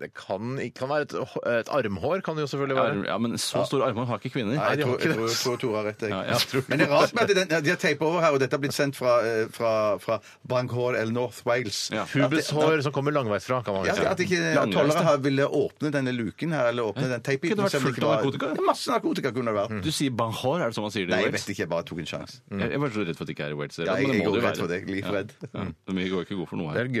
Speaker 1: Det kan, ikke- kan være et, h- et armhår, kan det jo selvfølgelig være.
Speaker 3: Arm- Ja, men så store armer har ikke
Speaker 2: Nei,
Speaker 3: kvinner.
Speaker 1: de
Speaker 2: jeg
Speaker 1: har
Speaker 2: tror,
Speaker 1: ikke
Speaker 2: jeg
Speaker 1: det.
Speaker 2: tror, jeg tror Tore har rett. Jeg.
Speaker 3: Ja, jeg tror-
Speaker 2: Men det er rart med at den, de har teipet over her, og dette har blitt sendt fra, eh, fra, fra Banghall eller North Wales.
Speaker 3: Ja.
Speaker 1: Pubeshår som kommer langveisfra, kan man
Speaker 2: Ja,
Speaker 1: vel si.
Speaker 2: at ikke
Speaker 3: Langveis,
Speaker 2: tollere
Speaker 3: da.
Speaker 2: har ville åpne denne luken her, eller åpne den teipbiten.
Speaker 3: Kunne det vært
Speaker 2: selv om det
Speaker 3: fullt
Speaker 2: ikke
Speaker 3: av
Speaker 2: var-
Speaker 3: narkotika? Mm.
Speaker 2: Ja, Masse narkotika kunne det vært.
Speaker 3: Du sier banhor, er det sånn man sier det? i
Speaker 2: Nei, jeg
Speaker 3: Wales?
Speaker 2: vet ikke, jeg bare tok en sjanse.
Speaker 3: Jeg jeg var så redd for at det ikke er i Wales.
Speaker 2: Ja, jeg,
Speaker 3: men
Speaker 2: jeg går
Speaker 3: må jo
Speaker 2: rett
Speaker 3: være.
Speaker 2: for det. Jeg er livredd.
Speaker 3: Ja. Men vi går ikke god for noe
Speaker 1: Det
Speaker 3: her.
Speaker 1: er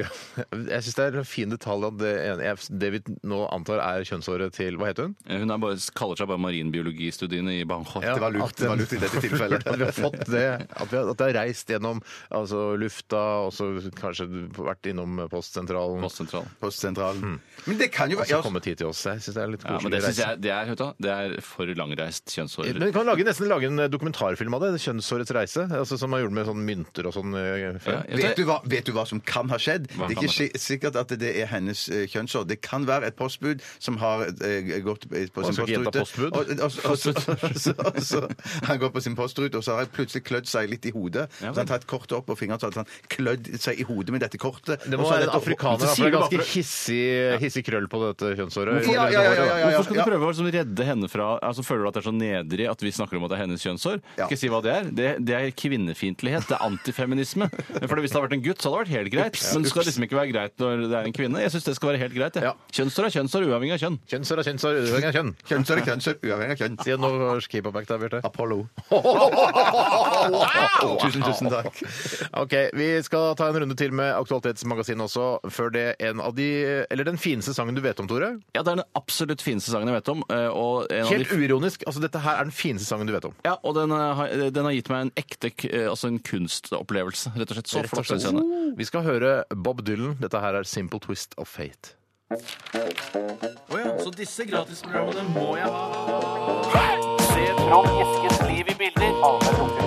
Speaker 1: gøy. Jeg syns det er en fin detalj at det, ene- jeg- det vi nå antar er kjønnshåret til Hva heter hun?
Speaker 3: Hun er bare, kaller seg bare marinbiologistudiene i Bangkok.
Speaker 1: Ja,
Speaker 2: Det var lurt,
Speaker 1: at den-
Speaker 2: det var lurt i dette tilfellet.
Speaker 1: At vi har fått det, at, vi har, at det har reist gjennom altså, lufta, og så kanskje vært innom postsentralen, og
Speaker 3: Postsentral.
Speaker 2: Postsentralen. Men det kan jo være
Speaker 1: så
Speaker 2: ja,
Speaker 1: kommet hit til oss. Jeg syns det er en litt
Speaker 3: Ja, men
Speaker 1: koselig
Speaker 3: det synes
Speaker 1: reise.
Speaker 3: jeg det er, vet du hva, det er for langreist
Speaker 1: Men
Speaker 3: kjønnshår.
Speaker 1: vi kan lage, nesten lage en eh, dokumentarfilm av det. 'Kjønnshårets reise', altså, som man gjorde med sånn mynter og sånn. eh, før.
Speaker 3: Ja, jeg
Speaker 2: Vet du, hva, vet du hva som kan ha skjedd?
Speaker 3: Hva
Speaker 2: det er
Speaker 3: kan
Speaker 2: ikke si-
Speaker 3: ha
Speaker 2: sikkert at det er hennes eh, kjønnsår. Det kan være et postbud som har eh, gått på sin
Speaker 1: så ikke gjenta
Speaker 2: postrute.
Speaker 1: postbud?
Speaker 2: Og, og, og, og, så- og så- han går på sin postrute, og så har han plutselig klødd seg litt i hodet.
Speaker 3: Ja,
Speaker 2: så han tar et kort opp på fingeren, så har han klødd seg i hodet med dette kortet.
Speaker 1: Det
Speaker 2: og
Speaker 1: må
Speaker 2: så er
Speaker 1: være en
Speaker 2: dette-
Speaker 1: afrikaner, da,
Speaker 3: Så
Speaker 1: for det
Speaker 3: sier
Speaker 1: er
Speaker 3: du
Speaker 1: ganske
Speaker 3: bare-
Speaker 1: hissig, hissig krøll på dette kjønnshåret.
Speaker 2: Ja, ja, ja, ja, ja, ja.
Speaker 3: Hvorfor skal du prøve å liksom redde henne fra altså Føler du at det er så nedrig at vi snakker om at det er hennes kjønnshår? Skal jeg si hva det er? Det, det er kvinnefiendtlighet. Det er antifeminisme. For hvis det hadde vært en gutt, så hadde det vært helt greit. Men det skal liksom ikke være greit når det er en kvinne. Jeg syns det skal være helt greit.
Speaker 1: Ja.
Speaker 3: jeg. Kjønnshår er kjønnshår, uavhengig av kjønn.
Speaker 1: Kjønnshår er kjønnshår, uavhengig av kjønn.
Speaker 2: Kjønnsår er kjønnsår, uavhengig av kjønn.
Speaker 1: Si en norsk hiphop-act der, Bjarte.
Speaker 2: Apollo.
Speaker 1: Wow!
Speaker 2: Tusen, tusen takk.
Speaker 1: Ok, Vi skal ta en runde til med Aktualitetsmagasinet også. Før det en av de Eller den fineste sangen du vet om, Tore.
Speaker 3: Ja, det er den absolutt fineste sangen jeg vet om. eh, Og en av de
Speaker 1: Helt uironisk. altså Dette her er den fineste sangen du vet om.
Speaker 3: Ja, og den, eh, har- den har gitt meg en ekte k- eh, altså en kunstopplevelse. Rett og slett så flott synes jeg den er.
Speaker 1: Vi skal høre Bob Dylan. Dette her er 'Simple Twist of Fate'.
Speaker 3: Så disse gratisprogrammene må jeg ha.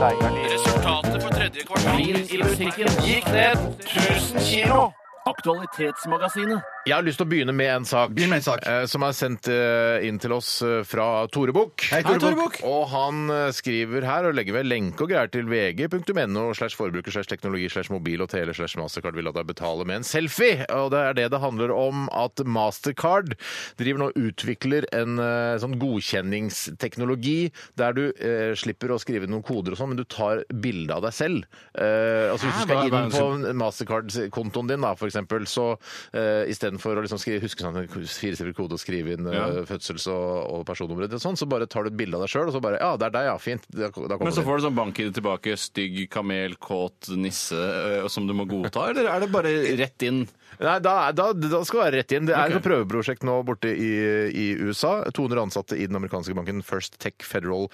Speaker 3: Resultatet på tredje kvartal i musikken gikk ned 1000 kilo. Aktualitetsmagasinet.
Speaker 1: Jeg har lyst til å begynne med en sak,
Speaker 2: Begynn med en sak.
Speaker 1: eh, som er sendt eh, inn til oss eh, fra Tore Bukk.
Speaker 2: Hei, Tore Hei, Tore
Speaker 3: Bukk. Bukk.
Speaker 1: Og han eh, skriver her og legger ved lenke og greier til vg.no slash forbruker slash teknologi slash mobil og tele slash mastercard vil at jeg betaler med en selfie. Og det er det det handler om at Mastercard driver nå og utvikler en eh, sånn godkjenningsteknologi der du eh, slipper å skrive noen koder og sånn, men du tar bilde av deg selv. Eh, altså hvis
Speaker 3: Hæ?
Speaker 1: du skal
Speaker 3: Hva- hva-
Speaker 1: inn på Mastercard-kontoen din, da, for eksempel, så uh, istedenfor å liksom skrive, huske sånn en firesifret kode og skrive inn
Speaker 3: Ja.
Speaker 1: eh, fødsels- og, og personnummeret ditt og sånn, så bare tar du et bilde av deg sjøl, og så bare Ja, det er deg, ja. Fint. Da, da
Speaker 3: Men
Speaker 1: kommer
Speaker 3: så
Speaker 1: det.
Speaker 3: får du sånn bank-ID tilbake, stygg, kamel, kåt, nisse, eh, som du må godta, eller er det bare rett inn?
Speaker 1: Nei, da, da, da skal du være rett inn. Det er
Speaker 3: Ok.
Speaker 1: et prøveprosjekt nå borte i, i USA. 200 ansatte i den amerikanske banken First Tech Federal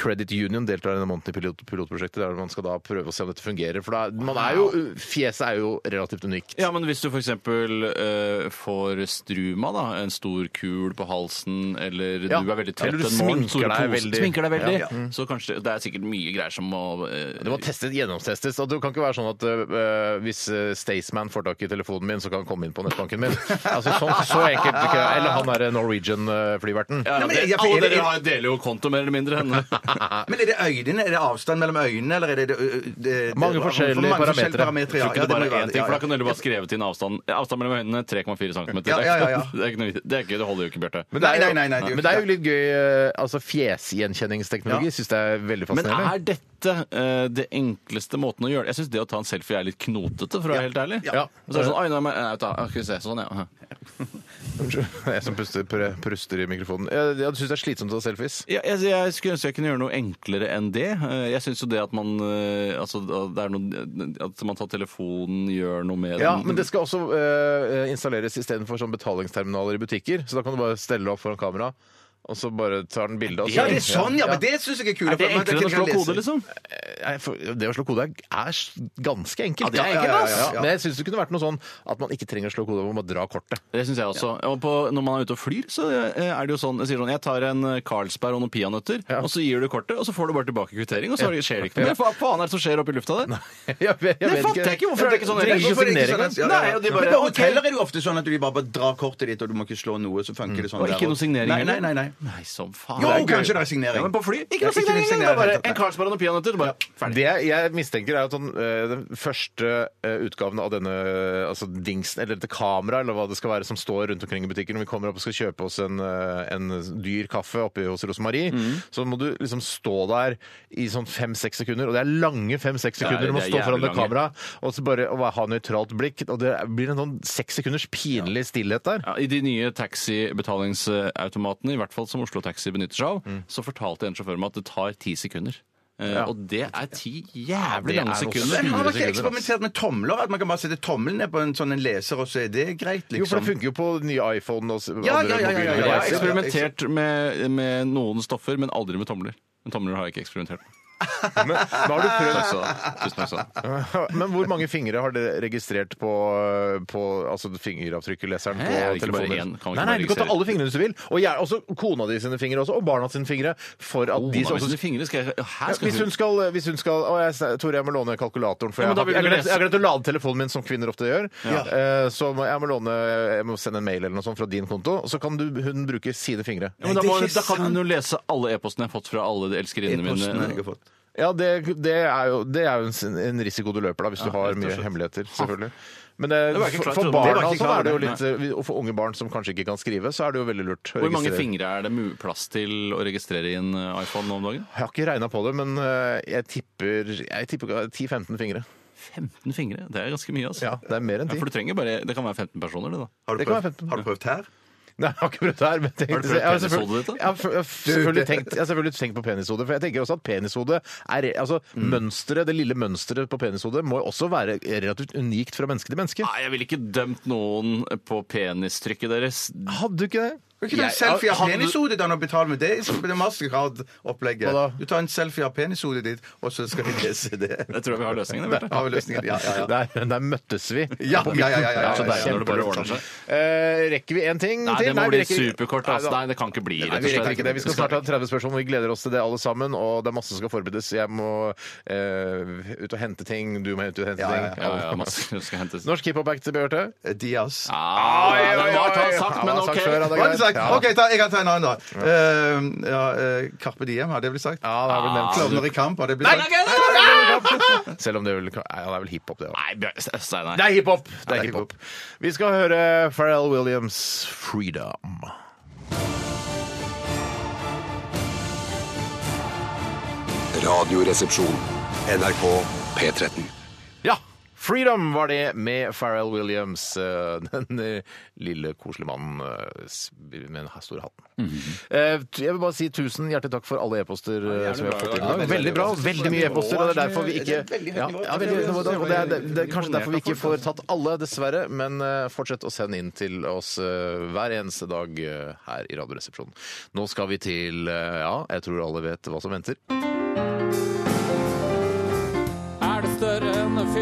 Speaker 1: Credit Union deltar i denne måneden i pilot, pilotprosjektet, der man skal da prøve å se om dette fungerer. For da, man er jo, fjeset er jo relativt unikt.
Speaker 3: Ja, men hvis du f.eks. Uh, får struma, da, en stor kul på halsen, eller
Speaker 1: Ja.
Speaker 3: du er veldig
Speaker 1: Eller
Speaker 3: trøtt
Speaker 1: du
Speaker 3: en morgen,
Speaker 1: sminker
Speaker 3: store
Speaker 1: deg
Speaker 3: posen-
Speaker 1: veldig.
Speaker 3: sminker deg veldig
Speaker 1: Ja.
Speaker 3: så kanskje det er sikkert mye greier som må eh,
Speaker 1: Det må testes, gjennomtestes. og Det kan ikke være sånn at øh, hvis øh, Staysman får tak i telefonen min, så kan han komme inn på nettbanken min. Altså sånn, Så enkelt. Ikke? Eller han derre eh, Norwegian-flyverten.
Speaker 3: ja,
Speaker 2: Nei, men
Speaker 3: det,
Speaker 2: jeg- for
Speaker 3: Alle
Speaker 2: er det-
Speaker 3: dere har- deler jo konto, mer eller mindre. Henne.
Speaker 2: Men er det øynene? Er det avstand mellom øynene, eller er det, ø- ø- det, det
Speaker 1: Mange forskjellige parametre.
Speaker 2: parametre, ja.
Speaker 3: Tror ikke
Speaker 2: Ja,
Speaker 3: det bare
Speaker 2: må jo
Speaker 3: er
Speaker 2: være
Speaker 3: én
Speaker 2: det.
Speaker 3: ting,
Speaker 2: Ja,
Speaker 3: for da
Speaker 2: ja.
Speaker 3: kan du bare skrevet inn avstand. Avstand mellom øynene 3,4 cm.
Speaker 2: Ja, ja, ja, ja.
Speaker 3: Det, er ikke noe vits- det er ikke- det holder jo ikke, Bjarte.
Speaker 1: Men det, er jo,
Speaker 2: Nei, nei, nei, nei, det er jo
Speaker 1: men det er
Speaker 2: ikke
Speaker 1: jo litt gøy øh, altså Fjesgjenkjenningsteknologi synes syns jeg er veldig
Speaker 3: Men
Speaker 1: fascinerende.
Speaker 3: er dette eh, det enkleste måten å gjøre det Jeg syns det å ta en selfie er litt knotete, for å være helt ærlig.
Speaker 1: Ja.
Speaker 3: Og så er det sånn, Oi, nei, men, nei, vet du hva, skal vi se, sånn, ja.
Speaker 1: Jeg som puster, pr- pruster i mikrofonen. Jeg, jeg syns det er slitsomt å ta selfies.
Speaker 3: Ja, jeg, jeg skulle ønske jeg kunne gjøre noe enklere enn det. Eh, Jeg syns jo det at man eh, altså, det er noe, At man tar telefonen, gjør noe med
Speaker 1: Ja,
Speaker 3: den.
Speaker 1: men det skal også eh, installeres istedenfor sånn betalingsterminaler i butikker. Så da kan du bare stelle opp foran kamera, og så bare tar den bilde. og så-
Speaker 2: Ja, det er sånn, ja! Men det syns jeg er sånn kult.
Speaker 3: Er det enklere enn å slå kode, liksom?
Speaker 1: Nei, for Det å slå kode er, er s- ganske enkelt.
Speaker 2: det er enkelt, ass.
Speaker 1: Men jeg syns det kunne vært noe sånn at man ikke trenger å slå kode, man må dra kortet.
Speaker 3: Det syns jeg også. Og på, når man er ute og flyr, så eh, er det jo sånn Jeg sier sånn Jeg tar en eh, Carlsberg og noen peanøtter, og så gir du kortet, og så får du bare tilbake kvittering, og så skjer det ikke noe mer. Hva faen er det som skjer oppi lufta der?
Speaker 1: Jeg vet- jeg
Speaker 3: Det
Speaker 1: vet
Speaker 3: fatter jeg ikke! Hvorfor er det ikke sånn?
Speaker 1: Trenger ikke å
Speaker 3: Hvorfor er det
Speaker 1: signere
Speaker 3: ikke
Speaker 1: engang.
Speaker 3: sånn? Nei, og de
Speaker 2: Men
Speaker 3: bare
Speaker 2: på
Speaker 3: ok.
Speaker 2: hoteller er det jo ofte sånn at du bare drar kortet ditt, og du må ikke slå noe, så funker det sånn.
Speaker 3: Og
Speaker 2: der
Speaker 3: ikke noe
Speaker 2: også.
Speaker 3: signering?
Speaker 2: Nei, nei,
Speaker 3: eller?
Speaker 2: nei. nei.
Speaker 3: Nei, som faen.
Speaker 2: Jo,
Speaker 3: Det er gøy.
Speaker 2: kanskje det er signering.
Speaker 3: Ja, men på fly?
Speaker 2: Ja,
Speaker 3: Ikke noe
Speaker 2: ikke
Speaker 3: signering!
Speaker 2: signering,
Speaker 3: Det er bare
Speaker 2: helt
Speaker 3: en Carlsberg og noen peanøtter, og bare ferdig.
Speaker 1: Det jeg mistenker, er at han, eh, den første eh, utgaven av denne eh, altså dingsen, eller dette kameraet, eller hva det skal være, som står rundt omkring i butikken når vi kommer opp og skal kjøpe oss en, eh, en dyr kaffe oppe hos Rosemarie,
Speaker 2: Mm.
Speaker 1: så må du liksom stå der i sånn fem-seks sekunder, og det er lange fem-seks
Speaker 3: Ja,
Speaker 1: sekunder du må
Speaker 3: det er
Speaker 1: stå foran
Speaker 3: jævlig
Speaker 1: det
Speaker 3: lange.
Speaker 1: kameraet, og så bare og ha nøytralt blikk, og det blir en sånn seks sekunders pinlig stillhet der.
Speaker 3: Ja, I de nye taxibetalingsautomatene, i hvert fall som Oslo Taxi benytter seg av, så fortalte en sjåfør meg at det tar ti sekunder. Eh,
Speaker 1: Mm. Ja.
Speaker 3: Og det er ti
Speaker 1: det
Speaker 3: jævlig
Speaker 1: er
Speaker 3: lange
Speaker 1: også-
Speaker 3: sekunder.
Speaker 2: Men har man ikke
Speaker 3: altså.
Speaker 1: 100 sekunder, ass.
Speaker 2: eksperimentert med tomler? At man kan bare sette tommelen ned på en sånn en leser, og så er det greit, liksom?
Speaker 1: Jo, for det funker jo på nye iPhone og s- andre
Speaker 2: Ja, ja, ja, ja,
Speaker 1: mobile
Speaker 2: ja,
Speaker 3: Jeg
Speaker 2: ja,
Speaker 3: har
Speaker 1: devices.
Speaker 3: eksperimentert med, med noen stoffer, men aldri med tomler. Men tomler har jeg ikke eksperimentert med.
Speaker 1: Men, men har du prøvd
Speaker 3: Takk skal du ha. Tusen takk skal du ha.
Speaker 1: Men hvor mange fingre har dere registrert på, på altså fingeravtrykkeleseren
Speaker 3: Hæ,
Speaker 1: på
Speaker 3: er det ikke bare én?
Speaker 1: telefonen?
Speaker 3: Kan man ikke
Speaker 1: nei, nei,
Speaker 3: bare
Speaker 1: du kan ta
Speaker 3: registrere?
Speaker 1: alle fingrene hvis du vil. Og gjerne også kona di sine fingre også, og barna sine fingre. For at de
Speaker 3: Kona
Speaker 1: så-
Speaker 3: mi sine fingre skal jeg
Speaker 1: Oh, ja,
Speaker 3: Her skal
Speaker 1: hvis hun skal, hvis hun skal Å, jeg, Tore, jeg må låne kalkulatoren, for
Speaker 3: Ja, men
Speaker 1: jeg
Speaker 3: da
Speaker 1: har
Speaker 3: vil
Speaker 1: jeg
Speaker 3: du
Speaker 1: har glemt,
Speaker 3: lese.
Speaker 1: jeg har glemt å lade telefonen min, som kvinner ofte gjør. Eh, Så må, jeg må låne Jeg må sende en mail eller noe sånt fra din konto, og så kan du, hun bruke sine fingre.
Speaker 3: ja, men da, må, da kan hun jo lese alle e-postene jeg har fått fra alle de elskerinnene
Speaker 2: Postene jeg
Speaker 3: mine.
Speaker 2: har fått.
Speaker 1: Ja, det, det er jo, det er jo en, en risiko du løper da, hvis du har
Speaker 3: rett og
Speaker 1: mye
Speaker 3: slett.
Speaker 1: hemmeligheter, selvfølgelig. Men det,
Speaker 3: var jeg ikke
Speaker 1: for,
Speaker 3: klar
Speaker 1: for
Speaker 3: til. Det var jeg
Speaker 1: barna
Speaker 3: ikke
Speaker 1: så
Speaker 3: klar
Speaker 1: er det jo
Speaker 3: over.
Speaker 1: litt, eh, og for unge barn som kanskje ikke kan skrive, så er det jo veldig lurt. å
Speaker 3: Hvor mange
Speaker 1: registrere.
Speaker 3: fingre er det mu- plass til å registrere i en eh, iPhone nå om dagen?
Speaker 1: Jeg har ikke regna på det, men eh, jeg tipper, jeg tipper 10-15 fingre.
Speaker 3: 15 fingre? Det er ganske mye, altså.
Speaker 1: Ja, det er mer enn
Speaker 3: Ja,
Speaker 1: 10.
Speaker 3: for du trenger bare, Det kan være 15 personer, det, da.
Speaker 2: Har du
Speaker 1: Det kan være
Speaker 2: prøvd,
Speaker 1: 15.
Speaker 2: har du prøvd her?
Speaker 1: Nei, jeg har ikke prøvd det her. Men jeg tenkte,
Speaker 3: Har du prøvd
Speaker 1: jeg har selvfølgelig-
Speaker 3: penishodet ditt, da?
Speaker 1: Jeg har, f- jeg har f- selvfølgelig tenkt, jeg har selvfølgelig tenkt på penishodet. For jeg tenker også at penishodet er altså,
Speaker 3: Mm.
Speaker 1: mønsteret, det lille mønsteret på penishodet må jo også være relativt unikt fra menneske til menneske.
Speaker 3: Nei, jeg ville ikke dømt noen på penistrykket deres.
Speaker 1: Hadde du ikke det?
Speaker 2: Du kan ta en
Speaker 3: Jeg-
Speaker 2: selfie av
Speaker 3: hadde du-
Speaker 2: penishodet ditt og betale med det. Det er
Speaker 1: Hva da?
Speaker 2: Mastercard-opplegget. Du tar en selfie av penishodet ditt, og så skal vi lese det.
Speaker 3: Jeg tror jeg vi har løsningen. Bjarte.
Speaker 2: Har vi løsningen? Ja, ja, ja.
Speaker 1: Der, der møttes vi.
Speaker 2: Ja, ja, ja, ja, ja, ja.
Speaker 3: Så deilig når det bare ordner seg.
Speaker 1: Eh, rekker vi én ting
Speaker 3: Nei,
Speaker 1: til?
Speaker 3: det må bli
Speaker 1: vi rekker-
Speaker 3: superkort. Altså.
Speaker 1: Nei, da-
Speaker 3: Nei, det kan ikke bli
Speaker 1: Nei,
Speaker 3: rett og
Speaker 1: vi rekker
Speaker 3: slett.
Speaker 1: ikke det. Vi skal snart ha 30 spørsmål. Vi gleder oss til det, alle sammen. Og det er masse som skal forberedes. Jeg må eh, ut og hente ting. Du må ut og hente
Speaker 2: Ja, ja, ja.
Speaker 1: ting.
Speaker 3: Ja, ja, masse som skal hentes.
Speaker 1: Norsk hiphop-act, Bjarte.
Speaker 2: Diaz.
Speaker 3: Ah, det var tatt sagt, men
Speaker 1: Han har sagt før,
Speaker 3: OK.
Speaker 1: han
Speaker 2: Hva
Speaker 1: er
Speaker 2: har
Speaker 1: greit.
Speaker 2: du sagt?
Speaker 1: Ja.
Speaker 2: OK, ta, jeg kan ta en annen, da. Eh, ja, eh, Carpe Diem, hadde jeg blitt sagt. Ah.
Speaker 1: Ja, det har blitt nevnt.
Speaker 2: Klovner i kamp, hadde jeg blitt sagt.
Speaker 1: Selv om det er vel, nei, han er vel hiphop, det òg.
Speaker 3: Nei, Bjarte- Steinar.
Speaker 1: Det er hiphop! Det
Speaker 2: det
Speaker 1: er
Speaker 2: er
Speaker 1: hiphop. Vi skal høre Pharrell Williams' 'Freedom'.
Speaker 8: Radioresepsjon. NRK P13.
Speaker 1: Ja! Freedom var det med Pharrell Williams, eh, den eh, lille koselige mannen eh, s- med den her store hatten. Eh, t- Jeg vil bare si tusen hjertelig takk for alle e-poster eh, som vi har fått i dag. Veldig bra. Veldig mye e-poster, og det er derfor vi ikke Ja, ja, veldig høyt nivå i dag, og det er, det- det er kanskje derfor vi ikke får tatt alle, dessverre. Men eh, fortsett å sende inn til oss eh, hver eneste dag eh, her i Radioresepsjonen. Nå skal vi til eh, Ja, jeg tror alle vet hva som venter.
Speaker 11: Er det større enn en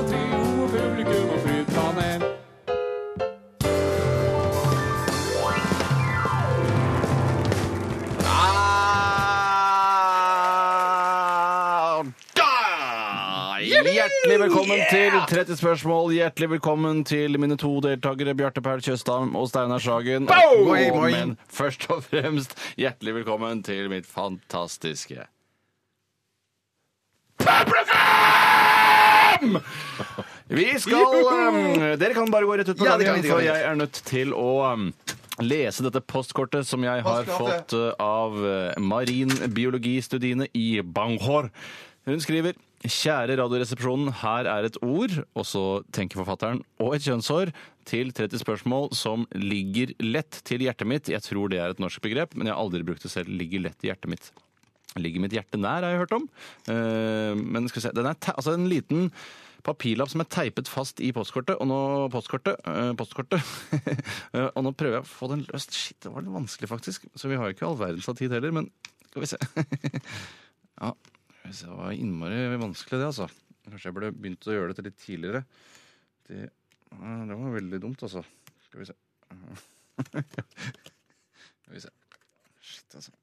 Speaker 11: og trio og publikum og flytpanel.
Speaker 3: Hjertelig velkommen til 30 spørsmål. Hjertelig velkommen til mine to deltakere Bjarte Paul Tjøstheim og Steinar Sagen. Og-
Speaker 2: Oi, oi.
Speaker 3: Men først og fremst, hjertelig velkommen til mitt fantastiske Vi skal um, Dere kan bare gå rett ut på
Speaker 2: Ja, det kan vi,
Speaker 3: gangen, um,
Speaker 2: det kan
Speaker 3: for
Speaker 2: vi.
Speaker 3: jeg er nødt til å um, lese dette postkortet som jeg har
Speaker 2: Postkortet.
Speaker 3: fått eh, av eh, marinbiologistudiene i Banghor. Hun skriver Kjære Radioresepsjonen, her er et ord, og så tenker forfatteren, og et kjønnshår til 30 spørsmål som ligger lett til hjertet mitt. Jeg tror det er et norsk begrep, men jeg har aldri brukt det selv. Ligger lett i hjertet mitt. Ligger mitt hjerte nær, har jeg hørt om. Eh, men skal vi se, den er te altså en liten papirlapp som er teipet fast i postkortet, og nå postkortet, eh, postkortet. Eh, og nå prøver jeg å få den løst. Shit, det var litt vanskelig faktisk, så vi har jo ikke all verdens av tid heller, men skal vi se. ja, skal vi se, det var innmari vanskelig det, altså. Kanskje jeg burde begynt å gjøre dette litt tidligere. Det, eh, det var veldig dumt, altså. Skal vi se. skal vi se. Shit, altså.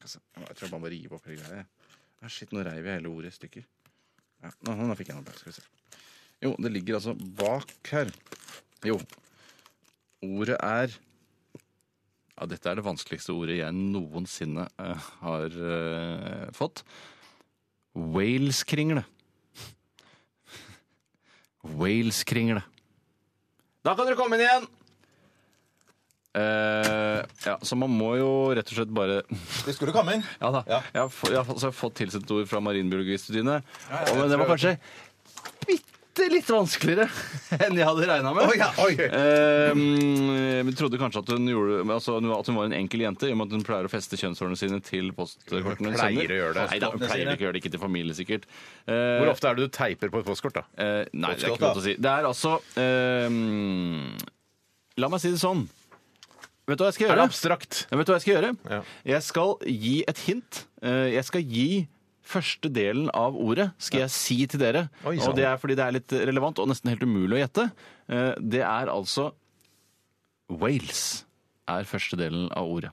Speaker 3: Altså, jeg tror jeg bare må rive opp hele greia. jeg. Ah, shit, nå reiv jeg hele ordet i stykker. Ja, nå, nå fikk jeg noe. Skal vi se. Jo, det ligger altså bak her. Jo. Ordet er Ja, dette er det vanskeligste ordet jeg noensinne eh, har eh, fått. Waleskringle. Waleskringle. Da kan dere komme inn igjen! Eh, ja, så man må jo rett og slett bare
Speaker 2: Det skulle komme inn.
Speaker 3: ja da. Jeg, har, få- jeg har få- så har jeg fått tilsendt ord fra marinbiologistudiene. og- men det var kanskje bitte litt vanskeligere enn jeg hadde regna med.
Speaker 2: Oi, ja, oi.
Speaker 3: Eh, vi trodde kanskje at hun, gjorde, men altså, at hun var en enkel jente, i og med at hun pleier å feste kjønnshårene sine til postkortene hun
Speaker 1: Pleier
Speaker 3: sender.
Speaker 1: å gjøre det.
Speaker 3: Nei, da, hun pleier ikke å gjøre det, ikke til familie, sikkert.
Speaker 1: Hvor
Speaker 3: Eh,
Speaker 1: ofte er det du teiper på et postkort, da?
Speaker 3: eh, nei, det
Speaker 2: Postkortet,
Speaker 3: er ikke godt å si. Det er altså eh, La meg si det sånn. Vet du hva jeg skal
Speaker 1: Er det
Speaker 3: gjøre?
Speaker 1: abstrakt?
Speaker 3: Ja, vet du hva jeg skal gjøre?
Speaker 1: Ja.
Speaker 3: Jeg skal gi et hint. Eh, Jeg skal gi første delen av ordet skal jeg si til dere.
Speaker 1: Oi, sånn. sann.
Speaker 3: og det er fordi det er litt relevant og nesten helt umulig å gjette. Eh, Det er altså Wales er første delen av ordet.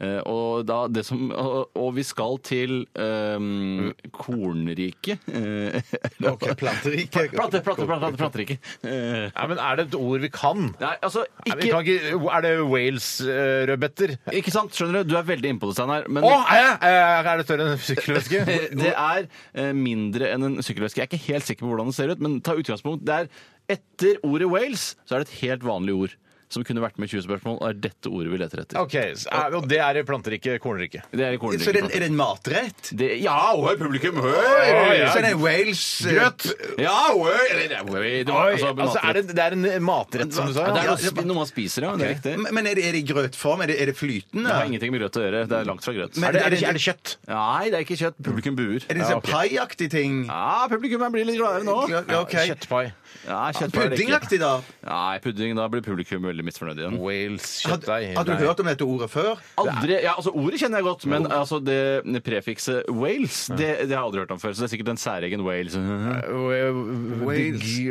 Speaker 3: Eh, Og, da det som, og, og vi skal til um, kornriket. Eh,
Speaker 2: Ok, planterike.
Speaker 3: Plante, plante, plante, planteriket. Eh,
Speaker 1: Nei, men Er det et ord vi kan?
Speaker 3: Nei, altså
Speaker 1: Nei, vi
Speaker 3: ikke
Speaker 1: kan ikke, er det Wales-rødbeter?
Speaker 3: Ikke sant, skjønner du? Du er veldig innpå det, Steinar. men-
Speaker 1: Å, er, jeg- Eh, er er det større enn en sykkelveske?
Speaker 3: Eh, Det er eh, mindre enn en sykkelveske. Jeg er ikke helt sikker på hvordan det ser ut, men ta utgangspunkt. Det er etter ordet Wales, så er det et helt vanlig ord som kunne vært med i 20 spørsmål, og er dette ordet vi leter etter.
Speaker 1: Ok, så er- Og det er i planteriket, kornriket.
Speaker 3: Det er i kornriket.
Speaker 2: Så er det, en- er det en matrett?
Speaker 3: Det- ja, hør publikum,
Speaker 1: Oi,
Speaker 3: hør!
Speaker 1: ja.
Speaker 2: Så er det en Wales
Speaker 1: Grøt!
Speaker 3: Ja, hør! Eller, hør, det var-
Speaker 1: Oi,
Speaker 3: altså,
Speaker 1: altså, er det, det er en matrett, som du sa?
Speaker 3: Ja, det er
Speaker 1: Ja.
Speaker 3: noe, sp- noe man spiser, ja. Det er riktig.
Speaker 2: Men er det, er det i grøtform? Er det, er det
Speaker 3: Det har
Speaker 2: flytende?
Speaker 3: ingenting med grøt å gjøre. Det er langt fra grøt.
Speaker 2: Men-
Speaker 1: Er det, er, det, er det kjøtt?
Speaker 3: Nei, det er ikke kjøtt. Publikum buer.
Speaker 2: Er det en sånn paiaktig ting?
Speaker 3: Ja, publikum jeg blir litt gladere nå.
Speaker 2: Ja, ok.
Speaker 1: Kjøttpai.
Speaker 3: Ja, kjøtt er det ikke.
Speaker 2: Puddingaktig, da?
Speaker 3: Nei, pudding. Da blir publikum veldig misfornøyd igjen.
Speaker 1: Wales, kjøttdeig.
Speaker 2: Had- Hadde du hørt om dette ordet før?
Speaker 3: Aldri, ja, altså Ordet kjenner jeg godt, men altså det prefikset Wales det, det har jeg aldri hørt om før. Så det er sikkert en særegen Wales.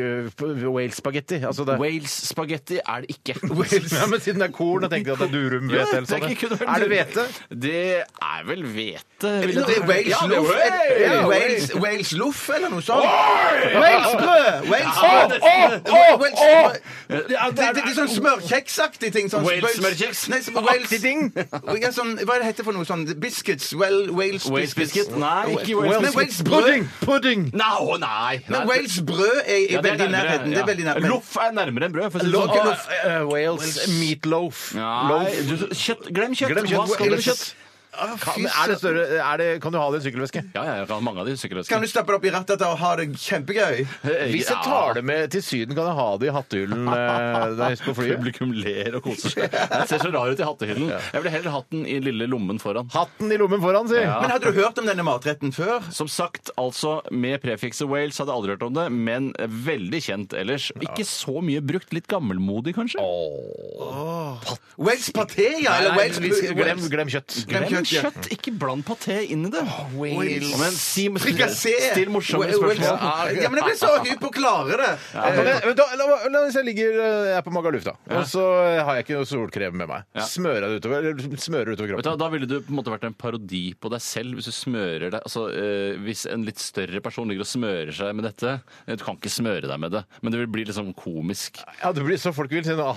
Speaker 1: Wales-spagetti. Altså det
Speaker 3: Wales-spagetti er det ikke.
Speaker 1: Ja, men siden det er korn, da tenkte jeg at det er durum
Speaker 3: Ja,
Speaker 1: hvete. eller
Speaker 3: tenk,
Speaker 1: sånn.
Speaker 3: kunne vært
Speaker 1: Er det
Speaker 3: durum.
Speaker 1: hvete?
Speaker 3: Det er vel hvete. vil
Speaker 2: Det er
Speaker 3: jeg tro.
Speaker 2: Wales
Speaker 3: Ja, det er
Speaker 2: loff er-
Speaker 3: Wales.
Speaker 2: er det
Speaker 1: Ja,
Speaker 2: Wales, Wales loff eller noe sånt. Wales-brød! Wales-brød!
Speaker 3: Å,
Speaker 2: Wales-brød.
Speaker 3: Det
Speaker 2: Det
Speaker 3: er-
Speaker 2: det- det er sånn smørkjeksaktig ting. Sånn
Speaker 3: Wales-smørkjeks?
Speaker 2: Nei, sånn Wales-
Speaker 1: Aktig ting?
Speaker 2: Ja, sånn, hva er det heter for noe sånn Biscuits? Well, Wales
Speaker 3: Wales biscuit?
Speaker 2: biscuits?
Speaker 3: Nei, ikke
Speaker 2: Men
Speaker 3: Wales.
Speaker 2: Wales-
Speaker 1: Pudding! Pudding!
Speaker 3: Nå, nei.
Speaker 2: Men
Speaker 3: Nei,
Speaker 2: Wales-brød er, er
Speaker 3: ja, det er
Speaker 2: veldig i
Speaker 3: nærmere,
Speaker 2: nærheten. Det er veldig
Speaker 3: ja.
Speaker 2: nærmere.
Speaker 3: Loff er nærmere enn brød. For å si det
Speaker 2: Loff-
Speaker 3: sånn.
Speaker 2: loff.
Speaker 1: Eh, Wales meatloaf.
Speaker 3: Nei,
Speaker 1: Loaf.
Speaker 3: du, kjøtt, glem kjøtt.
Speaker 1: Glem
Speaker 3: Hva
Speaker 1: kjøtt.
Speaker 3: skal du med
Speaker 1: Wales.
Speaker 3: kjøtt?
Speaker 2: Ah, fy
Speaker 1: Kan, er det
Speaker 2: søren.
Speaker 1: større, er det, kan du ha det i en sykkelveske?
Speaker 3: Ja, ja, jeg kan ha mange av de sykkelvesker.
Speaker 2: Kan du stappe det opp i rattet og ha det kjempegøy?
Speaker 1: Hvis jeg tar det med til Syden, kan jeg ha det i hattehyllen eh, der på flyet?
Speaker 3: Publikum ler og koser seg. Den ser så rar ut i hattehyllen. Jeg ville heller hatt den i lille lommen foran.
Speaker 1: Hatten i lommen foran, si!
Speaker 3: Ja.
Speaker 2: Men hadde du hørt om denne matretten før?
Speaker 3: Som sagt, altså med prefikset Wales hadde jeg aldri hørt om det, men veldig kjent ellers. Ikke så mye brukt, litt gammelmodig kanskje?
Speaker 2: Wales paté, ja? Eller
Speaker 1: Nei,
Speaker 2: Wales
Speaker 1: vi skal- glem, glem kjøtt.
Speaker 3: Glem
Speaker 2: Glem
Speaker 3: kjøtt,
Speaker 2: kjøtt, ja.
Speaker 3: ikke bland paté inn i det.
Speaker 1: Wales.
Speaker 3: Men si,
Speaker 2: Frikassé!
Speaker 3: still morsomme
Speaker 2: Wales-
Speaker 3: spørsmål.
Speaker 2: Ja, men jeg ble så hypp på å klare det.
Speaker 1: Ja, kan jeg- da- La meg- la- Hvis jeg ligger eh, jeg er på Magaluf, da, og så har jeg ikke noe solkrem med meg,
Speaker 3: Ja.
Speaker 1: smører jeg det utover, eller smører det
Speaker 3: Vet
Speaker 1: utover
Speaker 3: du, hva,
Speaker 1: kroppen?
Speaker 3: da ville du på en måte vært en parodi på deg selv hvis du smører deg altså, eh, Hvis en litt større person ligger og smører seg med dette eh, Du kan ikke smøre deg med det, men det vil bli litt sånn komisk.
Speaker 1: Ja, det blir så folk vil si noe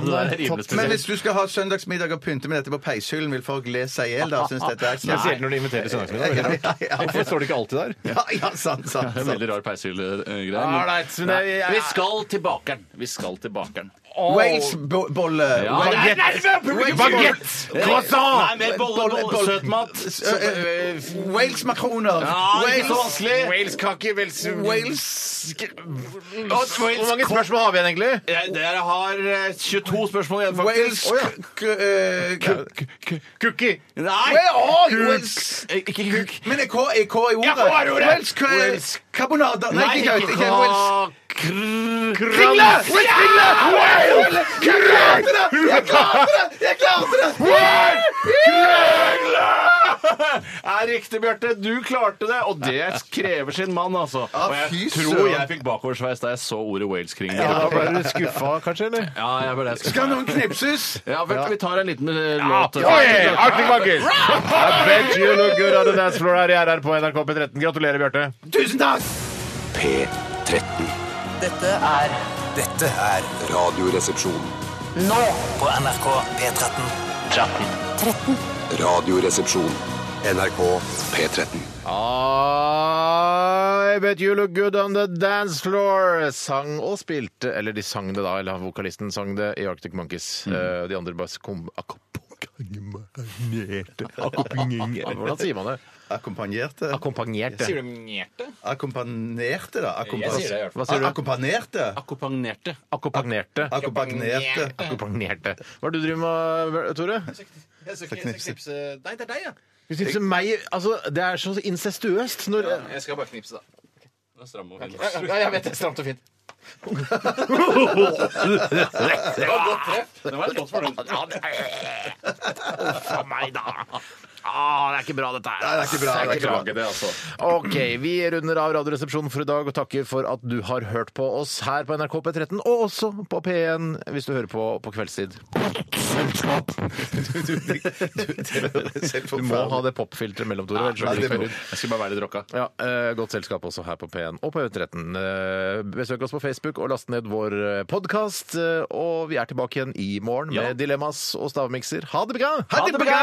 Speaker 3: Ja, men det er rimelig
Speaker 2: Men
Speaker 3: spesielt.
Speaker 2: hvis du skal ha søndagsmiddag og pynte med dette på peishyllen, vil folk le seg i hjel da? Syns dette er
Speaker 1: Spesielt når de inviterer søndagsmiddag. det er helt rart.
Speaker 2: Ja, ja, ja.
Speaker 1: Hvorfor står det ikke alltid der?
Speaker 2: Ja, ja, sant, sant.
Speaker 3: Det er en
Speaker 2: sant.
Speaker 3: veldig rar peishylle-greie.
Speaker 1: Ja, nei, men det- jeg-
Speaker 3: vi skal til bakeren. Vi skal til bakeren.
Speaker 2: Wales-bolle.
Speaker 3: Ja.
Speaker 2: Baguette.
Speaker 3: Nei, nei, men publikum-
Speaker 2: Baguette.
Speaker 3: Nei,
Speaker 2: Croissant.
Speaker 3: nei, men bolle, bolle, søtmat.
Speaker 2: S- eh, Wales-makroner.
Speaker 3: Ja, ikke så
Speaker 2: Wales-
Speaker 3: vanskelig.
Speaker 1: Wales-kake Wales...
Speaker 2: Wales
Speaker 1: Hvor mange spørsmål har vi igjen, egentlig?
Speaker 3: Jeg, dere har eh, 22 spørsmål igjen,
Speaker 2: Wales
Speaker 3: faktisk.
Speaker 2: k- eh, k-
Speaker 1: Cookie.
Speaker 3: Nei!
Speaker 2: Well, oh, Wales-
Speaker 3: Eh, Ikke kuk.
Speaker 2: Men er K er K i ordet?
Speaker 3: Ja, K er i ordet.
Speaker 2: Wales k-
Speaker 3: Wales.
Speaker 2: Carbonada. Nei,
Speaker 3: Nei,
Speaker 2: ikke, ikke,
Speaker 3: ikke
Speaker 2: ikke Wales.
Speaker 1: Kringle!
Speaker 2: Kringle! Jeg klarte det! Jeg klarte det! Jeg klarte det!
Speaker 3: er riktig, Bjarte. Du klarte det, og det krever sin mann, altså.
Speaker 2: Ja,
Speaker 3: Og jeg
Speaker 2: fy
Speaker 3: tror
Speaker 2: søren.
Speaker 3: jeg fikk bakoversveis da jeg så ordet Wales-kringle.
Speaker 1: Ja, da ble du skuffa, kanskje? eller?
Speaker 3: Ja, jeg ble skuffet.
Speaker 2: Skal noen knipses?
Speaker 3: Ja, vel, vi tar en liten eh, låt.
Speaker 1: Oi, Arctic Monkeys! I bet you look good on the dance floor her i RR på NRK P13. Gratulerer, Bjarte.
Speaker 2: Tusen takk!
Speaker 12: P13.
Speaker 10: Dette er
Speaker 8: Dette er Radioresepsjon.
Speaker 10: nå på NRK P13. 13.
Speaker 8: Radioresepsjon. NRK P13.
Speaker 1: I bet you look good on the dance floor sang og spilte Eller de sang det da, eller vokalisten sang det i Arctic Monkeys. Eh, De andre bare kom Akkompagnerte Hvordan sier man det?
Speaker 2: Akkompagnerte?
Speaker 1: Akkompagnerte.
Speaker 3: Sier du mjerte?
Speaker 2: Akkompagnerte, da? Akkompa-
Speaker 3: Jeg sier det, i hvert fall.
Speaker 2: Hva sier du? Akkompagnerte?
Speaker 3: Akkompagnerte.
Speaker 1: Akkompagnerte.
Speaker 2: Akkompagnerte.
Speaker 1: Akkompagnerte. Hva er det du driver med, Tore?
Speaker 3: Jeg skal knipse Nei, det er deg, ja.
Speaker 1: Du tipser meg Altså, det er så incestuøst når
Speaker 3: Jeg skal bare knipse, da. Det er stram og fin.
Speaker 1: jeg vet det. Stramt og fint.
Speaker 3: Det var et godt treff. Det var et godt fornøyd.
Speaker 1: Ja, det Uff a meg, da. Ah, det er ikke bra, dette her.
Speaker 2: Nei, det er ikke bra. Det er ikke bra.
Speaker 3: Beklager det, altså.
Speaker 1: OK, vi runder av Radioresepsjonen for i dag og takker for at du har hørt på oss her på NRK P13, og også på P1 hvis du hører på på kveldstid. Du må ha det popfilteret mellom to. ellers så blir det ikke lyd.
Speaker 3: Jeg skal bare være litt rocka.
Speaker 1: Ja, eh, Godt selskap også her på P1 og på P13. Eh, besøk oss på Facebook og last ned vår eh, podkast. Eh, og vi er tilbake igjen i morgen med dilemmas og stavmikser. Ha det bra! Ha det bra!